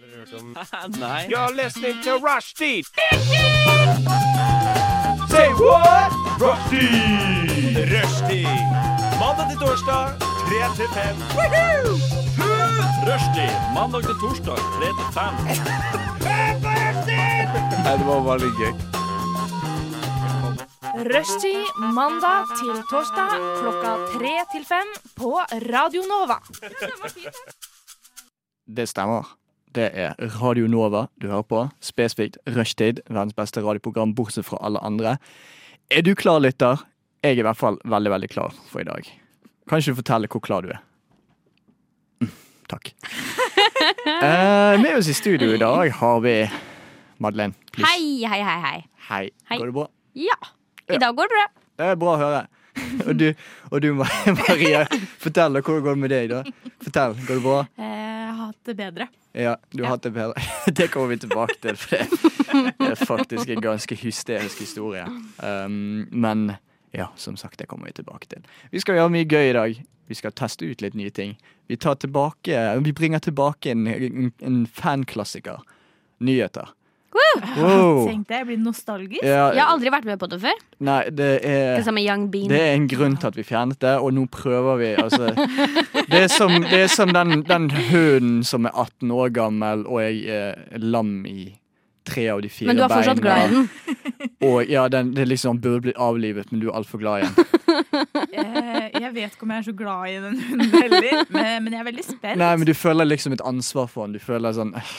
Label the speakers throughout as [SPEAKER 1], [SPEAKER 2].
[SPEAKER 1] hørt om
[SPEAKER 2] Nei.
[SPEAKER 3] You're listening to Rushdie. Say what? Rushdie. Rushdie. Mandag til torsdag, 3 til 5.
[SPEAKER 1] Rushdie mandag til torsdag 3 til 5.
[SPEAKER 2] Nei, det var veldig gøy.
[SPEAKER 4] Rushtid mandag til torsdag klokka tre til fem på Radio Nova.
[SPEAKER 2] Det stemmer. Det er Radio Nova du hører på. Spesifikt Rushtid, verdens beste radioprogram bortsett fra alle andre. Er du klar, lytter? Jeg er i hvert fall veldig, veldig klar for i dag. Kan ikke du fortelle hvor klar du er? Mm, Takk. Eh, med oss i studio i dag har vi Madeleine. please.
[SPEAKER 5] Hei, hei, hei, hei.
[SPEAKER 2] Hei.
[SPEAKER 5] Hei.
[SPEAKER 2] Går det bra?
[SPEAKER 5] Ja.
[SPEAKER 2] Ja.
[SPEAKER 5] I dag går det bra.
[SPEAKER 2] Det er bra å høre. Og du, og du Maria, fortell hvordan går det med deg, da? Fortell, går det bra?
[SPEAKER 5] Eh, Jeg har hatt det bedre.
[SPEAKER 2] Ja, du har hatt det bedre. Det kommer vi tilbake til, for det er faktisk en ganske hysterisk historie. Um, men ja, som sagt, det kommer vi tilbake til. Vi skal gjøre mye gøy i dag. Vi skal teste ut litt nye ting. Vi, tar tilbake, vi bringer tilbake en, en, en fanklassiker. Nyheter. Wow.
[SPEAKER 6] Tenkte jeg, jeg blir nostalgisk.
[SPEAKER 5] Jeg
[SPEAKER 2] Ja,
[SPEAKER 5] har aldri vært med på det før.
[SPEAKER 2] nei, det er
[SPEAKER 5] Det samme Young Bean.
[SPEAKER 2] det er en grunn til at vi fjernet det, og nå prøver vi. Altså, det er som, det er som den, den hunden som er 18 år gammel og jeg er lam i tre av de fire
[SPEAKER 5] Men du er fortsatt glad i den.
[SPEAKER 2] Og, ja, den, det er liksom, burde bli avlivet, men du er altfor glad i den.
[SPEAKER 6] Eh, Jeg vet ikke om jeg er så glad i den hunden heller, men men jeg er veldig spent.
[SPEAKER 2] Nei, men du føler liksom et ansvar for den. Du føler sånn «Åh,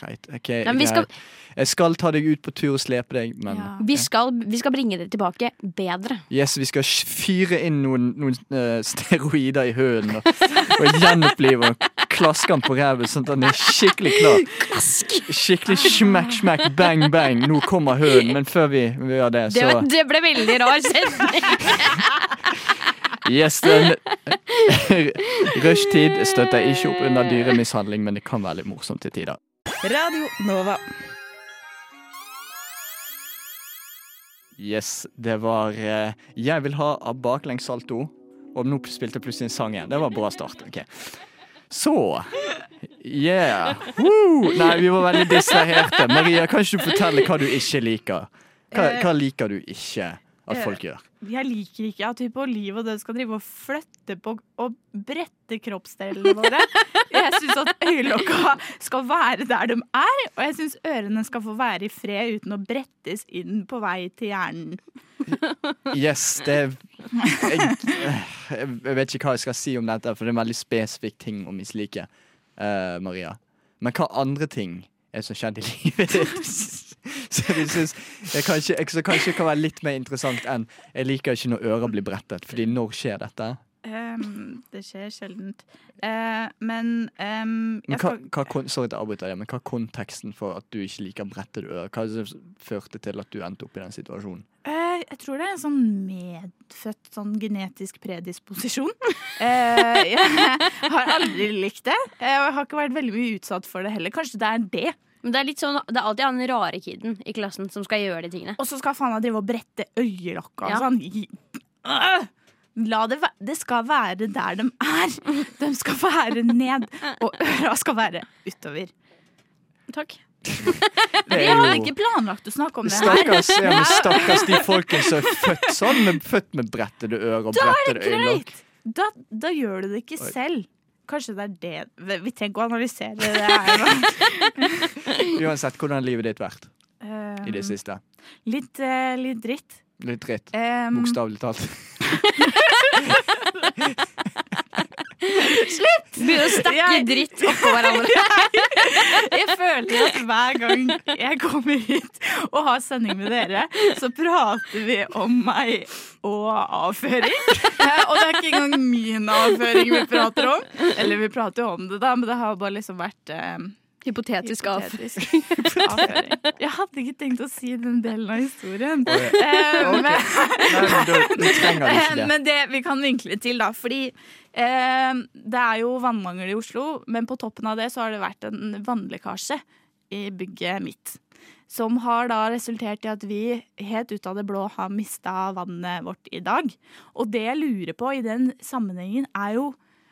[SPEAKER 2] Greit. ok,
[SPEAKER 5] Nei, men vi skal-
[SPEAKER 2] greit. Jeg skal ta deg ut på tur og slepe deg, men
[SPEAKER 6] Ja.
[SPEAKER 5] Vi skal, vi skal bringe det tilbake bedre.
[SPEAKER 2] Yes, vi skal sh- fyre inn noen, noen eh, steroider i hønen og, og gjenopplive og klaske han på ræven sånn at han er skikkelig klar. Skikkelig smack, smack, bang, bang. Nå kommer hønen, men før vi, vi gjør det,
[SPEAKER 5] Det,
[SPEAKER 2] så
[SPEAKER 5] var- det ble veldig rar setning.
[SPEAKER 2] Yes, den Rushtid støtter ikke opp under dyremishandling, men det kan være litt morsomt til tider.
[SPEAKER 7] Radio Nova.
[SPEAKER 2] Yes, det var eh, Jeg vil ha av baklengs salto. Og nå spilte jeg plutselig en sang igjen. Det var en bra start. ok. Så Yeah. Woo! Nei, vi var veldig distraherte. Maria, kan ikke du fortelle hva du ikke liker? Hva, hva liker du ikke at folk gjør?
[SPEAKER 6] Jeg liker ikke at vi på liv og død skal drive og flytte på og brette kroppsdelene våre. Jeg syns at øyelokka skal være der de er, og jeg syns ørene skal få være i fred uten å brettes inn på vei til hjernen.
[SPEAKER 2] Yes, det jeg, jeg vet ikke hva jeg skal si om dette, for det er en veldig spesifikk ting å mislike. eh, Maria. Men hva andre ting er det som skjedde i livet ditt? Så vi synes, jeg kanskje, jeg, så kanskje det kan være litt mer interessant enn Jeg liker ikke når ører blir brettet, Fordi når skjer dette?
[SPEAKER 6] Ehm, det skjer sjeldent. Eh, men ehm, jeg
[SPEAKER 2] Men hva,
[SPEAKER 6] skal
[SPEAKER 2] hva, kon- sorry at jeg avbryter deg, men hva er konteksten for at du ikke liker brettede ører? Hva er det som førte til at du endte opp i den situasjonen?
[SPEAKER 6] Eh, jeg tror det er en sånn medfødt sånn genetisk predisposisjon. Eh, jeg har aldri likt det, eh, og jeg har ikke vært veldig mye utsatt for det heller. Kanskje det er det.
[SPEAKER 5] Men det er, litt sånn, det er alltid han rare kiden i klassen som skal gjøre de tingene.
[SPEAKER 6] Og så skal faen meg drive og brette øyelokka og
[SPEAKER 5] Ja.
[SPEAKER 6] sånn. Gi- Øh! La det, væ- det skal være der de er. De skal være ned, og øra skal være utover. Takk.
[SPEAKER 2] Det
[SPEAKER 6] Vi
[SPEAKER 2] er
[SPEAKER 6] hadde
[SPEAKER 2] jo-
[SPEAKER 6] ikke planlagt å snakke om det her.
[SPEAKER 2] Stakkars, ja, men stakkars de folkene som er født sånn, med, født med brettede ører og brettede øyelokk.
[SPEAKER 6] Da, da gjør du det ikke selv. Kanskje det er det Vi vi trenger ikke å analysere det her nå.
[SPEAKER 2] Uansett, hvordan har livet ditt vært i det
[SPEAKER 6] Eh,
[SPEAKER 2] siste?
[SPEAKER 6] litt, eh, litt dritt.
[SPEAKER 2] Litt dritt,
[SPEAKER 6] Eh,
[SPEAKER 2] bokstavelig talt.
[SPEAKER 5] Begynne å stakke
[SPEAKER 6] Jeg-
[SPEAKER 5] dritt oppå hverandre.
[SPEAKER 6] Jeg føler at hver gang jeg kommer hit og har sending med dere, så prater vi om meg og avføring. Eh, Og det er ikke engang min avføring vi prater om. Eller vi prater jo om det, da, men det har bare liksom vært eh,
[SPEAKER 5] Hypotetisk av.
[SPEAKER 6] hypotetisk avføring. Jeg hadde ikke tenkt å si den delen av historien.
[SPEAKER 2] Å, ja.
[SPEAKER 6] Eh,
[SPEAKER 2] Ok.
[SPEAKER 6] men-
[SPEAKER 2] Nei, men da, da trenger vi ikke det.
[SPEAKER 6] men det vi kan vinkle til, da. Fordi eh, det er jo vannmangel i Oslo, men på toppen av det så har det vært en vannlekkasje i bygget mitt. Som har da resultert i at vi helt ut av det blå har mista vannet vårt i dag. Og det jeg lurer på i den sammenhengen, er jo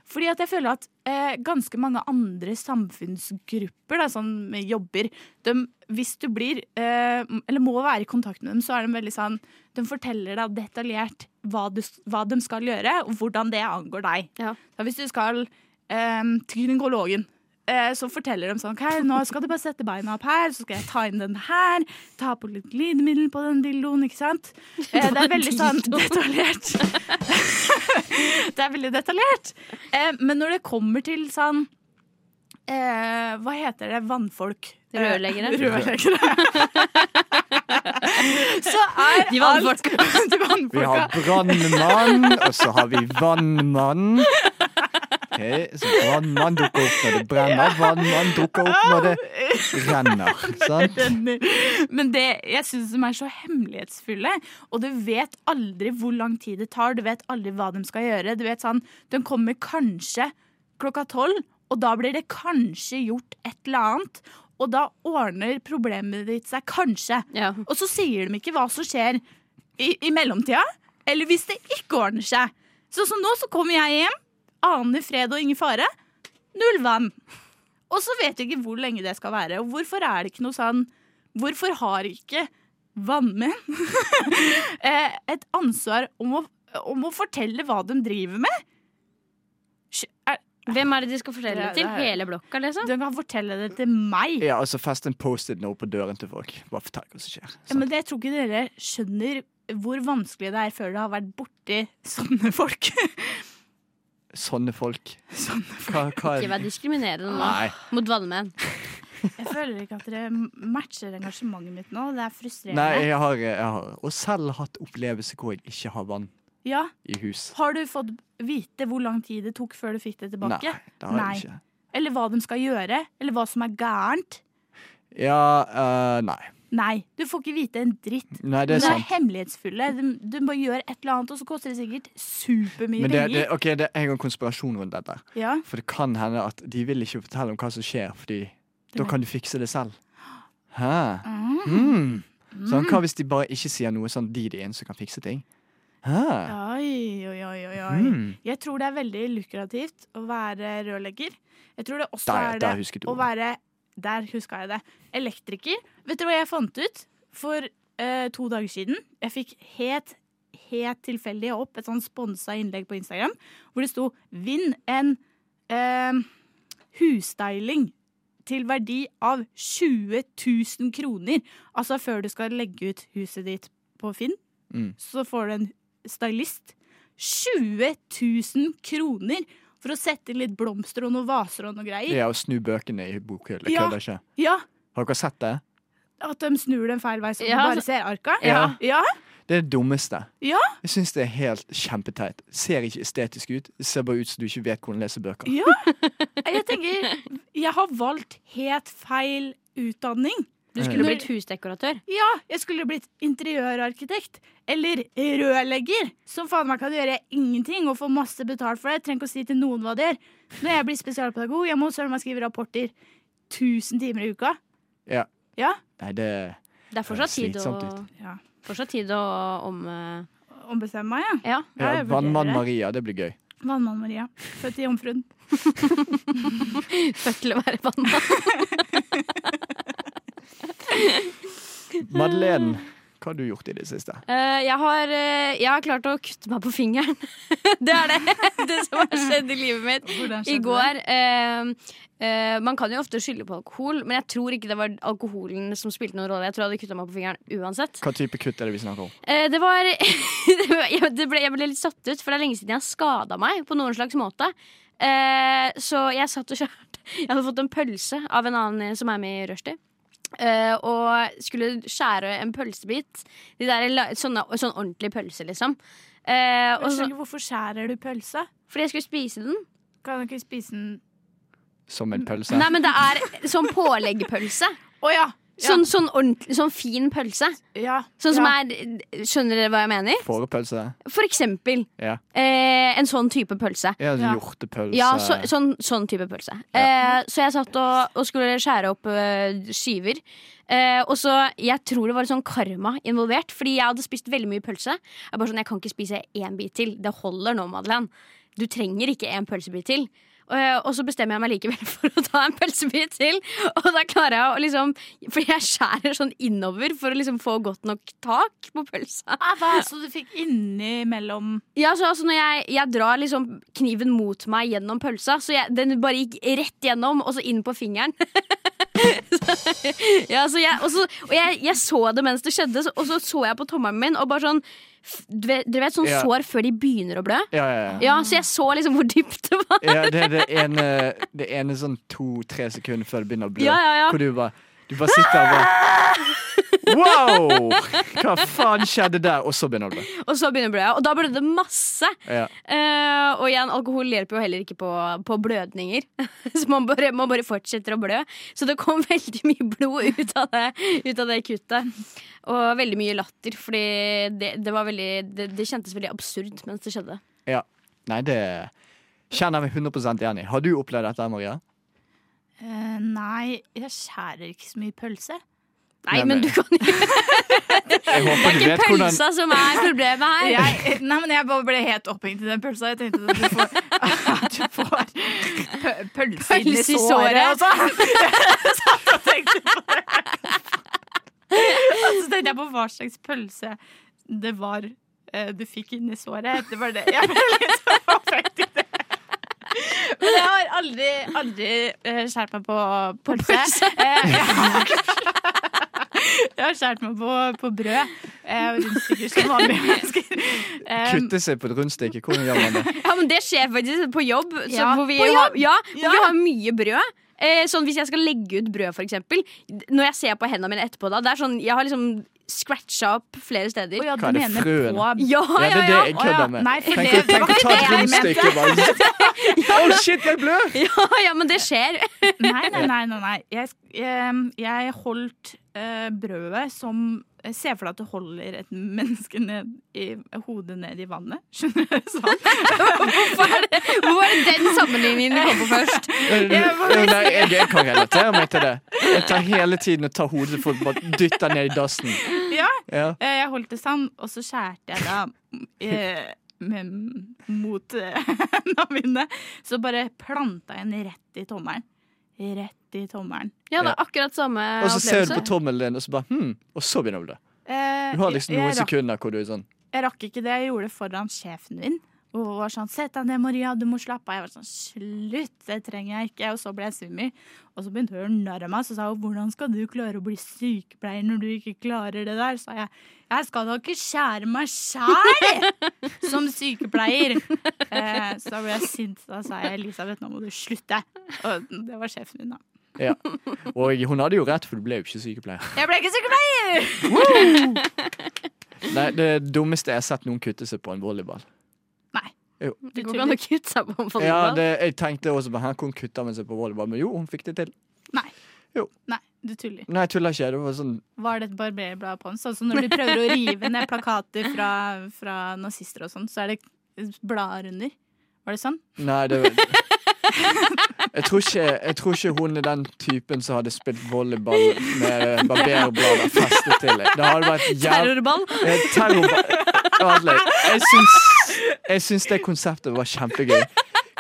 [SPEAKER 6] Fordi at jeg føler at eh, ganske mange andre samfunnsgrupper da, sånn med jobber, de, hvis du blir, eh, eller må være i kontakt med dem, så er de veldig sånn De forteller deg detaljert hva, du, hva de skal gjøre, og hvordan det angår deg.
[SPEAKER 5] Ja.
[SPEAKER 6] Så hvis du skal eh, til gynekologen, eh, så forteller de sånn «Ok, nå skal du bare sette beina opp her, så skal jeg ta inn den her, ta på litt glidemiddel på den dildoen, ikke sant? Eh, det er veldig sånn detaljert. det er veldig detaljert. Eh, men når det kommer til sånn eh, Hva heter det? Vannfolk. Eh,
[SPEAKER 5] Rørleggere.
[SPEAKER 6] Rørleggere. så er
[SPEAKER 5] De vannfolk.
[SPEAKER 6] alt De
[SPEAKER 2] Vi
[SPEAKER 6] vannfolka.
[SPEAKER 2] har brannmann, og så har vi vannmann. Ok, så brannmann dukker opp når det brenner, vannmann dukker opp når det renner. Sant?
[SPEAKER 6] Skjønner. Men det jeg syns de er så hemmelighetsfulle, og du vet aldri hvor lang tid det tar, du vet aldri hva de skal gjøre. Du vet sånn, De kommer kanskje klokka tolv, og da blir det kanskje gjort et eller annet. Og da ordner problemet ditt seg kanskje.
[SPEAKER 5] Ja.
[SPEAKER 6] Og så sier de ikke hva som skjer i, i mellomtida, eller hvis det ikke ordner seg. Så som nå så kommer jeg hjem, aner fred og ingen fare, null vann. Og så vet jeg ikke hvor lenge det skal være. Og hvorfor er det ikke noe sånn Hvorfor har ikke vannmenn eh, et ansvar om å, om å fortelle hva de driver med? Skj- er-
[SPEAKER 5] Hvem er det de skal fortelle
[SPEAKER 6] Det er-
[SPEAKER 5] det til?
[SPEAKER 6] det er-
[SPEAKER 5] Hele blokka, liksom?
[SPEAKER 6] De kan fortelle det til meg.
[SPEAKER 2] Ja, og så fest en Post-It note på døren til folk. Bare fortell hva som skjer.
[SPEAKER 6] Ja,
[SPEAKER 2] Sant?
[SPEAKER 6] men det tror ikke dere skjønner hvor vanskelig det er før det har vært borti sånne folk.
[SPEAKER 2] Sånn. Sånne folk.
[SPEAKER 6] sånne.
[SPEAKER 2] Hva, hva
[SPEAKER 5] Ikke vær
[SPEAKER 2] er
[SPEAKER 5] diskriminerende nå.
[SPEAKER 2] Nei.
[SPEAKER 5] Mot vannmenn.
[SPEAKER 6] Jeg føler ikke at dere matcher engasjementet mitt nå. Det er frustrerende.
[SPEAKER 2] Nei, jeg har, jeg har og selv hatt opplevelse hvor jeg ikke har vann
[SPEAKER 6] Ja,
[SPEAKER 2] i hus.
[SPEAKER 6] Har du fått vite hvor lang tid det tok før du fikk det
[SPEAKER 2] Nei,
[SPEAKER 6] tilbake?
[SPEAKER 2] det har
[SPEAKER 6] Nei.
[SPEAKER 2] jeg ikke.
[SPEAKER 6] Eller hva de skal gjøre? Eller hva som er gærent?
[SPEAKER 2] Ja, eh, nei.
[SPEAKER 6] Nei, du får ikke vite en dritt.
[SPEAKER 2] Nei,
[SPEAKER 6] De
[SPEAKER 2] det er
[SPEAKER 6] er
[SPEAKER 2] sant.
[SPEAKER 6] hemmelighetsfulle. De, de bare gjør et eller annet, og så koster det sikkert supermye
[SPEAKER 2] Men det, det,
[SPEAKER 6] penger.
[SPEAKER 2] ok, det er en gang konspirasjon rundt dette.
[SPEAKER 6] Ja.
[SPEAKER 2] For det kan hende at de vil ikke fortelle om hva som skjer, fordi da kan du fikse det selv. Hæ? Mm. Sånn, hva hvis de bare ikke sier noe sånn de er de eneste som kan fikse ting? Hæ?
[SPEAKER 6] Oi, oi, oi, oi, oi.
[SPEAKER 2] Mm.
[SPEAKER 6] Jeg tror det er veldig lukrativt å være rørlegger. Jeg tror det også
[SPEAKER 2] Der,
[SPEAKER 6] er det
[SPEAKER 2] der husket du
[SPEAKER 6] å
[SPEAKER 2] ordet.
[SPEAKER 6] være Der huska jeg det. Elektriker. Vet dere hva jeg fant ut for eh, to dager siden? Jeg fikk helt, helt tilfeldig opp et sånn sponsa innlegg på Instagram hvor det sto 'Vinn en eh, husstyling'. Til verdi av 20 000 kroner. Altså før du skal legge ut huset ditt på Finn,
[SPEAKER 2] Mm.
[SPEAKER 6] så får du en stylist. 20 000 kroner for å sette inn litt blomster og noen vaser og noe greier.
[SPEAKER 2] Ja, å snu bøkene i bokhylla.
[SPEAKER 6] Ja.
[SPEAKER 2] Kødder ikke.
[SPEAKER 6] Ja,
[SPEAKER 2] Har dere sett det?
[SPEAKER 6] At de snur den feil vei, så du
[SPEAKER 5] Ja,
[SPEAKER 6] bare
[SPEAKER 5] altså-
[SPEAKER 6] ser arka?
[SPEAKER 2] Ja.
[SPEAKER 6] ja.
[SPEAKER 2] Det er det dummeste.
[SPEAKER 6] Ja.
[SPEAKER 2] Jeg syns det er helt kjempeteit. Ser ikke estetisk ut. Det ser bare ut som du ikke vet hvordan lese bøker.
[SPEAKER 6] Ja. Jeg tenker Jeg har valgt helt feil utdanning.
[SPEAKER 5] Du skulle blitt husdekoratør.
[SPEAKER 6] Ja, jeg skulle blitt interiørarkitekt eller rørlegger. Som faen meg kan gjøre ingenting og få masse betalt for det. Jeg trenger ikke å si til noen hva det gjør. Når jeg blir spesialpedagog, jeg må søren meg skrive rapporter 1000 timer i uka.
[SPEAKER 2] Ja.
[SPEAKER 6] Ja.
[SPEAKER 2] Nei, det
[SPEAKER 5] Det er
[SPEAKER 2] Det høres
[SPEAKER 5] fortsatt tid å,
[SPEAKER 2] slitsomt
[SPEAKER 6] Ja.
[SPEAKER 5] fortsatt tid å om... eh,
[SPEAKER 6] Ombestemme meg, ja.
[SPEAKER 5] Ja.
[SPEAKER 6] Ja,
[SPEAKER 2] ja,
[SPEAKER 6] jeg vurderer
[SPEAKER 2] Vannmann
[SPEAKER 6] det.
[SPEAKER 2] Maria, det blir gøy.
[SPEAKER 6] Vannmann Maria. Født i Jomfruen.
[SPEAKER 5] Født til å være vannmann. Mm.
[SPEAKER 2] Madeleine, hva har du gjort i det siste?
[SPEAKER 5] Eh, jeg, har, eh, jeg har klart å kutte meg på fingeren. det er det, det som har skjedd i livet mitt.
[SPEAKER 6] Hvordan
[SPEAKER 5] I
[SPEAKER 6] skjedde det?
[SPEAKER 5] går eh, eh, Man kan jo ofte skylde på alkohol, men jeg tror ikke det var alkoholen som spilte noen rolle. Jeg tror jeg hadde kutta meg på fingeren uansett.
[SPEAKER 2] Hva type kutt er det vi snakker om?
[SPEAKER 5] Eh, det var det var- jeg, det ble, jeg ble litt satt ut, for det er lenge siden jeg har skada meg på noen slags måte. Eh, så jeg satt og skjærte Jeg hadde fått en pølse av en annen som er med i Rushdie. Eh, og skulle skjære en pølsebit. De der, la- sånne, sånn ordentlig pølse, liksom. Eh,
[SPEAKER 6] Jeg
[SPEAKER 5] og så,
[SPEAKER 6] skjønner ikke hvorfor skjærer du pølsa?
[SPEAKER 5] fordi jeg skulle spise den.
[SPEAKER 6] Kan du ikke spise den
[SPEAKER 2] Som en pølse?
[SPEAKER 5] Nei, men det er sånn påleggpølse.
[SPEAKER 6] Å ja! ja.
[SPEAKER 5] Sånn, sånn, ordentlig, sånn fin pølse.
[SPEAKER 6] ja.
[SPEAKER 5] Sånn som
[SPEAKER 6] ja.
[SPEAKER 5] er Skjønner dere hva jeg mener?
[SPEAKER 2] Fårepølse?
[SPEAKER 5] For eksempel
[SPEAKER 2] Ja.
[SPEAKER 5] eh, en sånn type pølse.
[SPEAKER 2] Ja,
[SPEAKER 6] Ja.
[SPEAKER 2] hjortepølse.
[SPEAKER 5] Ja, så, sånn, sånn type pølse. Eh, så jeg satt og, og skulle skjære opp eh, skiver. Eh, og så, Jeg tror det var sånn karma involvert, fordi jeg hadde spist veldig mye pølse. Jeg bare sånn, jeg kan ikke spise én bit til. Det holder nå, Madeleine. du trenger ikke en pølsebit til. Eh, Og så bestemmer jeg meg likevel for å ta en pølsebit til. Og da klarer jeg å liksom For jeg skjærer sånn innover for å liksom få godt nok tak på pølsa.
[SPEAKER 6] Ah, hva, så du fikk innimellom
[SPEAKER 5] Ja, så altså når jeg, jeg drar liksom kniven mot meg gjennom pølsa, så jeg, den bare gikk rett gjennom, og så inn på fingeren. så, ja, så jeg, og så, og jeg, jeg så det mens det skjedde, så- og så så jeg på tommelen min, og bare sånn f- du vet- Dere vet sånn
[SPEAKER 2] Ja.
[SPEAKER 5] sår før de begynner å blø?
[SPEAKER 2] Ja, ja, ja.
[SPEAKER 5] Ja, så jeg så liksom hvor dypt det var.
[SPEAKER 2] ja det er det ene, det ene sånn to-tre sekunder før det begynner å blø.
[SPEAKER 5] Ja, ja, ja.
[SPEAKER 2] Hvor du bare, du bare sitter og bare Wow! Hva faen skjedde der? Og så begynner det å blø.
[SPEAKER 5] Og så begynner bløya, og da blødde det masse.
[SPEAKER 2] Ja.
[SPEAKER 5] Eh, og igjen, alkohol hjelper jo heller ikke på, på blødninger. så man bare, man bare fortsetter å blø. Så det kom veldig mye blod ut av det, ut av det kuttet. Og veldig mye latter, fordi det, det, var veldig, det, det kjentes veldig absurd mens det skjedde.
[SPEAKER 2] Ja. Nei, det kjenner jeg meg 100 igjen i. Har du opplevd dette, Maria?
[SPEAKER 6] Eh, Nei, jeg skjærer ikke så mye pølse.
[SPEAKER 5] Nei,
[SPEAKER 2] Nei,
[SPEAKER 5] men
[SPEAKER 2] men-
[SPEAKER 5] du kan jo
[SPEAKER 2] Jeg
[SPEAKER 5] Det
[SPEAKER 2] håper
[SPEAKER 5] er
[SPEAKER 2] du
[SPEAKER 5] ikke
[SPEAKER 2] vet hvordan
[SPEAKER 5] pølsa som er problemet her.
[SPEAKER 6] Jeg, nei, men jeg bare ble helt opphengt i den pølsa. Jeg tenkte at du får, at du får pø- pølse inn i
[SPEAKER 5] Pølse i
[SPEAKER 6] såret. Og
[SPEAKER 5] såret.
[SPEAKER 6] så satt jeg og tenkte på det. Og så tenkte jeg på hva slags pølse det var eh, du fikk inn i såret. Det var det. Jeg ble litt så opphengt i det. Men jeg har aldri, aldri eh, skjært meg på pølse. Eh, jeg har- Jeg har skjært meg på, på brød. Eh, og rundstykker som vanlige mennesker. Eh,
[SPEAKER 2] kutte seg på et rundstykke. Hvordan gjør man det?
[SPEAKER 5] Ja, men det skjer faktisk på jobb. Så
[SPEAKER 6] Ja.
[SPEAKER 5] Hvor vi
[SPEAKER 6] På jobb?
[SPEAKER 5] Har, ja, hvor
[SPEAKER 6] Ja.
[SPEAKER 5] vi har mye brød. Eh, sånn Hvis jeg skal legge ut brød, for eksempel Når jeg ser på hendene mine etterpå, da det er sånn, Jeg har liksom scratcha opp flere steder.
[SPEAKER 6] Å ja,
[SPEAKER 2] Hva er
[SPEAKER 6] du
[SPEAKER 2] det,
[SPEAKER 6] mener
[SPEAKER 2] frøen?
[SPEAKER 6] på
[SPEAKER 2] Ja,
[SPEAKER 5] Ja,
[SPEAKER 2] det
[SPEAKER 5] ja,
[SPEAKER 2] er
[SPEAKER 5] ja!
[SPEAKER 2] det jeg kødder med.
[SPEAKER 6] Nei, for
[SPEAKER 2] Tenk
[SPEAKER 6] det-
[SPEAKER 2] å- tenk
[SPEAKER 6] det
[SPEAKER 2] å
[SPEAKER 6] var
[SPEAKER 2] ta et
[SPEAKER 6] ikke det
[SPEAKER 2] rundstykke
[SPEAKER 6] jeg
[SPEAKER 2] bare Å, shit, jeg blør!
[SPEAKER 5] Ja, ja, men det skjer.
[SPEAKER 6] Nei, nei, nei. nei, nei. Jeg, ehm, jeg holdt eh, brødet som eh, Se for deg at du holder et menneske ned i hodet ned i vannet. Skjønner du? Sånn.
[SPEAKER 5] Hvorfor er det, hvorfor er det den sammenligningen du kom på først?
[SPEAKER 2] Nei, jeg, jeg kan relatere meg til det. Jeg tar hele tiden og tar hodet til folk og bare dytter ned i dassen.
[SPEAKER 6] Ja.
[SPEAKER 2] Ja.
[SPEAKER 6] Eh, Jeg holdt det sånn, og så skjærte jeg da eh, med, mot eh, hendene mine. Så bare planta jeg den rett i tommelen. Rett i tommelen.
[SPEAKER 5] Ja, det er akkurat samme
[SPEAKER 2] Og så ser du
[SPEAKER 5] opplevelse.
[SPEAKER 2] på tommelen din, og så bare hm, og så begynner du det.
[SPEAKER 6] Eh,
[SPEAKER 2] Du har liksom
[SPEAKER 6] jeg-
[SPEAKER 2] noen
[SPEAKER 6] jeg rakk-
[SPEAKER 2] sekunder hvor du er sånn
[SPEAKER 6] Jeg rakk ikke det. Jeg gjorde det foran sjefen min. Og hun var sånn 'Sett deg ned, Maria. Du må slappe av.' Jeg var sånn 'Slutt, det trenger jeg ikke.' Og så ble jeg svimmel. Og så begynte hun å narre meg. Så sa hun 'Hvordan skal du klare å bli sykepleier når du ikke klarer det der?' Sa jeg. Jeg skal da ikke skjære meg sjæl som sykepleier. Eh, så da ble jeg sint. Da sa jeg 'Elisabeth, nå må du slutte'. Og det var sjefen min, da.
[SPEAKER 2] ja. Og hun hadde jo rett, for du ble jo ikke sykepleier.
[SPEAKER 6] Jeg ble ikke sykepleier!
[SPEAKER 2] Nei, Det dummeste jeg har sett noen kutte seg på en volleyball.
[SPEAKER 6] Nei.
[SPEAKER 2] Jo.
[SPEAKER 5] Det går ikke an å kutte seg på en
[SPEAKER 2] Ja,
[SPEAKER 5] volleyball.
[SPEAKER 2] det, jeg tenkte også på her kunne kutta med seg på volleyball, men jo, hun fikk det til.
[SPEAKER 6] Nei.
[SPEAKER 2] Jo.
[SPEAKER 6] Nei, du tuller.
[SPEAKER 2] Nei, jeg tuller ikke. Det var sånn
[SPEAKER 6] Var det et barberblad på den? Sånn som når de prøver å rive ned plakater fra, fra nazister og sånn, så er det blader under. Var det sånn?
[SPEAKER 2] Nei, det jeg tror, ikke, jeg tror ikke hun er den typen som hadde spilt volleyball med barberblader festet til. Det hadde vært jævlig
[SPEAKER 5] Terrorball.
[SPEAKER 2] Eh, Terrorball Adelig, jeg syns, jeg syns det konseptet var kjempegøy.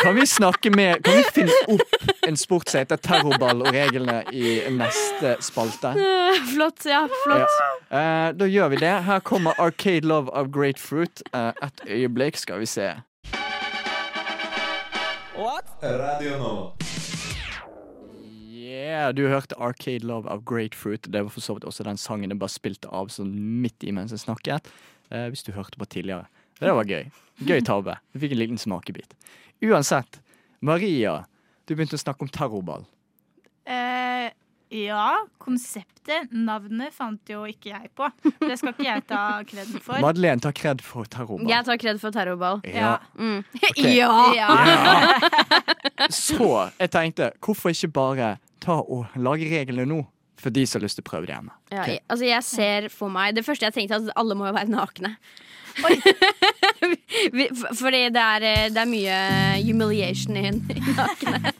[SPEAKER 2] Kan vi snakke mer Kan vi finne opp en sport som heter terrorball og reglene i neste spalte?
[SPEAKER 5] Eh, Flott. Ja, flott.
[SPEAKER 2] Eh, da gjør vi det. Her kommer Arcade Love of Great Fruit. Eh, et øyeblikk, skal vi se.
[SPEAKER 3] Radio nå.
[SPEAKER 2] Yeah, du hørte Arcade Love av Grapefruit. Det var for så vidt også den sangen jeg bare spilte av sånn midt i mens jeg snakket. Eh, hvis du hørte på tidligere. Det var gøy. Gøy tabbe. Du fikk en liten smakebit. Uansett, Maria, du begynte å snakke om terrorball.
[SPEAKER 6] Eh, ja, konseptet, navnet, fant jo ikke jeg på. Det skal ikke jeg ta kreden for.
[SPEAKER 2] Madeleine tar kred for terrorball.
[SPEAKER 5] Jeg tar kred for terrorball.
[SPEAKER 2] Ja.
[SPEAKER 5] Mm.
[SPEAKER 2] Ok.
[SPEAKER 5] Ja!
[SPEAKER 2] Ja. Så jeg tenkte, hvorfor ikke bare ta og lage reglene nå? For de som har lyst til å prøve det hjemme.
[SPEAKER 5] Ja,
[SPEAKER 2] Ok.
[SPEAKER 5] jeg, altså jeg ser for meg Det første jeg tenkte er at alle må jo være nakne. Vi- for- Fordi det er, eh, det er mye humiliation i i nakne.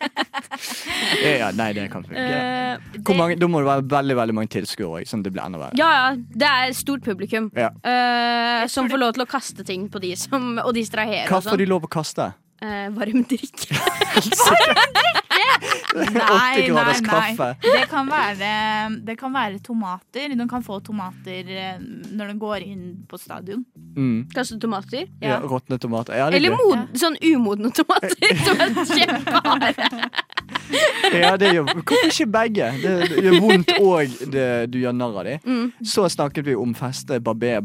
[SPEAKER 2] Ja, nei, det kan funke.
[SPEAKER 5] Eh,
[SPEAKER 2] Hvor
[SPEAKER 5] det-
[SPEAKER 2] mange, da må det være veldig veldig mange tilskuere, sånn at det blir enda verre.
[SPEAKER 5] Ja, ja. Det er stort publikum
[SPEAKER 2] Ja.
[SPEAKER 5] eh, som får lov til å kaste ting på de som, og distrahere og
[SPEAKER 2] Hva får de
[SPEAKER 5] sånn.
[SPEAKER 2] lov å kaste?
[SPEAKER 5] eh, varm drikke.
[SPEAKER 6] Nei,
[SPEAKER 2] 80
[SPEAKER 6] nei,
[SPEAKER 2] graders
[SPEAKER 6] nei.
[SPEAKER 2] kaffe.
[SPEAKER 6] Det kan, være, det kan være tomater. Du kan få tomater eh, når du går inn på stadion.
[SPEAKER 2] Mm.
[SPEAKER 5] Kaste tomater.
[SPEAKER 2] Ja. Råtne tomater. Ja, det er
[SPEAKER 5] Eller
[SPEAKER 2] gøy.
[SPEAKER 5] mod, sånn umodne tomater som er kjempeharde.
[SPEAKER 2] Ja, det gjør, hvorfor ikke begge? Det, det gjør vondt og det, du gjør narr av dem.
[SPEAKER 5] Mm.
[SPEAKER 2] Så snakket vi om feste barber,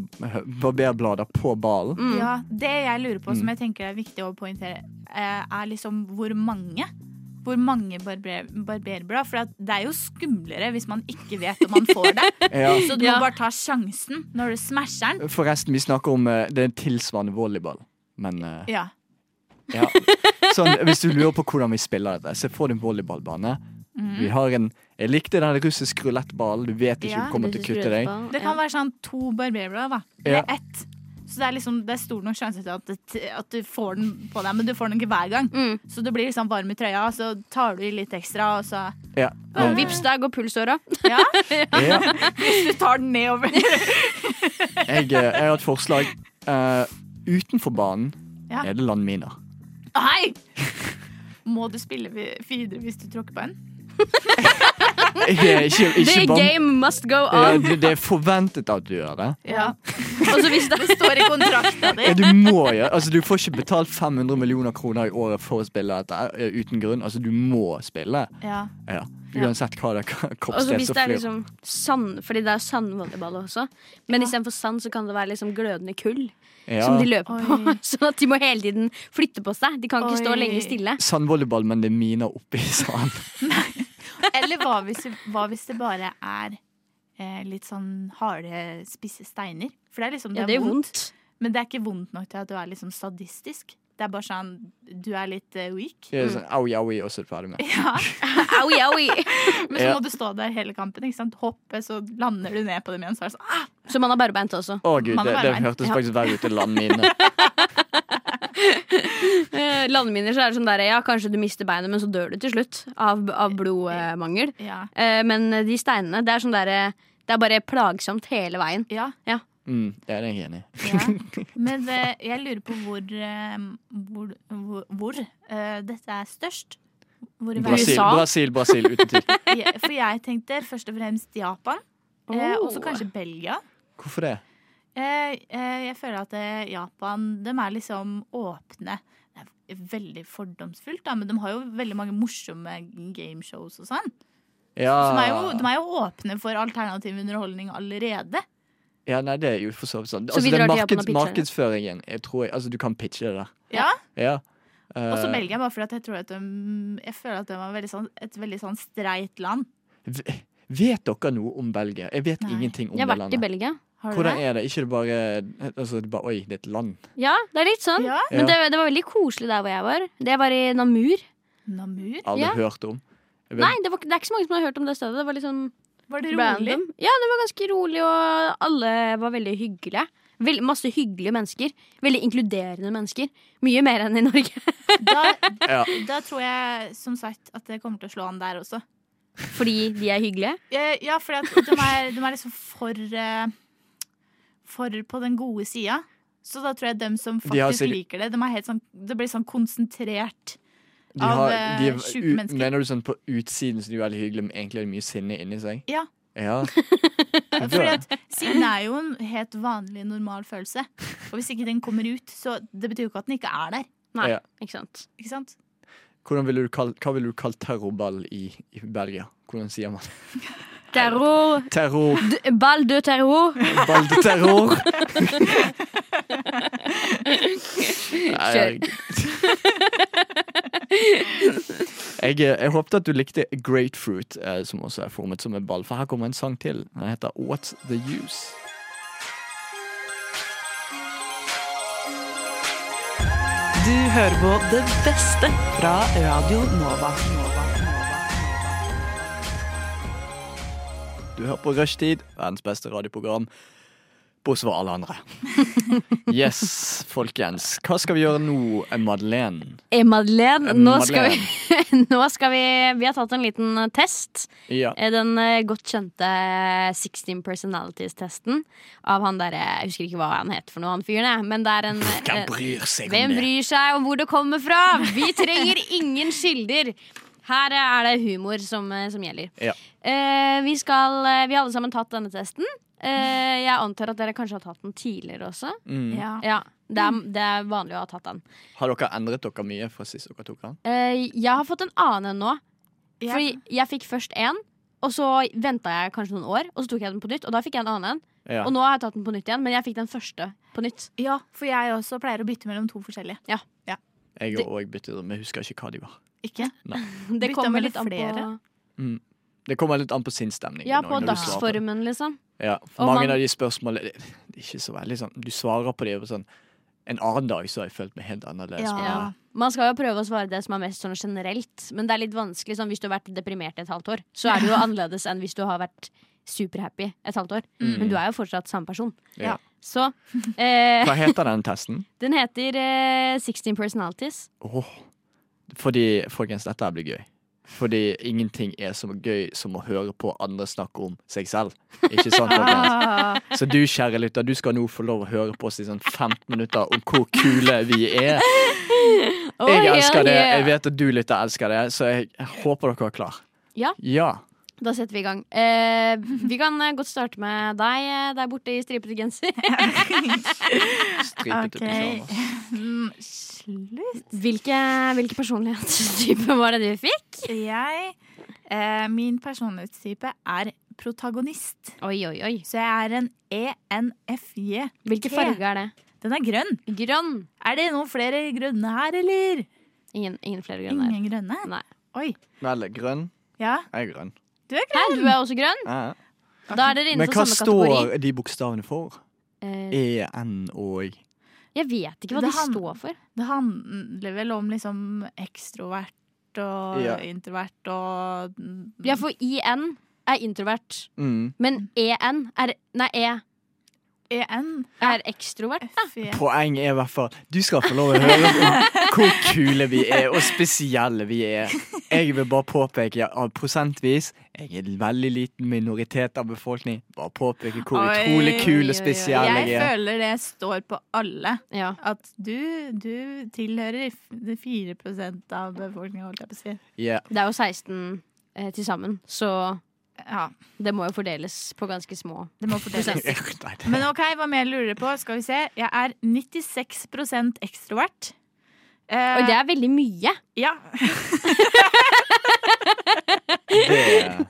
[SPEAKER 2] barberblader på ballen.
[SPEAKER 5] Mm.
[SPEAKER 6] Ja, det jeg lurer på,
[SPEAKER 2] Mm.
[SPEAKER 6] som jeg tenker er viktig å poengtere, eh, er liksom hvor mange. Hvor mange barber, barberblad. For at det er jo skumlere hvis man ikke vet om man får det.
[SPEAKER 2] Ja.
[SPEAKER 6] Så du
[SPEAKER 5] Ja.
[SPEAKER 6] må bare ta sjansen når du smasher den.
[SPEAKER 2] Forresten, vi snakker om eh, det er tilsvarende volleyball. Men eh,
[SPEAKER 6] Ja.
[SPEAKER 2] ja. Sånn, hvis du lurer på hvordan vi spiller dette, se for deg en volleyballbane.
[SPEAKER 6] Mhm.
[SPEAKER 2] Vi har en Jeg likte den russisk rulettballen. Du vet ikke
[SPEAKER 6] Ja,
[SPEAKER 2] du kommer til å kutte deg.
[SPEAKER 6] Det kan være sånn to barberblad, da.
[SPEAKER 2] Ja.
[SPEAKER 6] Eller ett. Så det er, liksom, det er stor nok sjanse til at, det- at du får den på deg, men du får den ikke hver gang.
[SPEAKER 5] Mm.
[SPEAKER 6] Så du blir liksom varm i trøya, og så tar du i litt ekstra, og så
[SPEAKER 2] Ja.
[SPEAKER 5] Og Vips, der går pulsåra.
[SPEAKER 6] Ja,
[SPEAKER 2] Ja.
[SPEAKER 6] du tar den nedover.
[SPEAKER 2] Jeg, eh, jeg har et forslag. Eh, utenfor banen
[SPEAKER 6] Ja.
[SPEAKER 2] er det landminer.
[SPEAKER 6] Nei! Må du spille vi- videre hvis du tråkker på en?
[SPEAKER 2] Eh, Ikke, ikke,
[SPEAKER 5] The
[SPEAKER 2] ikke bom-
[SPEAKER 5] game must go
[SPEAKER 2] Eh,
[SPEAKER 5] on.
[SPEAKER 2] det, det er forventet at du gjør det.
[SPEAKER 6] Ja.
[SPEAKER 5] Og så hvis det
[SPEAKER 6] Det står i kontrakta di.
[SPEAKER 2] Ja, Du må gjøre Altså du får ikke betalt 500 millioner kroner i året for å spille dette eh, uten grunn. Altså Du må spille.
[SPEAKER 6] Ja.
[SPEAKER 2] Ja. Uansett hva det er.
[SPEAKER 5] Og så
[SPEAKER 2] Kroppsdel
[SPEAKER 5] Altså, hvis
[SPEAKER 2] som
[SPEAKER 5] det er
[SPEAKER 2] flyr.
[SPEAKER 5] liksom sand, fordi det er sandvolleyball også. Men istedenfor sand så kan det være liksom glødende kull
[SPEAKER 2] Ja.
[SPEAKER 5] som de løper på.
[SPEAKER 6] Oi.
[SPEAKER 5] Sånn at de må hele tiden flytte på seg. De kan ikke stå
[SPEAKER 6] Oi.
[SPEAKER 5] lenge stille.
[SPEAKER 2] Sandvolleyball, men det er miner oppi sand.
[SPEAKER 6] Eller hva hvis, hva hvis det bare er eh, litt sånn harde, spisse steiner? For det er liksom
[SPEAKER 5] Ja, det gjør vondt.
[SPEAKER 6] Men det er ikke vondt nok til at du er liksom sadistisk. Det er bare sånn du er litt eh, weak.
[SPEAKER 2] Det er Sånn,
[SPEAKER 5] Mm.
[SPEAKER 2] au, jau, i, og så er du ferdig med
[SPEAKER 6] Ja.
[SPEAKER 5] Au, jaui.
[SPEAKER 6] Men så
[SPEAKER 2] Ja.
[SPEAKER 6] må du stå der hele kampen. Ikke sant? Hoppe, så lander du ned på dem igjen. Så er det sånn ah!
[SPEAKER 5] Så man har barbeint også.
[SPEAKER 2] Å gud,
[SPEAKER 6] Man er
[SPEAKER 2] det,
[SPEAKER 6] bare
[SPEAKER 2] det
[SPEAKER 6] veien.
[SPEAKER 2] hørtes
[SPEAKER 6] Ja.
[SPEAKER 2] faktisk verre ut enn landmine.
[SPEAKER 5] Eh, landminer så er det sånn der, ja, kanskje du mister beinet, men så dør du til slutt av, av blodmangel.
[SPEAKER 6] Ja.
[SPEAKER 5] Eh, men de steinene, det er sånn der, eh, det er bare plagsomt hele veien.
[SPEAKER 6] Ja.
[SPEAKER 2] Mm, det er jeg enig i.
[SPEAKER 6] ja. Men eh, jeg lurer på hvor eh, hvor, hvor, hvor eh, dette er størst. Hvor i
[SPEAKER 2] Brasil,
[SPEAKER 5] USA?
[SPEAKER 2] Brasil, Brasil, uten tvil.
[SPEAKER 6] verden. Jeg- For jeg tenkte først og fremst Japan. Eh,
[SPEAKER 5] Oh.
[SPEAKER 6] Og så kanskje Belgia.
[SPEAKER 2] Hvorfor det?
[SPEAKER 6] Eh, eh, jeg føler at eh, Japan de er liksom åpne. Det er veldig fordomsfullt, da, men de har jo veldig mange morsomme gameshows og sånn.
[SPEAKER 2] Ja,
[SPEAKER 6] Så de er, jo, de er jo åpne for alternativ underholdning allerede.
[SPEAKER 2] ja nei, det er jo for så vidt sånn.
[SPEAKER 5] Så
[SPEAKER 2] Altså,
[SPEAKER 5] vi
[SPEAKER 2] den
[SPEAKER 5] drar til Japan
[SPEAKER 2] markeds,
[SPEAKER 5] og pitcher det.
[SPEAKER 2] markedsføringen, jeg tror jeg, altså, du kan pitche det der.
[SPEAKER 6] Ja,
[SPEAKER 2] Ja.
[SPEAKER 6] Og så
[SPEAKER 2] Eh,
[SPEAKER 6] Belgia, bare fordi at jeg tror at de, jeg føler at de er veldig sånn, et veldig sånn streit land.
[SPEAKER 2] V- Vet dere noe om Belgia? Jeg vet
[SPEAKER 6] Nei.
[SPEAKER 2] ingenting om
[SPEAKER 5] Jeg
[SPEAKER 2] det
[SPEAKER 5] har vært i
[SPEAKER 2] landet.
[SPEAKER 5] Belgia.
[SPEAKER 6] Har du
[SPEAKER 2] Hvordan
[SPEAKER 6] det?
[SPEAKER 2] er det? Ikke det bare, altså, det er bare Oi, det er et land.
[SPEAKER 5] Ja, det er litt sånn.
[SPEAKER 6] Ja.
[SPEAKER 5] Men det,
[SPEAKER 2] Ja.
[SPEAKER 5] det var veldig koselig der hvor jeg var. Det var i Namur.
[SPEAKER 6] Namur?
[SPEAKER 2] Aldri
[SPEAKER 5] Ja.
[SPEAKER 2] hørt om. Jeg vet-
[SPEAKER 5] Nei, det, var, det er ikke så mange som har hørt om det stedet. Det var litt sånn
[SPEAKER 6] Var det rolig?
[SPEAKER 5] random. Ja, det var ganske rolig, og alle var veldig hyggelige. Vel- masse hyggelige mennesker. Veldig inkluderende mennesker. Mye mer enn i Norge.
[SPEAKER 6] Da,
[SPEAKER 2] Ja.
[SPEAKER 6] da tror jeg som sagt at det kommer til å slå an der også.
[SPEAKER 5] Fordi de er hyggelige.
[SPEAKER 6] Eh, Ja, for de, er- de er liksom for eh, For på den gode sida. Så da tror jeg dem som
[SPEAKER 2] De har
[SPEAKER 6] faktisk
[SPEAKER 2] sikkert-
[SPEAKER 6] liker det, de er helt sånn, det blir sånn konsentrert.
[SPEAKER 2] De
[SPEAKER 6] Av,
[SPEAKER 2] har,
[SPEAKER 6] eh,
[SPEAKER 2] de er,
[SPEAKER 6] sjuke
[SPEAKER 2] u-
[SPEAKER 6] mennesker.
[SPEAKER 2] mener du sånn på utsiden så de er veldig hyggelige, men egentlig er det mye sinne inni seg?
[SPEAKER 6] Ja.
[SPEAKER 2] Ja.
[SPEAKER 6] Fordi at sinne er jo en helt vanlig, normal følelse. Og hvis ikke den kommer ut, så det betyr jo ikke at den ikke er der.
[SPEAKER 5] Nei,
[SPEAKER 2] Ja.
[SPEAKER 5] ikke sant.
[SPEAKER 6] Ikke sant?
[SPEAKER 2] Hvordan ville du kalt, hva ville du kalt terrorball i, i Belgia? Hvordan sier man det?
[SPEAKER 5] Terror.
[SPEAKER 2] Terror.
[SPEAKER 5] D ball de terror.
[SPEAKER 2] Ball til terror. Nei,
[SPEAKER 5] Kjør.
[SPEAKER 2] Jeg, eh, jeg håpet at du likte Grapefruit, eh, som også er formet som en ball. For her kommer en sang til. Den heter What's The Use.
[SPEAKER 7] Du hører på det beste fra Radio Nova. Nova, Nova.
[SPEAKER 2] Du hører på Rushtid, verdens beste radioprogram. bortsett fra alle andre. Yes, folkens. Hva skal vi gjøre nå, Madeleine?
[SPEAKER 5] Eh, Madeleine, nå skal,
[SPEAKER 2] Madeleine.
[SPEAKER 5] vi, nå skal vi Vi har tatt en liten eh, test.
[SPEAKER 2] Ja.
[SPEAKER 5] Eh, Den eh, godt kjente 16 Personalities-testen av han derre Jeg husker ikke hva han het for noe, han fyren, jeg, men det er en
[SPEAKER 2] Hvem
[SPEAKER 5] eh,
[SPEAKER 2] bryr seg om
[SPEAKER 5] Hvem
[SPEAKER 2] det?
[SPEAKER 5] bryr seg om hvor det kommer fra? Vi trenger ingen kilder. Her eh, er det humor som, eh, som gjelder.
[SPEAKER 2] Ja.
[SPEAKER 5] Eh, vi, skal, eh, vi har alle sammen tatt denne testen. Eh, jeg antar at dere kanskje har tatt den tidligere også.
[SPEAKER 2] Mm.
[SPEAKER 6] Ja.
[SPEAKER 5] Ja, det er, det er vanlig å ha tatt den.
[SPEAKER 2] Har dere endret dere mye fra sist dere tok den?
[SPEAKER 5] Eh, jeg har fått en annen en nå.
[SPEAKER 6] Ja.
[SPEAKER 5] Fordi jeg fikk først én, og så venta jeg kanskje noen år, og så tok jeg den på nytt. Og da fikk jeg en annen en.
[SPEAKER 2] Ja.
[SPEAKER 5] Og nå har jeg tatt den på nytt igjen, men jeg fikk den første på nytt.
[SPEAKER 6] ja, for jeg også pleier å bytte mellom to forskjellige.
[SPEAKER 2] Jeg har òg byttet, men jeg husker ikke hva de var.
[SPEAKER 6] Ikke?
[SPEAKER 5] Det
[SPEAKER 6] Bytta
[SPEAKER 5] kommer
[SPEAKER 6] mellom
[SPEAKER 5] litt an på,
[SPEAKER 6] flere?
[SPEAKER 2] Det kommer litt an på sinnsstemningen.
[SPEAKER 5] ja,
[SPEAKER 2] når- når
[SPEAKER 5] på
[SPEAKER 2] du svarer det.
[SPEAKER 5] dagsformen, liksom.
[SPEAKER 2] Ja, for
[SPEAKER 5] Og
[SPEAKER 2] mange
[SPEAKER 5] man-
[SPEAKER 2] av de spørsmålene det, det er ikke så veldig sånn Du svarer på det og sånn En annen dag så har jeg følt meg helt annerledes.
[SPEAKER 6] Ja.
[SPEAKER 2] men-
[SPEAKER 5] Ja. Man skal jo prøve å svare det som er mest sånn generelt, men det er litt vanskelig. Sånn, hvis du har vært deprimert et halvt år, så er det jo annerledes enn hvis du har vært superhappy et halvt år. Men du er jo fortsatt samme person.
[SPEAKER 2] Mm. Ja.
[SPEAKER 5] Så eh,
[SPEAKER 2] Hva heter den testen?
[SPEAKER 5] den heter eh, 16 Personalities.
[SPEAKER 2] Åh, Fordi, folkens, dette her blir gøy. Fordi ingenting er så gøy som å høre på andre snakke om seg selv. Ikke sant, folkens?
[SPEAKER 6] Ah,
[SPEAKER 2] Så du, kjære lytter, du skal nå få lov å høre på oss i sånn 15 minutter om hvor kule vi er.
[SPEAKER 5] Oh,
[SPEAKER 2] Jeg elsker
[SPEAKER 5] yeah,
[SPEAKER 2] det.
[SPEAKER 5] yeah.
[SPEAKER 2] Jeg vet at du lytter elsker det, så jeg håper dere er klar.
[SPEAKER 5] Ja.
[SPEAKER 2] Ja.
[SPEAKER 5] Da setter vi i gang. Eh, vi kan eh, godt starte med deg eh, der borte i stripete genser.
[SPEAKER 2] Stripete
[SPEAKER 6] Ah, Ok.
[SPEAKER 2] pyjamas.
[SPEAKER 6] mm, Slutt.
[SPEAKER 5] Hvilke, hvilke personlighetstyper var det du fikk?
[SPEAKER 6] Jeg eh, Min personlighetstype er protagonist.
[SPEAKER 5] Oi, oi, oi.
[SPEAKER 6] Så jeg er en E ENFJ.
[SPEAKER 5] Hvilke
[SPEAKER 6] Te.
[SPEAKER 5] farger er det?
[SPEAKER 6] Den er grønn.
[SPEAKER 5] Grønn.
[SPEAKER 6] Er det noen flere grønne her, eller?
[SPEAKER 5] Ingen, ingen flere grønne. her.
[SPEAKER 6] Ingen grønne?
[SPEAKER 5] Nei.
[SPEAKER 6] Oi.
[SPEAKER 2] Vel, grønn.
[SPEAKER 6] Ja,
[SPEAKER 2] Jeg er grønn.
[SPEAKER 6] du er
[SPEAKER 5] Hæ,
[SPEAKER 6] grønn.
[SPEAKER 5] du er også grønn?
[SPEAKER 2] Ja.
[SPEAKER 5] Da er dere
[SPEAKER 2] Men
[SPEAKER 5] innenfor
[SPEAKER 2] hva
[SPEAKER 5] sånn samme kategori.
[SPEAKER 2] står de bokstavene for?
[SPEAKER 5] Eh,
[SPEAKER 2] E, N og
[SPEAKER 5] jeg vet ikke hva
[SPEAKER 6] Det
[SPEAKER 5] de
[SPEAKER 6] han-
[SPEAKER 5] står for.
[SPEAKER 6] Det handler vel om liksom ekstrovert og
[SPEAKER 2] Ja.
[SPEAKER 6] introvert og
[SPEAKER 5] Ja, for IN er introvert,
[SPEAKER 2] mm.
[SPEAKER 5] men EN er Nei, E
[SPEAKER 6] EN.
[SPEAKER 5] er ekstrovert.
[SPEAKER 6] FJ.
[SPEAKER 2] Poeng er i hvert fall Du skal få lov å høre om hvor kule vi er, og spesielle vi er. Jeg vil bare påpeke at prosentvis Jeg er en veldig liten minoritet av befolkningen. Bare påpeke hvor
[SPEAKER 6] Oi,
[SPEAKER 2] utrolig
[SPEAKER 5] oi,
[SPEAKER 2] kul
[SPEAKER 5] oi.
[SPEAKER 2] og spesiell
[SPEAKER 6] Jeg
[SPEAKER 2] jeg er.
[SPEAKER 6] føler det står på alle.
[SPEAKER 5] Ja.
[SPEAKER 6] At du, du tilhører f- det 4 av befolkningen, holdt jeg på å si.
[SPEAKER 2] Ja.
[SPEAKER 5] Det er jo 16 eh, til sammen, så
[SPEAKER 6] Ja,
[SPEAKER 5] det må jo fordeles på ganske små.
[SPEAKER 6] det må fordeles.
[SPEAKER 2] Nei, det-
[SPEAKER 6] Men ok, hva mer lurer du på? Skal vi se. Jeg er 96 ekstrovert. Eh,
[SPEAKER 5] Og det er veldig mye.
[SPEAKER 6] Ja.
[SPEAKER 2] det-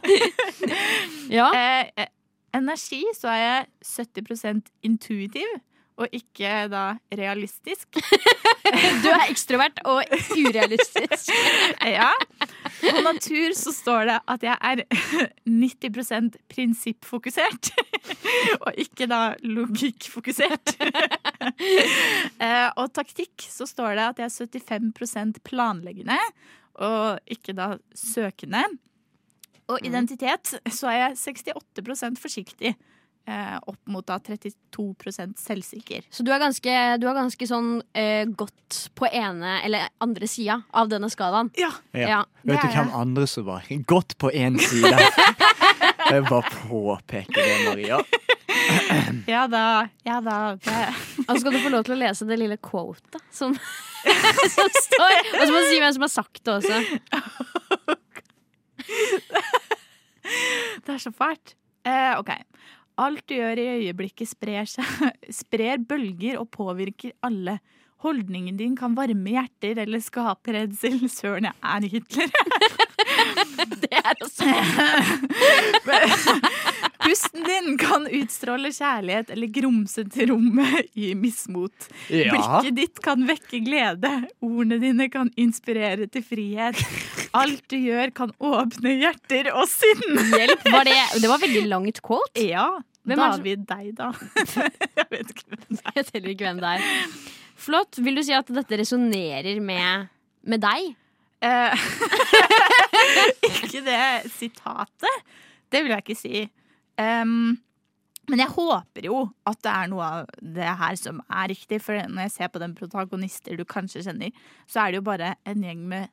[SPEAKER 5] Ja.
[SPEAKER 6] Eh, eh, energi så er jeg 70 intuitiv. Og ikke da realistisk.
[SPEAKER 5] Du er ekstrovert og urealistisk.
[SPEAKER 6] Ja. På natur så står det at jeg er 90 prinsippfokusert. Og ikke da logikkfokusert. Eh, Og taktikk så står det at jeg er 75 planleggende, og ikke da søkende. Og identitet så er jeg 68 forsiktig. eh, Opp mot da 32 selvsikker.
[SPEAKER 5] Så du er ganske, du er ganske sånn eh, godt på ene eller andre sida av denne skalaen.
[SPEAKER 6] Ja.
[SPEAKER 2] ja.
[SPEAKER 6] Det
[SPEAKER 2] Vet du
[SPEAKER 6] er
[SPEAKER 2] hvem
[SPEAKER 6] jeg.
[SPEAKER 2] andre som var godt på én side? Jeg bare påpeker det, Maria.
[SPEAKER 6] Ja da. Ja da. Det.
[SPEAKER 5] Og så skal du få lov til å lese det lille quotet som, som står. Og så må du si hvem som har sagt det også.
[SPEAKER 6] Det er så fælt. Eh, ok. Alt du gjør i øyeblikket sprer seg. Sprer bølger og påvirker alle. Holdningen din kan varme hjerter eller skape redsel. Søren, jeg er Hitler.
[SPEAKER 5] Det er også
[SPEAKER 6] Pusten din kan utstråle kjærlighet eller grumse til rommet i mismot.
[SPEAKER 2] Ja.
[SPEAKER 6] Blikket ditt kan vekke glede. Ordene dine kan inspirere til frihet. Alt du gjør kan åpne hjerter og sinn.
[SPEAKER 5] Hjelp, var det Det var veldig langt quote.
[SPEAKER 6] Ja.
[SPEAKER 5] Hvem er
[SPEAKER 6] David deg, da. jeg vet ikke hvem det er.
[SPEAKER 5] Jeg vet heller ikke hvem det er. Flott. Vil du si at dette resonnerer med, med deg?
[SPEAKER 6] Eh, ikke det sitatet. Det vil jeg ikke si. Em, Men jeg håper jo at det er noe av det her som er riktig, for når jeg ser på den protagonister du kanskje kjenner, så er det jo bare en gjeng med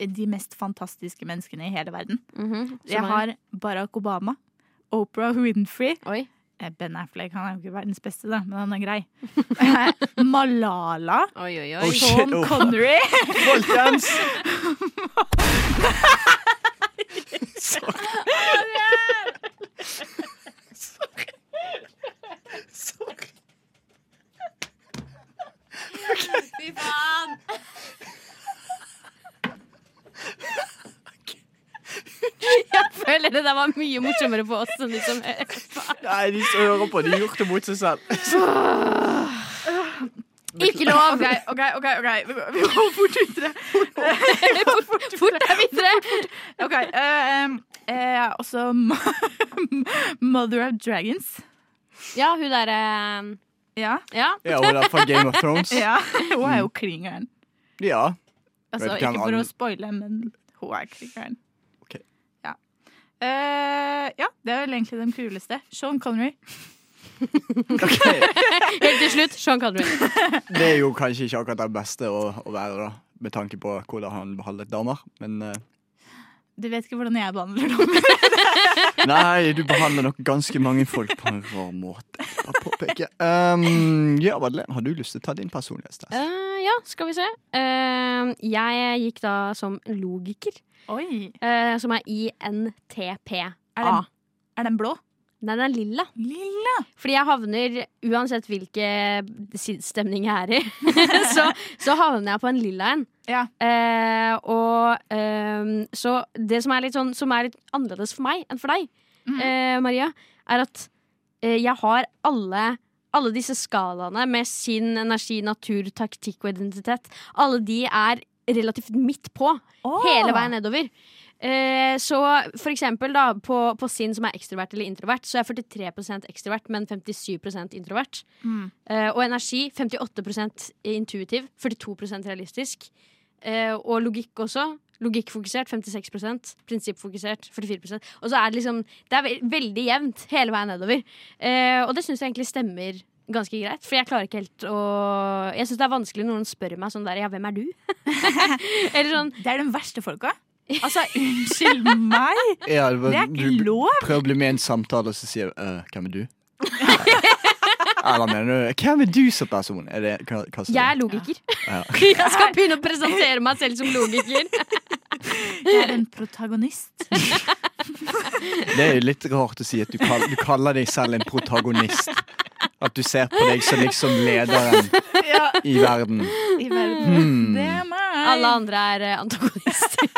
[SPEAKER 6] de mest fantastiske menneskene i hele verden.
[SPEAKER 5] Mhm, som
[SPEAKER 6] Jeg
[SPEAKER 5] er-
[SPEAKER 6] har Barack Obama, Oprah Winfrey
[SPEAKER 5] Oi.
[SPEAKER 6] eh, Ben Affleck, han er jo ikke verdens beste, da, men han er grei. Eh, Malala.
[SPEAKER 5] Oi, oi,
[SPEAKER 2] Oh,
[SPEAKER 5] oi.
[SPEAKER 2] shit.
[SPEAKER 6] Sean
[SPEAKER 2] Oprah.
[SPEAKER 6] Connery.
[SPEAKER 2] Folkens!
[SPEAKER 5] Fy faen! Jeg føler det der var mye morsommere for oss enn de som
[SPEAKER 2] Nei, de som hører på, de har gjort det mot seg selv.
[SPEAKER 5] Ikke lov!
[SPEAKER 6] Ok, ok, ok, ok. Vi går- vi går fort videre.
[SPEAKER 5] Fort, fort er videre!
[SPEAKER 6] Ok, eh, em, eh, Også Mother of Dragons.
[SPEAKER 5] Ja, hun derre
[SPEAKER 6] Ja.
[SPEAKER 5] Ja.
[SPEAKER 2] Ja, og det er fra Game of Thrones.
[SPEAKER 6] ja. Hun er jo klingeren.
[SPEAKER 2] Ja.
[SPEAKER 6] Altså,
[SPEAKER 2] Vet ikke
[SPEAKER 6] ikke
[SPEAKER 2] hvem
[SPEAKER 6] for å
[SPEAKER 2] annen-
[SPEAKER 6] spoile, men hun er klingeren.
[SPEAKER 2] Ok.
[SPEAKER 6] Ja. Eh, ja, det er vel egentlig den kuleste. Sean Connery.
[SPEAKER 2] Ok,
[SPEAKER 5] Helt til slutt, Sean Connery.
[SPEAKER 2] Det er jo kanskje ikke akkurat det beste å, å være, da. Med tanke på hvordan han behandlet damer. Men eh,
[SPEAKER 6] Du vet ikke hvordan jeg behandler dem.
[SPEAKER 2] nei, du behandler nok ganske mange folk på en rar måte. Bare påpeke. Um, ja, Madeleine, har du lyst til å ta din personlighetstest?
[SPEAKER 5] Eh, ja, skal vi se. Eh, jeg gikk da som logiker,
[SPEAKER 6] Oi.
[SPEAKER 5] eh, som er INTP.
[SPEAKER 6] Er den, er den blå?
[SPEAKER 5] Nei, den er lilla.
[SPEAKER 6] Lilla.
[SPEAKER 5] Fordi jeg havner, uansett hvilken sinnsstemning jeg er i, så, så havner jeg på en lilla en.
[SPEAKER 6] Ja.
[SPEAKER 5] Eh, og ehm, så det som er litt sånn Som er litt annerledes for meg enn for deg,
[SPEAKER 6] Mhm.
[SPEAKER 5] eh, Maria, er at eh, jeg har alle alle disse skalaene med sin energi, natur, taktikk og identitet, alle de er relativt midt på hele veien nedover. Eh, så for eksempel da, på, på sinn som er ekstrovert eller introvert, så er 43 ekstrovert, men 57 introvert.
[SPEAKER 6] Mm.
[SPEAKER 5] Eh, og energi 58 intuitiv, 42 realistisk. Eh, og logikk også. Logikkfokusert 56 prinsippfokusert 44 Og så er det liksom Det er ve- veldig jevnt hele veien nedover. Eh, og det syns jeg egentlig stemmer ganske greit, for jeg klarer ikke helt å Jeg syns det er vanskelig når noen spør meg sånn der Ja, hvem er du? eller sånn
[SPEAKER 6] Det er den verste folka. Altså, unnskyld meg!
[SPEAKER 2] Ja, det, var,
[SPEAKER 6] Det er ikke
[SPEAKER 2] du
[SPEAKER 6] lov!
[SPEAKER 2] prøver å bli med i en samtale, og så sier du «Øh, 'Hvem er du?' Eller mener du 'Hvem er du som person?' Er det, hva, hva sier
[SPEAKER 5] Jeg er
[SPEAKER 2] du?
[SPEAKER 5] logiker.
[SPEAKER 2] Ja.
[SPEAKER 5] Jeg skal begynne å presentere meg selv som logiker.
[SPEAKER 6] Jeg er en protagonist.
[SPEAKER 2] Det er jo litt rart å si at du, kall, du kaller deg selv en protagonist. At du ser på deg som liksom lederen
[SPEAKER 6] Ja,
[SPEAKER 2] i verden.
[SPEAKER 6] i verden.
[SPEAKER 2] Hmm.
[SPEAKER 6] Det er meg.
[SPEAKER 5] Alle andre er eh, antagonister.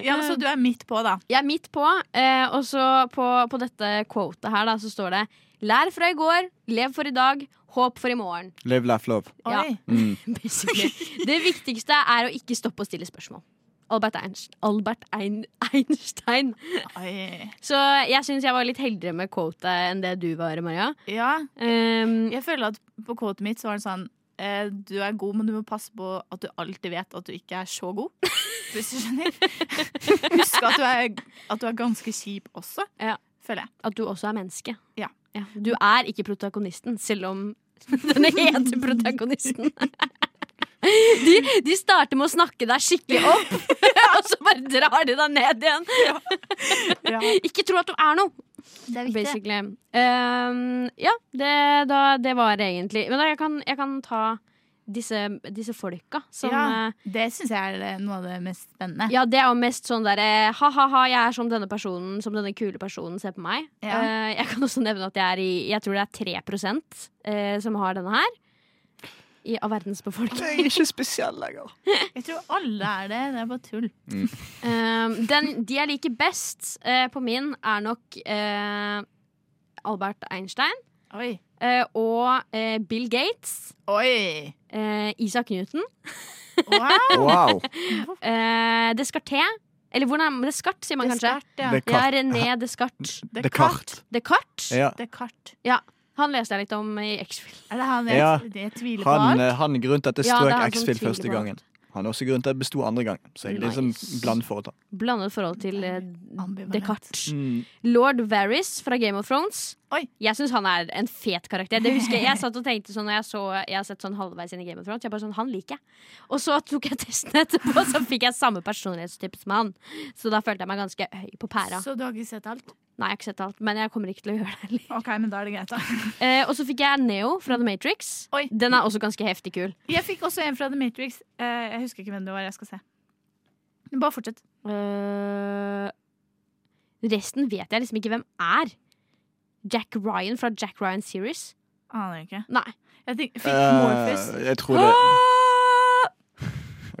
[SPEAKER 6] Ja, men Så du er midt på, da.
[SPEAKER 5] Jeg er midt på, eh, og så på, på dette quotet her da, så står det Lær fra i går, lev for i dag, håp for i morgen.
[SPEAKER 2] Live, laugh, love.
[SPEAKER 5] Ja.
[SPEAKER 6] Oi.
[SPEAKER 2] Mm.
[SPEAKER 5] Basically. Det viktigste er å ikke stoppe å stille spørsmål. Albert Einstein. Albert Ein Einstein.
[SPEAKER 6] Oi.
[SPEAKER 5] Så jeg syns jeg var litt heldigere med quotet enn det du var, Maria.
[SPEAKER 6] Ja,
[SPEAKER 5] Um,
[SPEAKER 6] jeg føler at på kvotet mitt så var det sånn eh, Du er god, men du må passe på at du alltid vet at du ikke er så god. Hvis du skjønner. Husk at du er, at du er ganske kjip også,
[SPEAKER 5] Ja.
[SPEAKER 6] føler jeg.
[SPEAKER 5] at du også er menneske.
[SPEAKER 6] Ja.
[SPEAKER 5] Du er ikke protagonisten, selv om den heter protagonisten. De, de starter med å snakke deg skikkelig opp, og så bare drar de deg ned igjen. Ikke tro at du er noe,
[SPEAKER 6] Det er viktig.
[SPEAKER 5] basically. Ehm, ja, det, da, det var det egentlig Men da, jeg, kan, jeg kan ta disse, disse folka som
[SPEAKER 6] ja,
[SPEAKER 5] eh,
[SPEAKER 6] det syns jeg er eh, noe av det mest spennende.
[SPEAKER 5] ja, det er jo mest sånn derre ha-ha-ha, jeg er som denne personen, som denne kule personen, se på meg.
[SPEAKER 6] Ja.
[SPEAKER 5] Eh, jeg kan også nevne at jeg er i Jeg tror det er 3 eh, som har denne her. I, av verdens
[SPEAKER 2] Jeg
[SPEAKER 5] befolkning.
[SPEAKER 2] er ikke spesiell lenger.
[SPEAKER 6] Jeg tror alle er det. Det er bare tull.
[SPEAKER 5] Eh, den, de jeg liker best eh, på min, er nok eh, Albert Einstein
[SPEAKER 6] Oi.
[SPEAKER 5] eh, og eh, Bill Gates.
[SPEAKER 6] Oi!
[SPEAKER 5] eh, Isak Newton.
[SPEAKER 6] Wow!
[SPEAKER 2] Wow.
[SPEAKER 5] Eh, Descartes. Eller hvordan Descartes, sier man kanskje.
[SPEAKER 6] Descartes, ja.
[SPEAKER 2] Det-
[SPEAKER 5] Ja, René Descartes.
[SPEAKER 2] Det er kart.
[SPEAKER 5] Descartes.
[SPEAKER 2] Ja.
[SPEAKER 6] Descartes.
[SPEAKER 5] Han leste jeg litt om i X-Fill.
[SPEAKER 6] Er det han jeg,
[SPEAKER 2] Ja.
[SPEAKER 6] jeg tviler på
[SPEAKER 2] Han,
[SPEAKER 6] alt?
[SPEAKER 2] eh, han grunnen til at jeg
[SPEAKER 5] Ja, det
[SPEAKER 2] strøk
[SPEAKER 5] er han som
[SPEAKER 2] X-Fill
[SPEAKER 5] tviler
[SPEAKER 2] første
[SPEAKER 5] på
[SPEAKER 2] gangen. Han er også grunn til at det besto andre gang, så jeg er litt sånn
[SPEAKER 5] Nice.
[SPEAKER 2] blandet foretak.
[SPEAKER 5] Blandet forhold til eh,
[SPEAKER 6] Ambivalent.
[SPEAKER 5] Descartes. Lord Varys fra Game of Thrones.
[SPEAKER 6] Oi.
[SPEAKER 5] Jeg syns han er en fet karakter. Det husker Jeg jeg satt og tenkte sånn når jeg, så, jeg har sett sånn halvveis inn i Game of Thrones. Jeg bare sånn, Han liker jeg. Og så tok jeg testen etterpå, og så fikk jeg samme personlighetstype som han. Så da følte jeg meg ganske høy på pæra.
[SPEAKER 6] Så du har ikke sett alt?
[SPEAKER 5] Nei, jeg har ikke sett alt, men jeg kommer ikke til å gjøre det heller.
[SPEAKER 6] Ok, men da er det greit, da.
[SPEAKER 5] Eh, og så fikk jeg Neo fra The Matrix.
[SPEAKER 6] Oi.
[SPEAKER 5] Den er også ganske heftig kul.
[SPEAKER 6] Jeg fikk også en fra The Matrix. Eh, jeg husker ikke hvem det var. Jeg skal se. Bare fortsett.
[SPEAKER 5] Eh, resten vet jeg liksom ikke hvem er. Jack Ryan fra Jack Ryan Series.
[SPEAKER 6] Aner ikke.
[SPEAKER 5] Nei.
[SPEAKER 6] Jeg tenk, fikk Morpheus.
[SPEAKER 2] Eh, jeg tror det
[SPEAKER 5] Ah!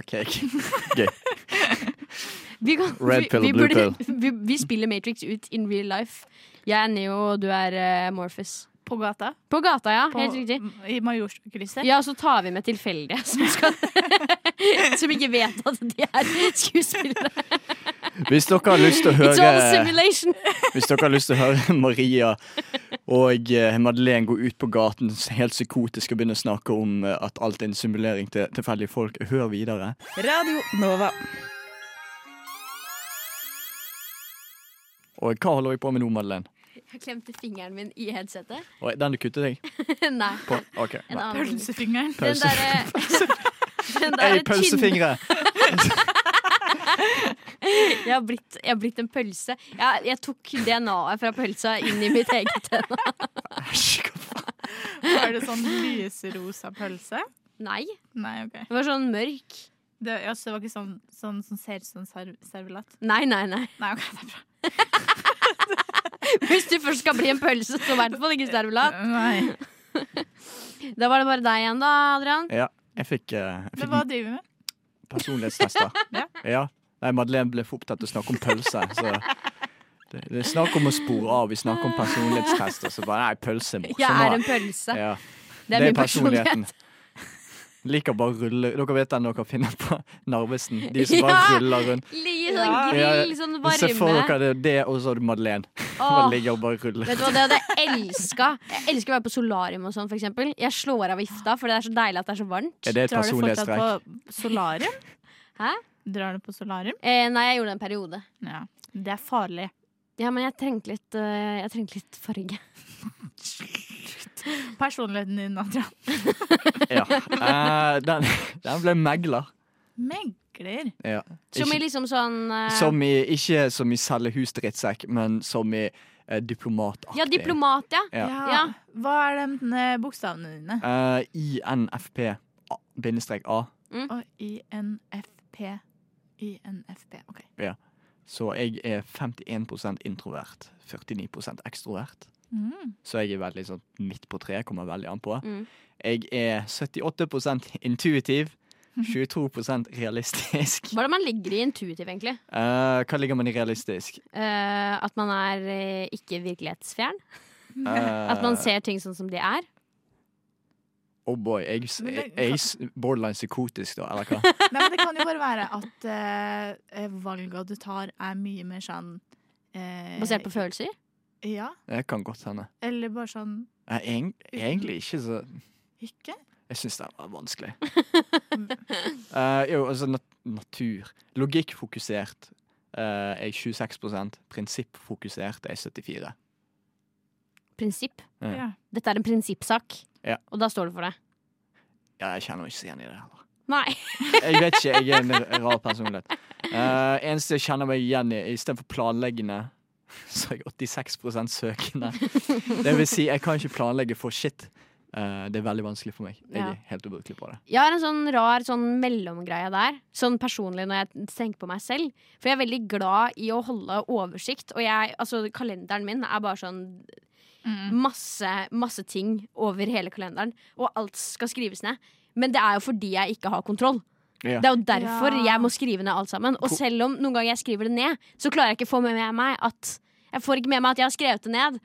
[SPEAKER 2] OK.
[SPEAKER 5] Vi, kan,
[SPEAKER 2] Red
[SPEAKER 5] vi-
[SPEAKER 2] pill og
[SPEAKER 5] vi
[SPEAKER 2] blue
[SPEAKER 5] burde- Vi, vi spiller Matrix ut in real life. Jeg er Neo, og du er eh, Morpheus.
[SPEAKER 6] På gata.
[SPEAKER 5] På gata, ja.
[SPEAKER 6] På,
[SPEAKER 5] Helt riktig.
[SPEAKER 6] I Majorstukrysset.
[SPEAKER 5] Ja, og så tar vi med tilfeldige som, skal, som ikke vet at de er skuespillere.
[SPEAKER 2] Hvis dere har lyst til å
[SPEAKER 5] It's all a
[SPEAKER 2] høre
[SPEAKER 5] simulation!
[SPEAKER 2] Hvis dere har lyst til å høre Maria og eh, Madeleine gå ut på gaten helt psykotisk og begynne å snakke om eh, at alt er en simulering til tilfeldige folk, hør videre.
[SPEAKER 7] Radio Nova.
[SPEAKER 2] Og hva holder vi på med nå, Madeleine?
[SPEAKER 5] Jeg klemte fingeren min i headsetet.
[SPEAKER 2] Oi, den du kuttet deg
[SPEAKER 5] Nei.
[SPEAKER 2] på? OK.
[SPEAKER 5] En
[SPEAKER 2] nei.
[SPEAKER 5] annen finger.
[SPEAKER 6] Pølsefingeren.
[SPEAKER 5] Den
[SPEAKER 2] Pølse.
[SPEAKER 5] derre den
[SPEAKER 2] Hei,
[SPEAKER 5] derre tynne-
[SPEAKER 2] pølsefingre!
[SPEAKER 5] Jeg har blitt, jeg har blitt en pølse. Jeg, jeg tok DNA-et fra pølsa inn i mitt eget DNA.
[SPEAKER 6] Er det sånn lyserosa pølse?
[SPEAKER 5] Nei.
[SPEAKER 6] Nei, OK.
[SPEAKER 5] Det var sånn mørk.
[SPEAKER 6] Det, ja, så det var ikke sånn, sånn som ser ut som serv servelat?
[SPEAKER 5] Nei, nei, nei.
[SPEAKER 6] Nei, OK, det er bra.
[SPEAKER 5] Hvis du først skal bli en pølse, så i hvert fall ikke servelat.
[SPEAKER 6] Nei.
[SPEAKER 5] Da var det bare deg igjen, da, Adrian.
[SPEAKER 2] Ja, jeg fikk, eh, jeg
[SPEAKER 6] Men
[SPEAKER 2] fikk
[SPEAKER 6] hva driver vi med?
[SPEAKER 2] personlighetstester.
[SPEAKER 6] Ja.
[SPEAKER 2] Ja. Nei, Madeleine ble for opptatt av å snakke om pølse. Så det, det er snakk om å spore av. Vi snakker om personlighetstester, så bare Nei, pølse er morsomt.
[SPEAKER 5] Jeg er en pølse.
[SPEAKER 2] ja.
[SPEAKER 5] Det er min personlighet.
[SPEAKER 2] Liker bare å rulle Dere vet den dere finner på Narvesen? De som bare
[SPEAKER 5] Ja.
[SPEAKER 2] ruller rundt.
[SPEAKER 5] Ligge sånn
[SPEAKER 6] Ja.
[SPEAKER 5] grill, sånn
[SPEAKER 2] Se for
[SPEAKER 5] varme.
[SPEAKER 2] dere det, det og så har du Madeleine. Bare
[SPEAKER 5] Åh.
[SPEAKER 2] ligger og bare ruller.
[SPEAKER 5] Vet du hva, det hadde jeg elska. Jeg elsker å være på solarium og sånn, for eksempel. Jeg slår av vifta, for det er så deilig at det er så varmt.
[SPEAKER 2] Er det
[SPEAKER 6] Drar
[SPEAKER 2] et
[SPEAKER 6] du fortsatt
[SPEAKER 2] personlighetstrekk?
[SPEAKER 6] på solarium?
[SPEAKER 5] Hæ?
[SPEAKER 6] Drar du på solarium?
[SPEAKER 5] Eh, nei, jeg gjorde det en periode.
[SPEAKER 6] Ja. Det er farlig.
[SPEAKER 5] Ja, men jeg trengte litt, eh, jeg trengte litt farge.
[SPEAKER 6] Personligheten din, Adrian.
[SPEAKER 2] Ja. Eh, den, den ble megler.
[SPEAKER 6] Megler.
[SPEAKER 2] Ja.
[SPEAKER 5] Som i
[SPEAKER 2] Ikke,
[SPEAKER 5] liksom sånn eh,
[SPEAKER 2] som i, ikke som i selge hus drittsekk, men som i eh, diplomataktig.
[SPEAKER 5] Ja, diplomat, ja.
[SPEAKER 2] Ja.
[SPEAKER 5] Ja.
[SPEAKER 6] Hva er de eh, bokstavene dine?
[SPEAKER 2] Eh, INFP A- bindestrek A.
[SPEAKER 6] Og INFP. INFP. OK.
[SPEAKER 2] Så jeg er 51 introvert, 49 ekstrovert.
[SPEAKER 6] Mm.
[SPEAKER 2] Så jeg er veldig sånn midt på treet, kommer veldig an på.
[SPEAKER 5] Mm.
[SPEAKER 2] Jeg er 78 intuitiv, 22 realistisk.
[SPEAKER 5] Hva er det man ligger i intuitiv, egentlig?
[SPEAKER 2] Eh, hva ligger man i realistisk?
[SPEAKER 5] Eh, at man er eh, ikke virkelighetsfjern?
[SPEAKER 2] Eh,
[SPEAKER 5] At man ser ting sånn som de er?
[SPEAKER 2] Oh boy, jeg, s-
[SPEAKER 6] Men
[SPEAKER 2] jeg,
[SPEAKER 6] det-
[SPEAKER 2] jeg s- borderline psykotisk, da, eller hva?
[SPEAKER 6] Nei, men det kan jo bare være at eh, valga du tar, er mye mer sånn eh,
[SPEAKER 5] Basert på følelser?
[SPEAKER 6] Ja.
[SPEAKER 2] Det kan godt hende.
[SPEAKER 6] Eller bare sånn
[SPEAKER 2] Eh, egent- egentlig ikke så
[SPEAKER 6] ikke.
[SPEAKER 2] Jeg syns det var vanskelig. Eh, jo, altså nat natur. Logikkfokusert uh, er jeg 26 Prinsippfokusert er jeg 74
[SPEAKER 5] Prinsipp?
[SPEAKER 2] Ja.
[SPEAKER 6] Ja.
[SPEAKER 5] Dette er en prinsippsak,
[SPEAKER 2] Ja.
[SPEAKER 5] og da står du for det.
[SPEAKER 2] Ja, jeg kjenner meg ikke så igjen i det heller.
[SPEAKER 5] Nei.
[SPEAKER 2] Jeg vet ikke, jeg er en r- rar personlighet. Uh, eneste jeg kjenner meg igjen i, istedenfor planleggende, så er jeg 86 søkende. Det vil si, jeg kan ikke planlegge for shit. Eh, det er veldig vanskelig for meg. Jeg
[SPEAKER 5] Ja.
[SPEAKER 2] er helt ubrukelig på det.
[SPEAKER 5] Jeg har en sånn rar sånn mellomgreie der, sånn personlig når jeg tenker på meg selv. For jeg er veldig glad i å holde oversikt, og jeg, altså, kalenderen min er bare sånn masse, masse ting over hele kalenderen, og alt skal skrives ned. Men det er jo fordi jeg ikke har kontroll.
[SPEAKER 2] Ja.
[SPEAKER 5] Det er jo derfor
[SPEAKER 6] Ja.
[SPEAKER 5] jeg må skrive ned alt sammen. Og selv om noen ganger jeg skriver det ned, så klarer jeg ikke å få med meg at jeg får ikke med meg at jeg har skrevet det ned.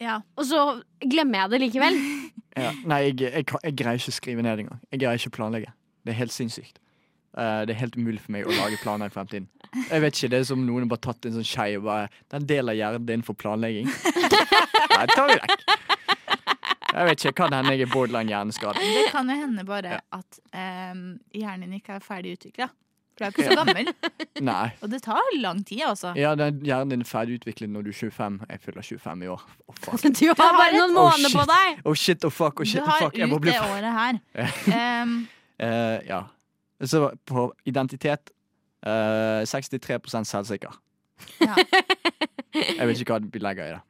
[SPEAKER 6] Ja.
[SPEAKER 5] Og så glemmer jeg det likevel.
[SPEAKER 2] Ja. Nei, jeg, jeg, kan- jeg greier ikke å skrive ned engang. Jeg greier ikke å planlegge. Det er helt sinnssykt. Eh, det er helt umulig for meg å lage planer i fremtiden. Jeg vet ikke, Det er som om noen har bare tatt en sånn skei og bare Den delen av hjernen din for planlegging. Nei, tar vi vekk. Jeg vet ikke, kan hende jeg er borderline hjerneskadet.
[SPEAKER 6] Det kan jo hende bare at em, hjernen din ikke er ferdig utvikla. For du er ikke så gammel.
[SPEAKER 2] Nei.
[SPEAKER 6] Og det tar lang tid, altså.
[SPEAKER 2] Ja, den hjernen din er ferdigutviklet når du er 25. Jeg fyller 25 i år. Å, fuck.
[SPEAKER 5] Du har bare noen
[SPEAKER 2] Oh,
[SPEAKER 5] måneder på
[SPEAKER 2] shit.
[SPEAKER 5] deg!
[SPEAKER 2] Å, shit, å, fuck, å,
[SPEAKER 6] Du
[SPEAKER 2] shit, å,
[SPEAKER 6] har
[SPEAKER 2] fuck. Jeg må
[SPEAKER 6] ut
[SPEAKER 2] bli
[SPEAKER 6] det året her. Em,
[SPEAKER 2] Eh, ja. Så på identitet eh, 63 selvsikker.
[SPEAKER 6] Ja.
[SPEAKER 2] Jeg vet ikke hva vi legger i det.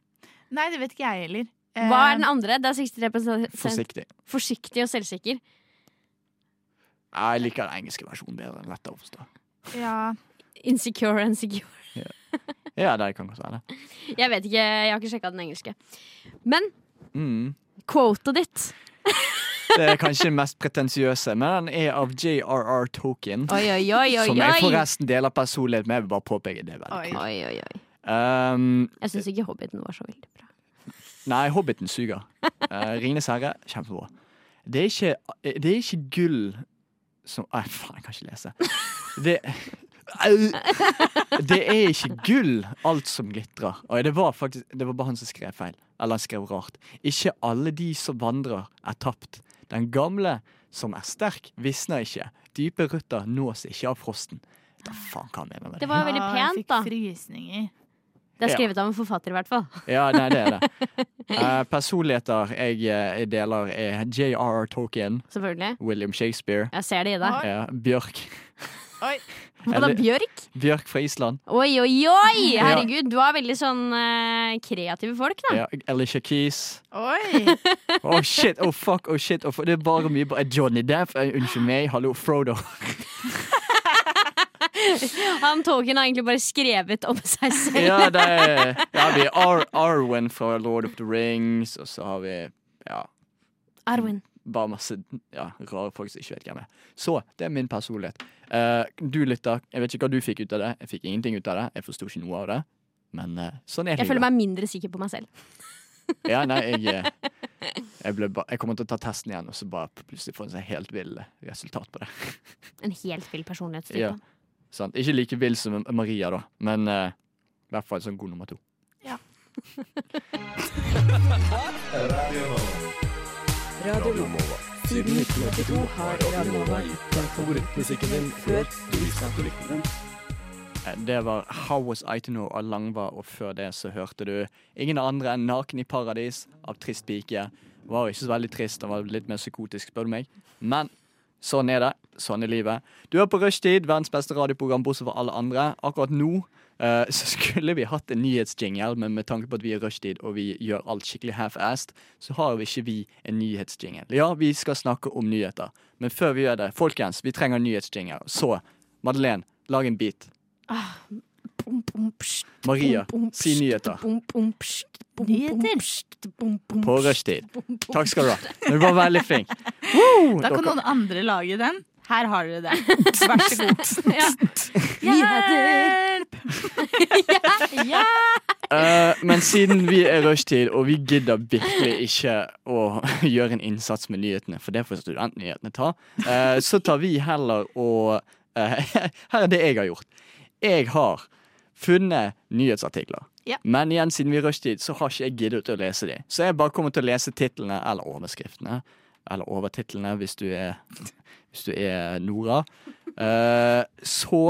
[SPEAKER 6] nei, det vet ikke jeg heller.
[SPEAKER 5] Hva er den andre? Det er 63
[SPEAKER 2] Forsiktig.
[SPEAKER 5] forsiktig og selvsikker.
[SPEAKER 2] Jeg liker den engelske versjonen bedre. den er Lettere å forstå.
[SPEAKER 6] Ja,
[SPEAKER 5] Insecure and secure.
[SPEAKER 2] Ja, det kan godt være. det.
[SPEAKER 5] Jeg vet ikke, jeg har ikke sjekka den engelske. Men
[SPEAKER 2] Mm.
[SPEAKER 5] quota ditt
[SPEAKER 2] Det er kanskje den mest pretensiøse, men den er av JRR Token.
[SPEAKER 5] Oi, oi, oi, oi.
[SPEAKER 2] Som jeg
[SPEAKER 5] oi.
[SPEAKER 2] forresten deler personlighet med. Jeg vil bare påpeke det. veldig.
[SPEAKER 6] oi.
[SPEAKER 5] Oi, oi, oi.
[SPEAKER 2] Um,
[SPEAKER 5] Jeg syns ikke Hobbiten var så veldig bra.
[SPEAKER 2] Nei, Hobbiten suger. Uh, Ringenes herre, kjempebra. Det er ikke, eh, det er ikke gull som Nei, faen, jeg kan ikke lese. Det Au! Det er ikke gull, alt som glitrer. Oi, det var faktisk Det var bare han som skrev feil. Eller han skrev rart. Ikke alle de som vandrer, er tapt. Den gamle som er sterk, visner ikke. Dype røtter nås ikke av frosten. Da faen hva han mener med det?
[SPEAKER 5] Det var veldig
[SPEAKER 6] Ja, jeg
[SPEAKER 5] pent,
[SPEAKER 6] fikk
[SPEAKER 5] da.
[SPEAKER 6] frysninger.
[SPEAKER 5] Det er
[SPEAKER 2] Ja.
[SPEAKER 5] skrevet av en forfatter, i hvert fall.
[SPEAKER 2] Ja, nei, det er det. Eh, personligheter jeg eh, deler, er J.R.R. Tolkien,
[SPEAKER 5] Selvfølgelig.
[SPEAKER 2] William Shakespeare,
[SPEAKER 5] Jeg ser det i deg.
[SPEAKER 6] Oi.
[SPEAKER 2] eh, Bjørk.
[SPEAKER 6] Oi.
[SPEAKER 5] Hva da,
[SPEAKER 2] Eller-
[SPEAKER 5] Bjørk?
[SPEAKER 2] Bjørk fra Island.
[SPEAKER 5] Oi, oi, oi! Herregud, du har veldig sånn eh, kreative folk, da.
[SPEAKER 2] Ja, Alicia Keys.
[SPEAKER 6] Oi.
[SPEAKER 2] Oh shit, oh fuck, oh shit. Oh, fuck. Det er bare mye bra. Johnny Depp, eh, unnskyld meg. Hallo, Frodo.
[SPEAKER 5] Han Tolkien har egentlig bare skrevet om seg selv.
[SPEAKER 2] Ja, det er, ja vi har Arwen fra Lord of the Rings, og så har vi ja,
[SPEAKER 5] Arwen.
[SPEAKER 2] bare masse ja, rare folk som ikke vet hvem er. Så det er min personlighet. Eh, du lytter. Jeg vet ikke hva du fikk ut av det. Jeg fikk ingenting ut av det. Jeg forsto ikke noe av det. Men eh, sånn er
[SPEAKER 5] Jeg
[SPEAKER 2] livet.
[SPEAKER 5] føler meg mindre sikker på meg selv.
[SPEAKER 2] Ja, nei, jeg, eh, jeg, ble ba, jeg kommer til å ta testen igjen, og så bare plutselig få en sånn helt vill resultat på det.
[SPEAKER 5] En helt vill personlighetstype.
[SPEAKER 2] Ja, sant? Ikke like vill som Maria, da, men eh, i hvert fall sånn god nummer to.
[SPEAKER 8] Siden 1982 har Radio Nova gitt deg favorittmusikken din før du visste at du likte den.
[SPEAKER 2] Eh, Det var How Was I To Know av Langva, og før det så hørte du ingen andre enn Naken i paradis av Trist pike. Var jo ikke så veldig trist, han var litt mer psykotisk, spør du meg. Men sånn er det. Sånn er livet. Du er på rushtid, verdens beste radioprogram bortsett fra alle andre. Akkurat nå eh, så skulle vi hatt en nyhetsjingle, men med tanke på at vi er rushtid og vi gjør alt skikkelig half-assed, så har vi ikke vi en nyhetsjingle. Ja, vi skal snakke om nyheter, men før vi gjør det, folkens, vi trenger en nyhetsjingle. Så Madeleine, lag en beat.
[SPEAKER 5] Bom, bom, pst,
[SPEAKER 2] Maria,
[SPEAKER 5] bom, bom,
[SPEAKER 2] si
[SPEAKER 5] pst,
[SPEAKER 2] nyheter.
[SPEAKER 5] bom, bom, pst, bom, bom,
[SPEAKER 6] Nyheter.
[SPEAKER 5] pst, bom, bom,
[SPEAKER 2] På
[SPEAKER 5] pst,
[SPEAKER 2] rushtid.
[SPEAKER 5] bom, bom.
[SPEAKER 2] Takk skal du ha. Du var veldig flink. Woo!
[SPEAKER 6] Da kan
[SPEAKER 2] Dere-
[SPEAKER 6] noen andre lage den. Her har dere det. Vær så god.
[SPEAKER 5] Ja.
[SPEAKER 6] Hjelp!
[SPEAKER 5] Ja.
[SPEAKER 2] Eh, men siden vi er rushtid, og vi gidder virkelig ikke å gjøre en innsats med nyhetene, for det får studentnyhetene ta, eh, så tar vi heller og eh, Her er det jeg har gjort. Jeg har funnet nyhetsartikler.
[SPEAKER 6] Ja.
[SPEAKER 2] Men igjen, siden vi er rushtid, så har ikke jeg giddet å lese de. Så jeg bare kommer til å lese titlene eller overskriftene. Eller overtitlene, hvis du er, hvis du er Nora. Eh, så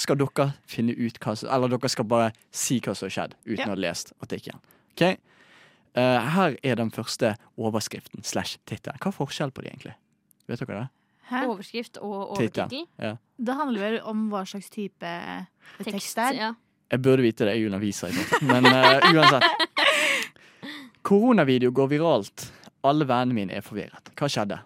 [SPEAKER 2] skal dere finne ut hva som Eller dere skal bare si hva som har skjedd, uten
[SPEAKER 6] Ja.
[SPEAKER 2] å ha lest artikkelen. Ok? Eh, her er den første overskriften slash tittelen. Hva er forskjellen på de egentlig? Vet dere det?
[SPEAKER 6] Hæ?
[SPEAKER 5] Overskrift og
[SPEAKER 2] Tittel.
[SPEAKER 5] overtittel.
[SPEAKER 6] Det handler vel om hva slags type eh, tekst det er.
[SPEAKER 5] ja.
[SPEAKER 2] Jeg burde vite det, jeg underviser i det. Men eh, uansett. Koronavideo går viralt. Alle vennene mine er forvirret. Hva skjedde?